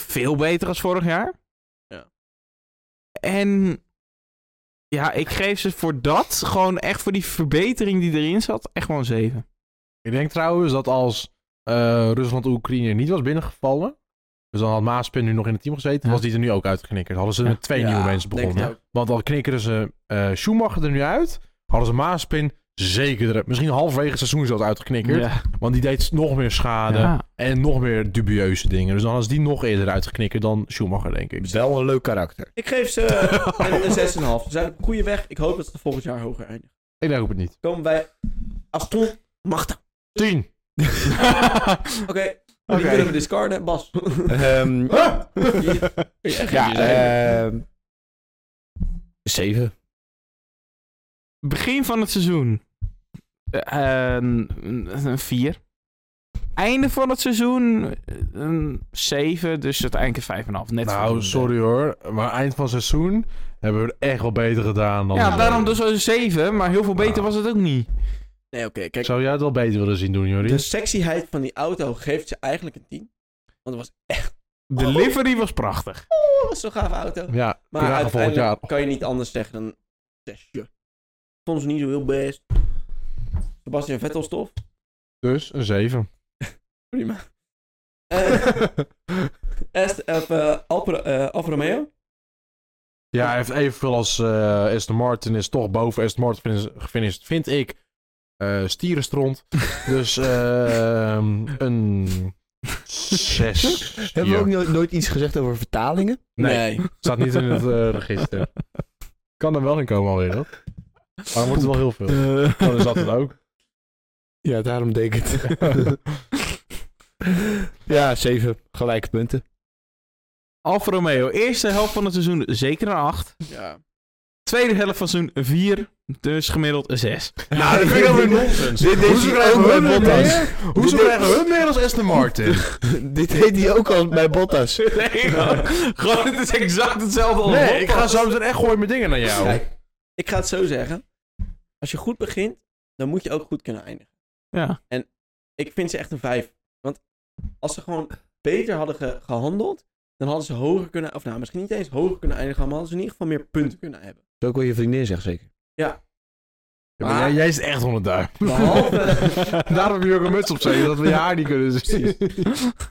Speaker 2: veel beter als vorig jaar.
Speaker 1: Ja.
Speaker 2: En ja, ik geef ze voor dat, gewoon echt voor die verbetering die erin zat, echt wel een 7.
Speaker 4: Ik denk trouwens dat als eh, Rusland-Oekraïne niet was binnengevallen. Dus dan had Maaspin nu nog in het team gezeten.
Speaker 2: Ja.
Speaker 4: Was die er nu ook uitgeknikkerd. Hadden ze
Speaker 2: Ja.
Speaker 4: met twee
Speaker 1: Ja,
Speaker 4: nieuwe mensen
Speaker 1: denk
Speaker 4: begonnen.
Speaker 1: het ook.
Speaker 4: Want al knikkeren ze eh Schumacher er nu uit. Hadden ze Maaspin zeker eruit. Misschien halverwege het seizoen zelfs uitgeknikkerd.
Speaker 2: Ja.
Speaker 4: Want die deed nog meer schade
Speaker 2: Ja.
Speaker 4: en nog meer dubieuze dingen. Dus dan was die nog eerder uitgeknikkerd dan Schumacher, denk ik.
Speaker 3: Wel een leuk karakter.
Speaker 1: Ik geef ze eh, *laughs* een, een 6,5. Ze zijn op een goede weg. Ik hoop dat ze volgend jaar hoger eindigen.
Speaker 4: Ik denk ook het niet.
Speaker 1: Komen wij Aston Machta.
Speaker 4: 10.
Speaker 1: Oké, die kunnen we discarden. Bas. *laughs*
Speaker 4: *laughs*
Speaker 3: Ehm, ja,
Speaker 1: eh,
Speaker 3: ehm, zeven.
Speaker 2: *laughs* Begin van het seizoen. Eh, een- een 4. Einde van het seizoen eh, een 7, dus uiteindelijk een 5,5. Net
Speaker 4: nou,
Speaker 2: voldoende.
Speaker 4: sorry hoor. Maar eind van seizoen hebben we het echt wel beter gedaan dan...
Speaker 2: Ja, daarom dus een 7, maar heel veel beter
Speaker 4: Nou.
Speaker 2: was het ook niet.
Speaker 1: Nee, oké. kijk,
Speaker 4: Zou jij het wel beter willen zien doen, Joris?
Speaker 1: de
Speaker 2: Dus-
Speaker 1: sexyheid van die auto geeft ze eigenlijk een 10. Want het was echt...
Speaker 2: Delivery was prachtig.
Speaker 1: Oh, was zo'n gave auto.
Speaker 4: Ja,
Speaker 1: Maar
Speaker 4: maar volgend jaar.
Speaker 1: uiteindelijk kan je niet anders zeggen dan zesje. Ik vond ze niet zo heel best. Sebastian Vettel stof.
Speaker 4: Dus een 7.
Speaker 1: Prima. Eh Est, of, eh, Alpro- eh, Alfa Romeo.
Speaker 4: ja, hij heeft evenveel als eh Aston Martin is toch boven Aston Martin finis- gefinished, vind ik. eh stierenstront. *laughs* dus *laughs* ehm, een 6.
Speaker 3: Hebben we ook nooit, nooit iets gezegd over vertalingen?
Speaker 4: Nee. Staat niet in het eh, register. Kan er wel in komen alweer, hoor. Maar er wordt er wel heel veel. *laughs* Dan is dat het ook.
Speaker 3: Ja, daarom denk ik het. ja, zeven gelijke punten.
Speaker 2: Alfa Romeo, eerste helft van het seizoen zeker een 8.
Speaker 1: *laughs* Ja.
Speaker 2: Tweede helft van het seizoen een 4, dus gemiddeld een 6.
Speaker 4: *laughs* Nou, dat vind ik alweer nonsens.
Speaker 3: Dit
Speaker 4: Hoe
Speaker 3: deed hij ook bij
Speaker 4: hun
Speaker 3: Bottas.
Speaker 4: meer? Hoe
Speaker 3: Dit deed-
Speaker 4: krijgen Oh, hun meer als Aston *laughs* Martin?
Speaker 3: *laughs* Dit deed hij ook al bij Bottas.
Speaker 2: *laughs* Nee, gewoon, gewoon, het is exact hetzelfde als
Speaker 4: Nee,
Speaker 2: Bottas.
Speaker 4: ik ga
Speaker 2: *laughs*
Speaker 4: zo meteen echt gooien mijn dingen naar jou.
Speaker 1: Kijk, ik ga het zo zeggen. Als je goed begint, dan moet je ook goed kunnen eindigen.
Speaker 2: Ja.
Speaker 1: Ik vind ze echt een 5. Want als ze gewoon beter hadden ge- gehandeld, dan hadden ze hoger kunnen... Of nou, misschien niet eens hoger kunnen eindigen, maar hadden ze in ieder geval meer punten kunnen hebben.
Speaker 3: Zo wil je vriendin zeggen, zeker.
Speaker 4: Ja, maar jij, jij is echt onder duim.
Speaker 3: *laughs*
Speaker 1: Behalve-
Speaker 4: Daarom heb je ook een muts op zeggen, dat we je haar niet kunnen zien.
Speaker 1: Ik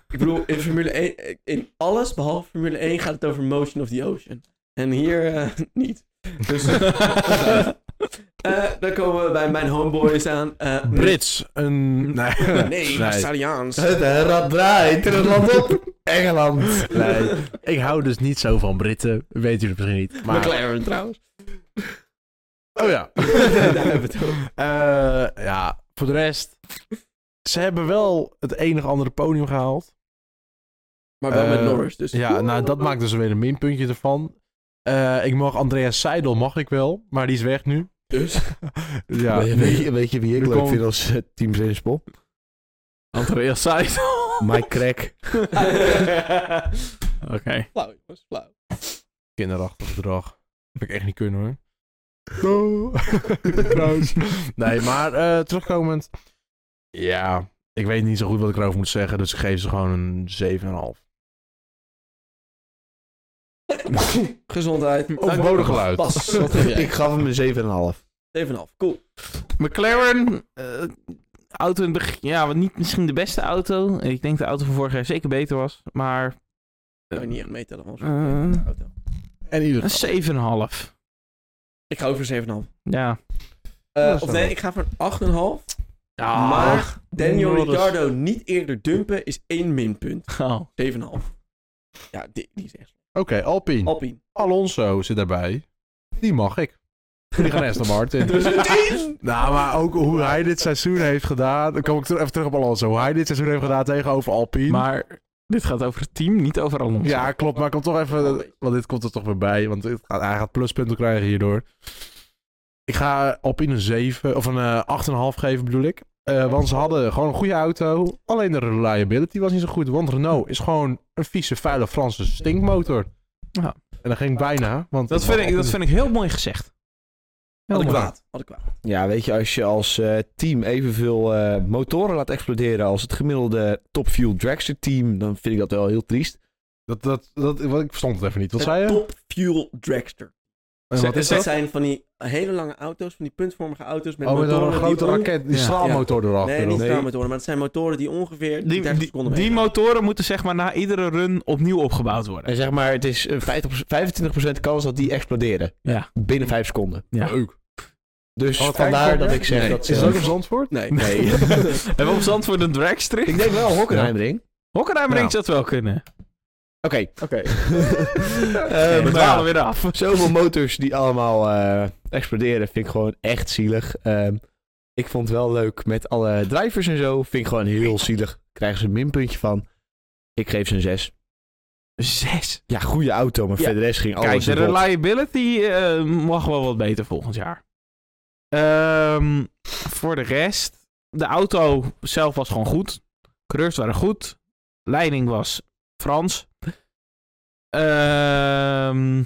Speaker 1: bedoel, in Formule 1, in alles behalve Formule 1 gaat het over Motion of the Ocean. En hier eh, niet.
Speaker 3: *laughs*
Speaker 1: Dus. Eh, dan komen we bij mijn homeboys aan. Eh,
Speaker 4: *laughs* Brits, een... *laughs* Nee.
Speaker 1: Nee, Australiaans.
Speaker 3: Het rad draait er land op. Engeland.
Speaker 4: Nee. Ik hou dus niet zo van Britten. Weet jullie misschien niet. *laughs* Maar...
Speaker 1: McLaren trouwens.
Speaker 4: *laughs* Oh *laughs* ja.
Speaker 1: Daar hebben we het over.
Speaker 4: Eh, ja, voor de rest... Ze hebben wel het enige andere podium gehaald.
Speaker 1: Maar wel met
Speaker 4: Eh,
Speaker 1: Norris, dus.
Speaker 4: Ja, nou dat maakt dus weer een minpuntje ervan. Eh, ik mag Andreas Seidel, mag ik wel, maar die is weg nu.
Speaker 1: Dus.
Speaker 4: *laughs* Ja,
Speaker 3: weet, weet je, weet je wie ik
Speaker 4: Er
Speaker 3: leuk
Speaker 4: komt-
Speaker 3: vind als eh, Team Zinspop?
Speaker 2: Andreas Seidel.
Speaker 3: Mike Crack.
Speaker 2: Oké.
Speaker 1: Flauw, jongens, flauw.
Speaker 4: Kinderachtig gedrag. Heb ik echt niet kunnen hoor.
Speaker 3: Oh.
Speaker 4: Trouwens. *laughs* Nee, maar eh, terugkomend. Ja, ik weet niet zo goed wat ik erover moet zeggen, dus ik geef ze gewoon een 7,5.
Speaker 1: Gezondheid.
Speaker 4: Overbodig geluid.
Speaker 1: Pas, wat heb jij?
Speaker 3: Ik gaf hem een 7,5.
Speaker 1: 7,5. Cool.
Speaker 2: McLaren. eh, auto in het begin. Ja, wat niet misschien de beste auto. Ik denk de auto van vorig jaar zeker beter was. Maar
Speaker 1: Kan je niet echt meetellen, want
Speaker 2: eh,
Speaker 1: auto.
Speaker 4: En ieder.
Speaker 2: een 7,5.
Speaker 1: Ik ga over 7,5.
Speaker 2: Ja.
Speaker 1: Eh,
Speaker 4: Ja,
Speaker 1: of
Speaker 4: zo.
Speaker 1: nee, ik ga voor een 8,5.
Speaker 2: Ja.
Speaker 1: maar Daniel
Speaker 2: Norris.
Speaker 1: Ricciardo niet eerder dumpen is één minpunt.
Speaker 2: Oh.
Speaker 1: 7,5. Ja, die, die is echt.
Speaker 4: Oké, Alpine.
Speaker 1: Alpine.
Speaker 4: *laughs* Alonso zit daarbij. Die mag ik. Die gaan Aston Martin.
Speaker 1: Dus een tien!
Speaker 4: *laughs* Nou, maar ook hoe hij dit seizoen heeft gedaan. Dan kom ik ter- even terug op Alonso. Hoe hij dit seizoen heeft gedaan tegenover Alpine.
Speaker 2: Maar dit gaat over het team, niet over Alonso.
Speaker 4: ja, klopt. Maar ik kom toch even. Want dit komt er toch weer bij. Want het gaat, hij gaat pluspunten krijgen hierdoor. Ik ga Alpine een 7 of een eh 8,5 geven, bedoel ik. Eh, want ze hadden gewoon een goede auto. Alleen de reliability was niet zo goed. Want Renault is gewoon een vieze, vuile Franse stinkmotor.
Speaker 2: Ja.
Speaker 4: En dat ging bijna. Want
Speaker 2: Dat vind ik, dat vind ik heel mooi gezegd. Heel mooi.
Speaker 1: Adequaat. Adequaat.
Speaker 3: Ja, weet je, als je als eh, team evenveel eh, motoren laat exploderen als het gemiddelde Top Fuel Dragster team, dan vind ik dat wel heel triest.
Speaker 4: dat, dat, dat, wat, ik verstond het even niet. Wat
Speaker 1: Het
Speaker 4: zei je?
Speaker 1: Top Fuel Dragster.
Speaker 4: En wat
Speaker 2: Ze-
Speaker 4: is
Speaker 1: Dat
Speaker 4: dat?
Speaker 1: zijn van die hele lange auto's, van die puntvormige auto's met
Speaker 4: Oh, met
Speaker 1: motoren
Speaker 4: een grote
Speaker 1: die on-
Speaker 4: raket. Die
Speaker 2: Ja.
Speaker 4: straalmotor erachter.
Speaker 1: Nee, niet
Speaker 4: of-
Speaker 1: straalmotoren, maar het zijn motoren die ongeveer
Speaker 2: Die,
Speaker 1: 30
Speaker 2: die,
Speaker 1: seconden
Speaker 2: die
Speaker 1: meegaan.
Speaker 2: motoren moeten zeg maar na iedere run opnieuw opgebouwd worden.
Speaker 3: En zeg maar, het eh, is een 50%, 25% kans dat die exploderen.
Speaker 2: Ja.
Speaker 3: Binnen 5 seconden.
Speaker 2: Ja.
Speaker 4: Leuk.
Speaker 3: Dus
Speaker 4: Oh, wat
Speaker 3: vandaar
Speaker 4: kijk,
Speaker 3: dat
Speaker 4: hè?
Speaker 3: ik zeg
Speaker 2: Nee.
Speaker 3: dat...
Speaker 4: Is
Speaker 3: eh,
Speaker 4: dat ook *laughs* op Zandvoort?
Speaker 2: *laughs*
Speaker 1: Nee.
Speaker 3: Nee.
Speaker 2: Hebben we op Zandvoort een dragstrip?
Speaker 3: ik denk wel Hockenheimring.
Speaker 2: Hockenheimring
Speaker 3: Nou.
Speaker 2: zou het wel kunnen.
Speaker 3: Oké.
Speaker 4: Oké.
Speaker 3: *laughs* Eh,
Speaker 2: we
Speaker 3: maar
Speaker 2: dwalen
Speaker 3: ja,
Speaker 2: weer af.
Speaker 3: zoveel motors die allemaal eh, exploderen vind ik gewoon echt zielig. Ehm, ik vond het wel leuk met alle drivers en zo. Vind ik gewoon heel zielig. Krijgen ze een minpuntje van. Ik geef ze een 6.
Speaker 2: Zes.
Speaker 3: Ja, goede auto, maar
Speaker 2: Ja.
Speaker 3: verder de rest ging
Speaker 2: Kijk,
Speaker 3: alles
Speaker 2: de
Speaker 3: kapot.
Speaker 2: reliability eh, mag wel wat beter volgend jaar. Ehm, voor de rest, de auto zelf was gewoon goed. Coureurs waren goed. Leiding was Frans. Ehm,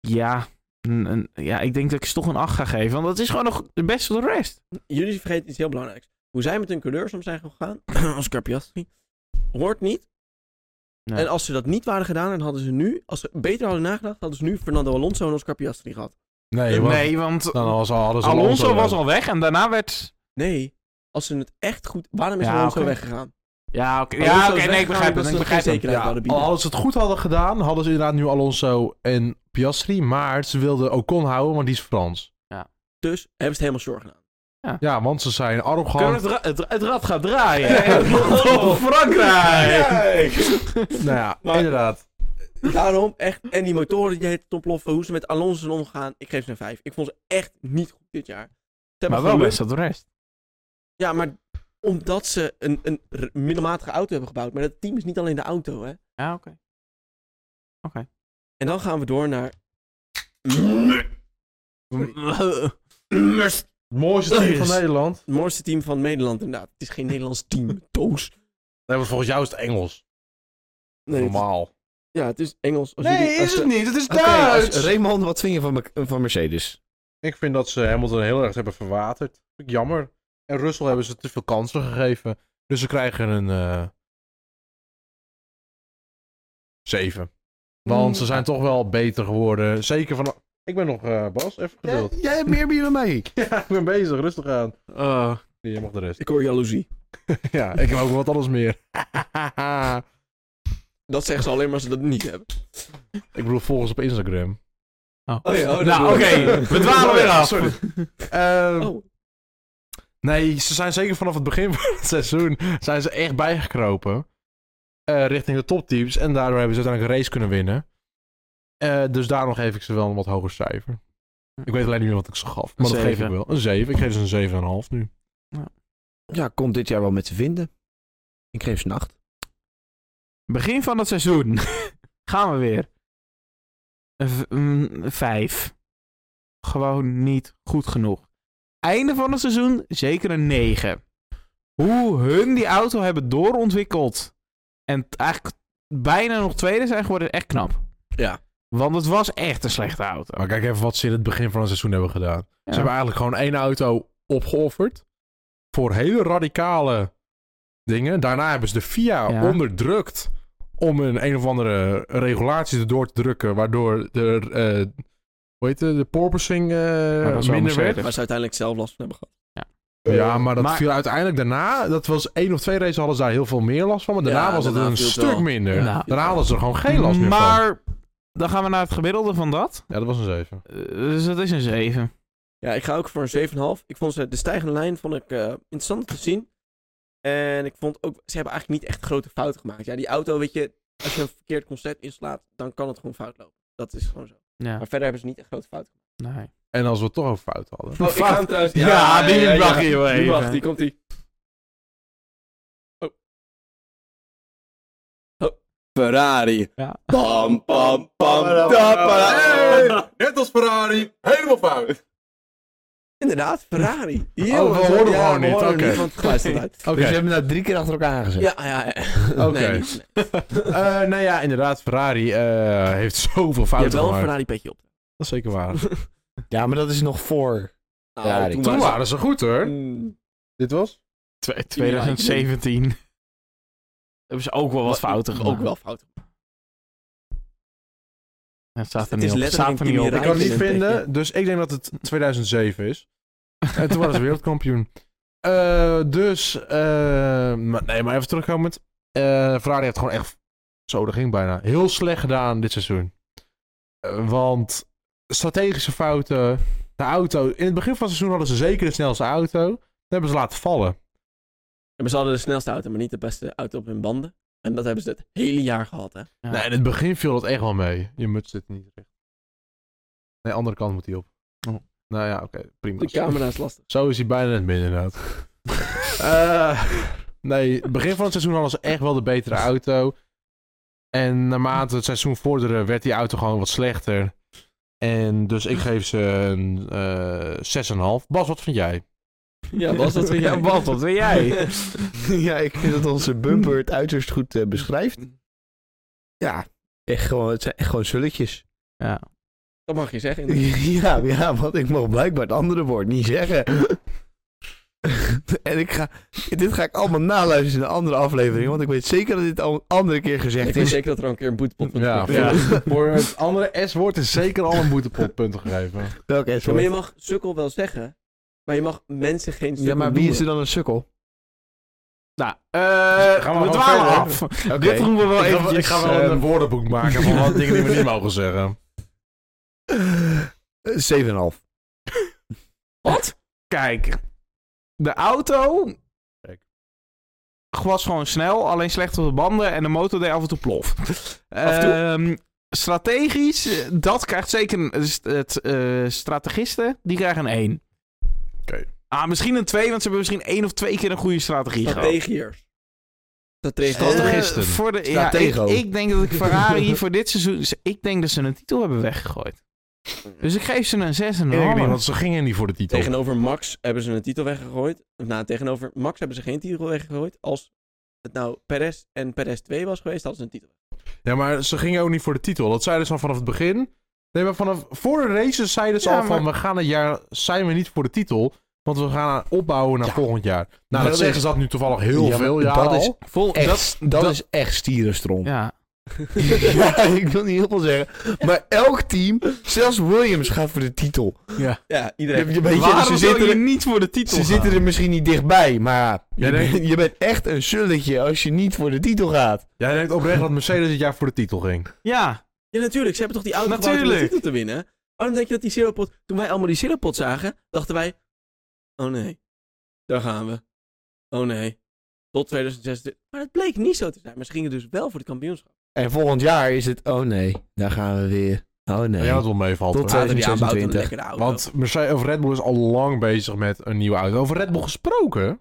Speaker 2: ja, een- een- ja, ik denk dat ik ze toch een 8 ga geven. Want dat is gewoon nog de beste van de rest.
Speaker 1: Jullie vergeten iets heel belangrijks. Hoe zij met hun coureurs om zijn gegaan, *clears throat* als Carpiastri, hoort niet.
Speaker 2: Nee.
Speaker 1: En als ze dat niet waren gedaan, dan hadden ze nu, als ze beter hadden nagedacht, hadden ze nu Fernando Alonso en Oscar Piastri gehad.
Speaker 4: Nee, want
Speaker 2: nee, want
Speaker 4: Dan was al, hadden ze
Speaker 2: Alonso was
Speaker 4: wel.
Speaker 2: al weg en daarna werd...
Speaker 1: Nee, als ze het echt goed... Waarom is
Speaker 2: Ja,
Speaker 1: Alonso
Speaker 2: oké.
Speaker 1: weggegaan?
Speaker 2: Ja, oké,
Speaker 1: Alonso
Speaker 2: ja,
Speaker 1: is
Speaker 2: oké, nee, ik
Speaker 1: weggegaan
Speaker 2: begrijp
Speaker 1: omdat
Speaker 2: het.
Speaker 1: ze
Speaker 2: Ik
Speaker 1: nog geen
Speaker 2: begrijp het. Oh.
Speaker 1: zekerheid
Speaker 4: Ja,
Speaker 1: hadden
Speaker 4: al
Speaker 1: bieden.
Speaker 4: hadden ze het goed hadden gedaan, hadden ze inderdaad nu Alonso en Piastri. Maar ze wilden Ocon houden, want die is Frans.
Speaker 1: Dus hebben ze het helemaal zorg gedaan.
Speaker 4: Ja, want ze zijn
Speaker 2: Kunnen
Speaker 4: arrogant.
Speaker 2: we het, ra- het, het rad gaat draaien. En het land op Frankrijk.
Speaker 4: Nou ja,
Speaker 1: Maar-
Speaker 4: inderdaad.
Speaker 1: Daarom echt. En die motoren die heet het ontploffen. Hoe ze met Alonso zijn omgaan. Ik geef ze een 5. Ik vond ze echt niet goed dit jaar. Ze hebben
Speaker 2: Maar wel
Speaker 1: geluk-
Speaker 2: best op de rest.
Speaker 1: Ja, maar omdat ze een, een r- middelmatige auto hebben gebouwd. Maar dat team is niet alleen de auto, hè.
Speaker 2: Ja, oké.
Speaker 1: En dan gaan we door naar...
Speaker 4: Het mooiste team van
Speaker 1: Yes.
Speaker 4: Nederland.
Speaker 1: Het mooiste team van Nederland, inderdaad. Het is geen Nederlands team. *laughs* Toos.
Speaker 4: Nee, want volgens jou is het Engels.
Speaker 1: Nee, het-
Speaker 4: Normaal.
Speaker 1: ja, het is Engels. Als
Speaker 4: Nee,
Speaker 1: jullie- als
Speaker 4: is
Speaker 1: de-
Speaker 4: het niet. Het is
Speaker 3: Oké,
Speaker 4: Duits.
Speaker 3: als- Raymond, wat vind je van, Mer- van Mercedes?
Speaker 4: Ik vind dat ze Hamilton heel erg hebben verwaterd. Vind ik jammer. En Russell hebben ze te veel kansen gegeven. Dus ze krijgen een... eh 7. Want ze zijn toch wel beter geworden. Zeker van... Ik ben nog, eh, Bas, even geduld. *laughs*
Speaker 3: jij hebt meer bier dan mij.
Speaker 4: Ja, ik ben bezig. Rustig aan.
Speaker 2: Eh,
Speaker 4: Nee, jij mag de rest.
Speaker 1: Ik hoor jaloezie.
Speaker 4: Oh. ja, ik heb ook wat anders meer. *laughs*
Speaker 1: Dat zeggen ze alleen maar als ze dat niet hebben.
Speaker 4: ik bedoel, volgens op Instagram.
Speaker 1: Oh ja, oh, dat
Speaker 2: nou, oké.
Speaker 1: bedoel ik.
Speaker 2: We dwalen weer af.
Speaker 4: Sorry. Ehm,
Speaker 1: Oh,
Speaker 4: Nee, ze zijn zeker vanaf het begin *laughs* van het seizoen zijn ze echt bijgekropen. eh, richting de topteams. En daardoor hebben ze uiteindelijk een race kunnen winnen. Eh, dus daarom geef ik ze wel een wat hoger cijfer. Ik weet alleen niet meer wat ik ze gaf. Maar dat geef ik
Speaker 2: Zeven.
Speaker 4: wel. Een 7. Ik geef ze een 7,5 nu.
Speaker 3: Ja, komt dit jaar wel met ze vinden. Ik geef ze een 8.
Speaker 2: Begin van het seizoen. *laughs* Gaan we weer. Een v- een vijf. Gewoon niet goed genoeg. Einde van het seizoen zeker een negen. Hoe hun die auto hebben doorontwikkeld. En t- eigenlijk bijna nog tweede zijn geworden. Echt knap.
Speaker 1: Ja.
Speaker 2: Want het was echt een slechte auto.
Speaker 4: Maar kijk even wat ze in het begin van het seizoen hebben gedaan.
Speaker 2: Ja.
Speaker 4: Ze hebben eigenlijk gewoon één auto opgeofferd. Voor hele radicale dingen. Daarna hebben ze de FIA
Speaker 2: Ja.
Speaker 4: onderdrukt. Om een een of andere regulatie erdoor te drukken. Waardoor de, eh hoe heet het, de porpoising eh,
Speaker 2: dat is wel
Speaker 4: minder werd.
Speaker 2: Mercedes.
Speaker 1: Waar ze uiteindelijk zelf last van hebben gehad.
Speaker 4: Ja, maar dat
Speaker 2: Maar-
Speaker 4: viel uiteindelijk daarna. Dat was één of twee races hadden ze daar heel veel meer last van. Maar daarna
Speaker 1: Ja,
Speaker 4: was het
Speaker 1: daarna
Speaker 4: een
Speaker 1: viel het
Speaker 4: stuk
Speaker 1: wel.
Speaker 4: minder.
Speaker 1: Ja.
Speaker 2: Nou.
Speaker 4: Daarna hadden ze er gewoon geen last meer van.
Speaker 2: Maar dan gaan we naar het gemiddelde van dat.
Speaker 4: Ja, dat was een zeven.
Speaker 2: Eh, Dus dat is een 7.
Speaker 1: Ja, ik ga ook voor een 7,5. Ik vond ze, de stijgende lijn vond ik eh, interessant te zien. En ik vond ook, ze hebben eigenlijk niet echt grote fouten gemaakt. Ja, die auto, weet je, als je een verkeerd concept inslaat, dan kan het gewoon fout lopen. Dat is gewoon zo.
Speaker 2: Ja,
Speaker 1: Maar verder hebben ze niet echt grote fouten
Speaker 2: nee.
Speaker 4: En als we het toch over fout hadden.
Speaker 1: gemaakt.
Speaker 2: Oh, ik ga hem
Speaker 1: trouwens...
Speaker 2: Ja, die mag je wel
Speaker 1: Die
Speaker 2: even.
Speaker 1: mag, die komt die. Oh. Oh. Ferrari.
Speaker 2: Ja.
Speaker 4: *laughs*
Speaker 1: Pam, pam, pam.
Speaker 4: net als Ferrari, helemaal fout.
Speaker 1: Inderdaad, Ferrari. Yo,
Speaker 4: Oh, we horen hem gewoon niet,
Speaker 1: horen hem
Speaker 4: oké.
Speaker 1: niet, want het geluisterd uit.
Speaker 4: Oké.
Speaker 3: Dus we hebben nou drie keer achter elkaar aangezet.
Speaker 1: Ja, ja, ja.
Speaker 4: Oké.
Speaker 1: Nee, niet.
Speaker 4: Eh, nou ja, inderdaad, Ferrari eh, heeft zoveel
Speaker 1: Je hebt
Speaker 4: fouten
Speaker 1: wel een
Speaker 4: gemaakt.
Speaker 1: Ferrari petje op.
Speaker 4: Dat is zeker
Speaker 1: *laughs*
Speaker 4: waar.
Speaker 3: Ja, maar dat is nog voor.
Speaker 1: Nou,
Speaker 3: Ferrari.
Speaker 1: toen
Speaker 4: Toen
Speaker 1: was
Speaker 4: waren ze goed hoor.
Speaker 1: Mm,
Speaker 4: Dit was?
Speaker 2: Twe- 2017. Hebben ze ook wel wat fouten
Speaker 1: ook
Speaker 2: gemaakt.
Speaker 1: wel fouten.
Speaker 2: Het staat er
Speaker 1: Het
Speaker 2: niet
Speaker 1: is
Speaker 2: op. Het
Speaker 1: letterlijk
Speaker 2: staat er niet op.
Speaker 4: Ik
Speaker 1: intimiderend.
Speaker 4: kan
Speaker 1: Rijden
Speaker 4: het niet
Speaker 1: in een
Speaker 4: vinden,
Speaker 1: beetje.
Speaker 4: dus ik denk dat het 2007 is. En toen waren ze wereldkampioen. Eh, dus, eh, maar- nee, maar even terugkomend. Eh, Ferrari heeft gewoon echt, zo dat ging bijna, heel slecht gedaan dit seizoen. Eh, want strategische fouten, De auto. In het begin van het seizoen hadden ze zeker de snelste auto. Dat hebben ze laten vallen.
Speaker 1: Maar ze hadden de snelste auto, maar niet de beste auto op hun banden. En dat hebben ze het hele jaar gehad, hè.
Speaker 2: Ja.
Speaker 4: Nee, in het begin viel dat echt wel mee. Je muts zit niet recht. Nee, andere kant moet hij op.
Speaker 2: Oh.
Speaker 4: Nou ja, oké. prima.
Speaker 1: De camera is lastig.
Speaker 4: Zo is hij bijna net binnen inderdaad. *laughs* Eh, nee, begin van het seizoen hadden ze echt wel de betere auto. En naarmate het seizoen vorderde, werd die auto gewoon wat slechter. En dus ik geef ze een eh 6,5. Bas, wat vind jij?
Speaker 1: Ja, was dat weer?
Speaker 2: *laughs* Ja, Bas, wat wil *laughs* jij?
Speaker 3: *laughs* ja, ik vind dat onze bumper het uiterst goed eh, beschrijft. Ja, echt gewoon, het zijn echt gewoon zulletjes.
Speaker 2: *laughs* ja.
Speaker 1: Dat mag je zeggen.
Speaker 3: *laughs* Ja, ja, want ik mag blijkbaar het andere woord niet zeggen. *laughs* en ik ga, dit ga ik allemaal naluisteren in een andere aflevering, want ik weet zeker dat dit al een andere keer
Speaker 1: Ik
Speaker 3: gezegd
Speaker 1: weet
Speaker 3: is.
Speaker 1: zeker dat er al een keer een boetepot moet
Speaker 4: Ja,
Speaker 1: worden.
Speaker 4: voor- Voor het andere S-woord is zeker al een boetepotpunten gegeven.
Speaker 3: Welk
Speaker 1: Ja, maar je
Speaker 3: S-woord?
Speaker 1: mag sukkel wel zeggen, maar je mag mensen geen sukkel
Speaker 3: Ja, maar wie is er dan een sukkel?
Speaker 2: Nou,
Speaker 4: we
Speaker 2: eh we
Speaker 4: gewoon
Speaker 2: dwalen
Speaker 4: verder.
Speaker 2: af. Dit doen we wel
Speaker 4: ik, ga,
Speaker 2: eventjes.
Speaker 4: ik ga wel
Speaker 2: eh,
Speaker 3: ehm,
Speaker 4: een woordenboek maken van wat dingen die we niet mogen zeggen.
Speaker 3: 7,5.
Speaker 1: Wat?
Speaker 2: Kijk, de auto
Speaker 4: Kijk.
Speaker 2: was gewoon snel, alleen slecht op de banden en de motor deed af en toe plof.
Speaker 1: en toe?
Speaker 2: Ehm, strategisch, eh, dat krijgt zeker een- het, het, eh, strategisten, die krijgen een 1.
Speaker 4: Oké.
Speaker 2: Ah, misschien een 2, want ze hebben misschien één of twee keer een goede strategie gehad.
Speaker 1: Strategiërs. Strategiërs.
Speaker 4: Strategie.
Speaker 2: Eh,
Speaker 4: Strategisten.
Speaker 2: voor de, ja, ik,
Speaker 3: Stratego.
Speaker 2: ik denk dat ik Ferrari voor dit seizoen... Ik denk dat ze een titel hebben weggegooid. Dus ik geef ze een 6 en
Speaker 4: Ik denk niet,
Speaker 2: een
Speaker 4: want ze gingen niet voor de titel.
Speaker 1: Tegenover Max hebben ze een titel weggegooid. Of nou, tegenover Max hebben ze geen titel weggegooid. Als het nou Perez en Perez 2 was geweest, hadden ze een titel.
Speaker 4: Ja, maar ze gingen ook niet voor de titel. Dat zeiden ze al vanaf het begin. Nee, maar vanaf voor de races zeiden ze
Speaker 2: Ja,
Speaker 4: al van...
Speaker 2: maar-
Speaker 4: we gaan een jaar, zijn we niet voor de titel... want we gaan opbouwen naar volgend jaar. Nou, dat,
Speaker 3: dat is-
Speaker 4: zeggen ze dat nu toevallig heel
Speaker 3: Ja,
Speaker 4: veel
Speaker 3: maar
Speaker 4: jaar
Speaker 3: dat
Speaker 4: al.
Speaker 3: is
Speaker 2: Vol,
Speaker 3: Echt,
Speaker 2: dat,
Speaker 3: dat, is echt stierenstrom. *laughs* Ja.
Speaker 2: ja.
Speaker 3: ik wil niet heel veel zeggen. Maar elk team, zelfs Williams, gaat voor de titel.
Speaker 1: Ja,
Speaker 3: Je,
Speaker 1: iedereen.
Speaker 3: je, weet Ah, je, ze
Speaker 2: Waarom zou
Speaker 3: zitten
Speaker 2: je
Speaker 3: er,
Speaker 2: niet voor de titel
Speaker 3: ze
Speaker 2: gaan?
Speaker 3: zitten er misschien niet dichtbij, maar
Speaker 4: Jij
Speaker 3: je,
Speaker 4: denkt-
Speaker 3: bent- je bent echt een sulletje als je niet voor de titel gaat.
Speaker 4: Jij denkt oprecht dat Mercedes dit jaar voor de titel ging.
Speaker 2: Ja,
Speaker 1: Ja, natuurlijk. Ze hebben toch die auto gebouwd om de
Speaker 2: Natuurlijk.
Speaker 1: titel te winnen? Oh, dan denk je dat die Siropot... Toen wij allemaal die Siropot zagen, dachten wij... Oh nee, daar gaan we. Oh nee, tot 2026. Maar dat bleek niet zo te zijn. Maar ze gingen dus wel voor het kampioenschap.
Speaker 3: En volgend jaar is het, oh nee, daar gaan we weer. Oh nee.
Speaker 4: Ja, dat wel meevalt.
Speaker 3: Tot
Speaker 4: hoor.
Speaker 1: Later die aanbouw van een
Speaker 3: 2026.
Speaker 1: lekkere auto.
Speaker 4: Want Mercedes, of Red Bull is al lang bezig met een nieuwe auto. Over Red Bull gesproken...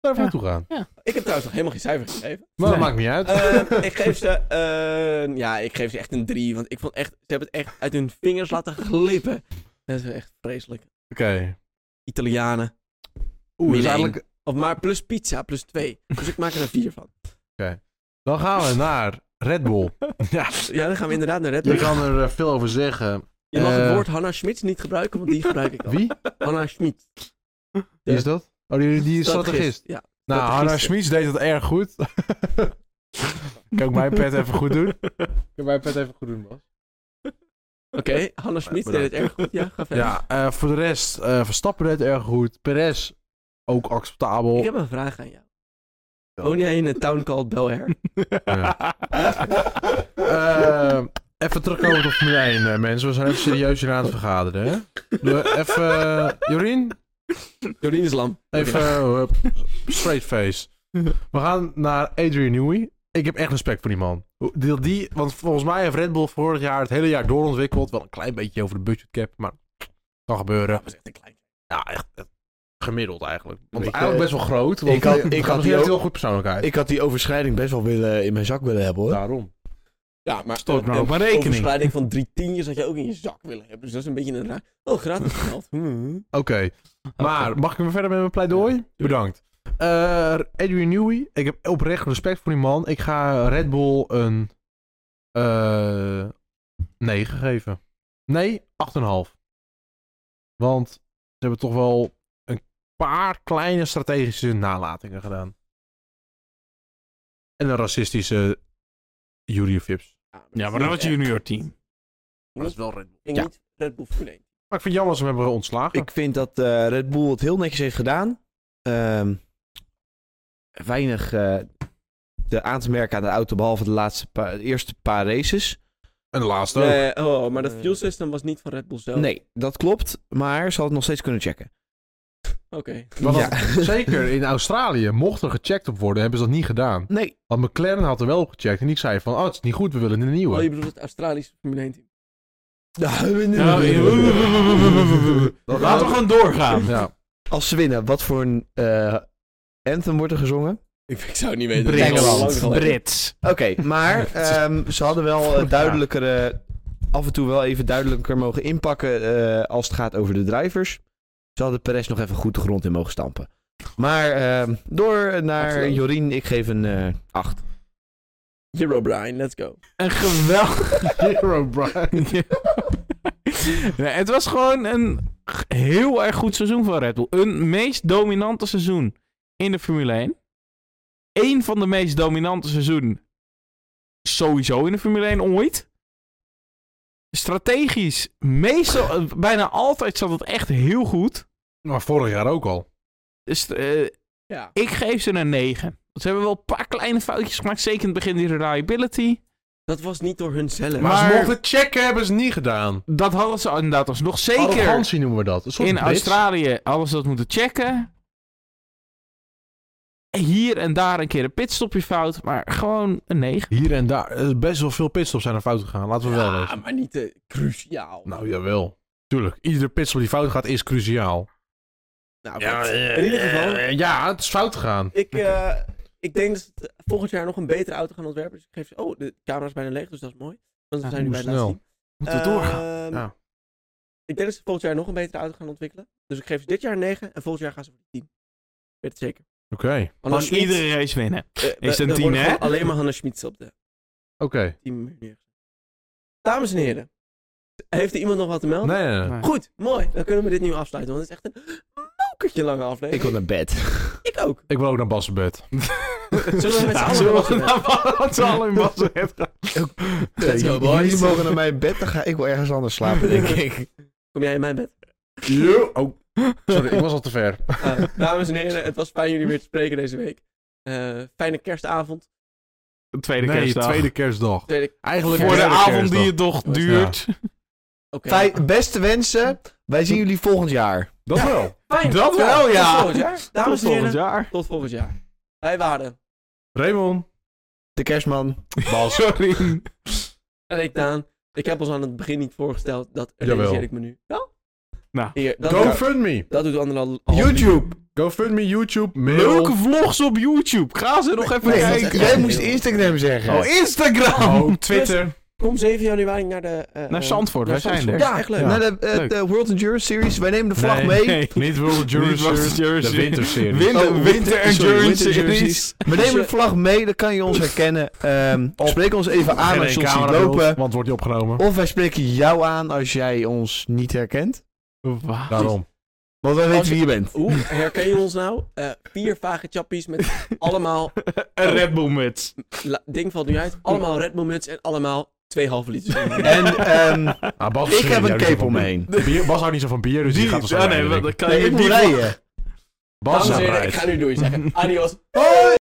Speaker 4: Daar even
Speaker 2: Ja.
Speaker 4: naartoe gaan.
Speaker 1: Ik heb trouwens nog helemaal geen cijfer gegeven.
Speaker 4: Maar
Speaker 2: Nee.
Speaker 4: dat maakt niet uit.
Speaker 1: Eh, ik geef ze... eh, ja, ik geef ze echt een 3. Want ik vond echt... Ze hebben het echt uit hun vingers laten glippen. Dat is echt vreselijk.
Speaker 4: Oké.
Speaker 1: Italianen.
Speaker 4: Oeh, dus
Speaker 1: Min één.
Speaker 4: eigenlijk...
Speaker 1: Of maar plus pizza, plus 2. Dus ik maak er een 4 van.
Speaker 4: Dan gaan we naar Red Bull. ja,
Speaker 1: Ja, dan gaan we inderdaad naar Red
Speaker 4: je
Speaker 1: Bull.
Speaker 4: kan er eh, veel over zeggen.
Speaker 1: Je mag het
Speaker 4: Eh.
Speaker 1: woord Hannah Schmitz niet gebruiken, want die gebruik ik al.
Speaker 4: Wie?
Speaker 1: Hannah Schmitz.
Speaker 4: Wie is dat? Oh, die, die is strategist.
Speaker 1: Ja.
Speaker 4: Nou,
Speaker 1: Strategisten.
Speaker 4: Hannah Schmitz deed dat erg *laughs* goed. kan ik mijn pet even goed doen? Kan mijn pet even goed doen, Bas?
Speaker 1: Oké, Hannah Schmitz deed
Speaker 4: bedankt.
Speaker 1: het erg goed. Ja, ga verder.
Speaker 4: Ja, eh, voor de rest, eh Verstappen deed het erg goed. Perez, ook acceptabel.
Speaker 1: Ik heb een vraag aan jou.
Speaker 4: Ja.
Speaker 1: Woon jij in een town called Bel Air?
Speaker 4: Eh, even terugkomen op de Formule 1, eh, mensen. We zijn even serieus hier aan het vergaderen, hè? Doe even... eh, Jorien?
Speaker 1: Jordien is lam.
Speaker 4: Even eh, hup, straight face. We gaan naar Adrian Newey. Ik heb echt respect voor die man. Hoe- Die, die, want volgens mij heeft Red Bull vorig jaar het hele jaar doorontwikkeld. Wel een klein beetje over de budget cap, maar kan gebeuren.
Speaker 1: was echt een klein.
Speaker 4: Ja, echt, echt gemiddeld eigenlijk. Want
Speaker 3: Ik,
Speaker 4: eigenlijk
Speaker 3: eh,
Speaker 4: best wel groot. Want
Speaker 3: ik had-
Speaker 4: *laughs*
Speaker 3: ik
Speaker 4: het
Speaker 3: had
Speaker 4: gaat
Speaker 3: die
Speaker 4: heel,
Speaker 3: ook-
Speaker 4: heel goed persoonlijk uit.
Speaker 3: Ik had die overschrijding best wel willen, in mijn zak willen hebben hoor.
Speaker 4: Daarom.
Speaker 1: Ja, maar
Speaker 2: Stoot maar
Speaker 1: een-
Speaker 2: op mijn
Speaker 1: een
Speaker 2: rekening.
Speaker 1: overschrijding van drie tientjes had je ook in je zak willen hebben. Dus dat is een beetje een raar... Oh, gratis
Speaker 4: *laughs*
Speaker 1: geld. Hmm.
Speaker 4: Oké, maar mag ik weer verder met mijn pleidooi? Bedankt. Eh Adrian Newey, ik heb oprecht respect voor die man. Ik ga Red Bull een eh 9 geven. Nee, 8,5. Want ze hebben toch wel een paar kleine strategische nalatingen gedaan. En een racistische Jury Vips.
Speaker 2: ja, maar dat was junior team.
Speaker 1: Maar dat is
Speaker 4: wel Red Bull.
Speaker 1: Ging
Speaker 3: Ja.
Speaker 1: niet Red Bull Formule 1.
Speaker 4: Maar ik vind het jammer dat ze hem hebben ontslagen.
Speaker 3: Ik vind dat eh, Red Bull het heel netjes heeft gedaan. Ehm, weinig eh, de aan te merken aan de auto, behalve de, laatste paar, de eerste paar races.
Speaker 4: En de laatste ook.
Speaker 1: Eh, Nee, oh, maar dat fuel system was niet van Red Bull zelf.
Speaker 3: Nee, dat klopt. maar ze hadden het nog steeds kunnen checken.
Speaker 1: Oké.
Speaker 4: Want
Speaker 3: Ja.
Speaker 4: dat- zeker in Australië, mocht er gecheckt op worden, hebben ze dat niet gedaan.
Speaker 3: Nee,
Speaker 4: Want McLaren had er wel op gecheckt en die zei van, oh, het is niet goed, we willen een
Speaker 1: Oh, je
Speaker 4: nieuwe.
Speaker 1: bedoelt het Australische Formule 1 team. *laughs*
Speaker 4: Dat-
Speaker 2: Laten we gewoon doorgaan.
Speaker 4: Ja.
Speaker 3: als ze winnen, wat voor een eh, anthem wordt er gezongen?
Speaker 1: Ik, ik zou het niet weten.
Speaker 3: Brits.
Speaker 1: Dat is al lang
Speaker 2: Brits.
Speaker 1: geleden.
Speaker 2: Brits.
Speaker 3: Oké, maar ehm, ze hadden wel eh,
Speaker 2: Ja.
Speaker 3: duidelijkere, af en toe wel even duidelijker mogen inpakken eh, als het gaat over de drivers. Ze hadden Perez nog even goed de grond in mogen stampen. Maar ehm, door naar
Speaker 1: Absoluut.
Speaker 3: Jorien, ik geef een eh 8.
Speaker 1: Jero O'Brien, let's go.
Speaker 2: Een geweldig... *laughs*
Speaker 4: Hero Brian.
Speaker 2: Nee, het was gewoon een g- heel erg goed seizoen van Red Bull. Een meest dominante seizoen in de Formule 1. Eén van de meest dominante seizoenen sowieso in de Formule 1 ooit. Strategisch, meestal, eh, bijna altijd zat het echt heel goed.
Speaker 4: Maar vorig jaar ook al.
Speaker 2: Dus, eh,
Speaker 1: Ja.
Speaker 2: ik geef ze een 9. Want ze hebben wel een paar kleine foutjes gemaakt. Zeker in het begin die reliability.
Speaker 1: Dat was niet door hunzelf.
Speaker 4: Maar,
Speaker 2: Maar-
Speaker 4: ze mochten checken, hebben ze niet gedaan.
Speaker 2: Dat hadden ze inderdaad alsnog. Zeker
Speaker 4: Arrogantie noemen we dat. Een soort
Speaker 2: in
Speaker 4: bitch.
Speaker 2: Australië hadden ze dat moeten checken. Hier en daar een keer een pitstopje fout. Maar gewoon een 9.
Speaker 4: Hier en daar. Eh, Best wel veel pitstops zijn er fout gegaan, laten we wel
Speaker 1: Ja,
Speaker 4: wezen.
Speaker 1: maar niet eh, cruciaal.
Speaker 4: Nou, jawel. Tuurlijk, iedere pitstop die fout gaat is cruciaal.
Speaker 1: Nou, goed. in ieder geval,
Speaker 4: eh, ja, het is fout gegaan.
Speaker 1: ik, eh, ik denk dat ze het volgend jaar nog een betere auto gaan ontwerpen. Dus ik geef ze... Oh, de camera is bijna leeg, dus dat is mooi. Want we
Speaker 2: Ja,
Speaker 1: zijn nu
Speaker 4: hoe
Speaker 1: bij het laatste
Speaker 4: snel.
Speaker 1: team.
Speaker 4: Moeten we
Speaker 1: Ehm,
Speaker 4: doorgaan? Ja.
Speaker 1: Ik denk dat ze volgend jaar nog een betere auto gaan ontwikkelen. Dus ik geef ze dit jaar een 9 en volgend jaar gaan ze voor de 10. Ik weet het zeker.
Speaker 4: Oké,
Speaker 1: Hanna
Speaker 2: Als
Speaker 1: Schmitz,
Speaker 2: iedere race winnen.
Speaker 1: eh, we-
Speaker 2: is het een
Speaker 1: er
Speaker 2: 10,
Speaker 1: worden
Speaker 2: hè?
Speaker 1: gewoon Alleen maar Hanna Schmitz op de
Speaker 4: oké.
Speaker 1: 10 neergezet. Dames en heren, heeft er iemand nog wat te melden?
Speaker 4: Nee, nee, nee.
Speaker 2: Maar-
Speaker 1: Goed, mooi. Dan kunnen we dit nu afsluiten, want het is echt een mokertje lange
Speaker 3: Ik
Speaker 1: aflevering.
Speaker 3: wil naar bed.
Speaker 1: Ik, ook.
Speaker 4: Ik wil ook naar Bas' bed.
Speaker 1: *laughs* Zullen we
Speaker 2: *laughs*
Speaker 1: met z'n
Speaker 2: Ja,
Speaker 1: allen
Speaker 2: zullen we nou
Speaker 1: naar
Speaker 2: met z'n allen in Basel
Speaker 1: Let's go, boys.
Speaker 3: Jullie mogen naar mijn bed, dan ga ik wel ergens anders
Speaker 1: *laughs*
Speaker 3: slapen, denk ik.
Speaker 1: Kom jij in mijn bed?
Speaker 4: Oh, sorry, ik was al te ver.
Speaker 1: Eh, dames en heren, het was fijn jullie weer te spreken deze week. Eh, fijne kerstavond.
Speaker 2: Tweede
Speaker 4: nee,
Speaker 2: kerstdag.
Speaker 4: tweede kerstdag.
Speaker 1: Tweede... Oké.
Speaker 4: Eigenlijk
Speaker 2: Voor de
Speaker 4: derde
Speaker 2: avond
Speaker 4: kerstdag.
Speaker 2: die het toch duurt.
Speaker 3: Fijn, beste wensen, wij zien jullie volgend jaar.
Speaker 4: Dat wel.
Speaker 1: Fijn.
Speaker 2: Dat wel,
Speaker 1: Tot
Speaker 2: ja.
Speaker 1: volgend jaar. Dames
Speaker 2: Tot
Speaker 1: en heren,
Speaker 2: volgend jaar.
Speaker 1: tot volgend jaar. Wij waren...
Speaker 4: Raymond.
Speaker 3: De kerstman.
Speaker 2: Sorry.
Speaker 1: En ik Daan. Ik heb ons aan het begin niet voorgesteld. Dat realiseer
Speaker 4: Jawel.
Speaker 1: ik me nu. Wel?
Speaker 2: *laughs* Nou.
Speaker 1: Hier, dat,
Speaker 4: GoFundMe.
Speaker 1: dat doet anderhalf
Speaker 3: YouTube.
Speaker 4: GoFundMe, YouTube, mail.
Speaker 2: Leuke vlogs op YouTube. Ga ze nog even
Speaker 3: Nee,
Speaker 1: dat is
Speaker 2: kijken.
Speaker 3: jij moest Instagram zeggen.
Speaker 2: Oh, Instagram.
Speaker 4: Oh,
Speaker 1: Twitter. Kom 7 januari naar de... eh,
Speaker 2: Naar Zandvoort, wij zijn er.
Speaker 1: Ja, echt leuk.
Speaker 3: Naar de, eh,
Speaker 2: Leuk.
Speaker 3: de World Endurance Series. Wij nemen de vlag
Speaker 2: Nee,
Speaker 3: mee.
Speaker 2: nee.
Speaker 4: Niet World
Speaker 2: Niet World Jurors.
Speaker 4: De winterserie.
Speaker 2: *laughs* Winter,
Speaker 3: Oh,
Speaker 2: winter
Speaker 3: sorry,
Speaker 2: Endurance
Speaker 3: Winter Series.
Speaker 2: Series.
Speaker 3: We nemen de vlag mee, dan kan je ons herkennen. Ehm, spreek ons even aan als je ons ziet lopen.
Speaker 4: Want het wordt niet opgenomen.
Speaker 3: Of wij spreken jou aan als jij ons niet herkent.
Speaker 4: Daarom.
Speaker 3: Want wij weten
Speaker 1: je-
Speaker 3: wie je
Speaker 2: *laughs*
Speaker 3: bent.
Speaker 1: Hoe herken je ons nou? Eh, vier vage chappies
Speaker 2: *laughs*
Speaker 1: met allemaal...
Speaker 2: Een Red Bull muts.
Speaker 1: la- ding valt nu uit. Allemaal Red Bull muts en allemaal twee halve liters.
Speaker 3: En ehm,
Speaker 4: Ah, Bas
Speaker 3: ik heb
Speaker 4: houdt
Speaker 3: een
Speaker 4: niet zo
Speaker 3: cape
Speaker 4: van
Speaker 3: om me
Speaker 4: bier.
Speaker 3: heen.
Speaker 4: Bier- Bas houdt niet zo van bier, dus die, gaat
Speaker 2: ja,
Speaker 4: waarschijnlijk
Speaker 2: Ah, nee,
Speaker 4: rijden,
Speaker 2: dat
Speaker 4: denk ik.
Speaker 2: kan
Speaker 3: Nee,
Speaker 2: je
Speaker 3: ik moet
Speaker 2: die
Speaker 3: rijden.
Speaker 1: Dames
Speaker 4: Bas
Speaker 1: en
Speaker 4: aan
Speaker 1: heren, ik
Speaker 4: rijden.
Speaker 1: ga nu door je zeggen. Adios.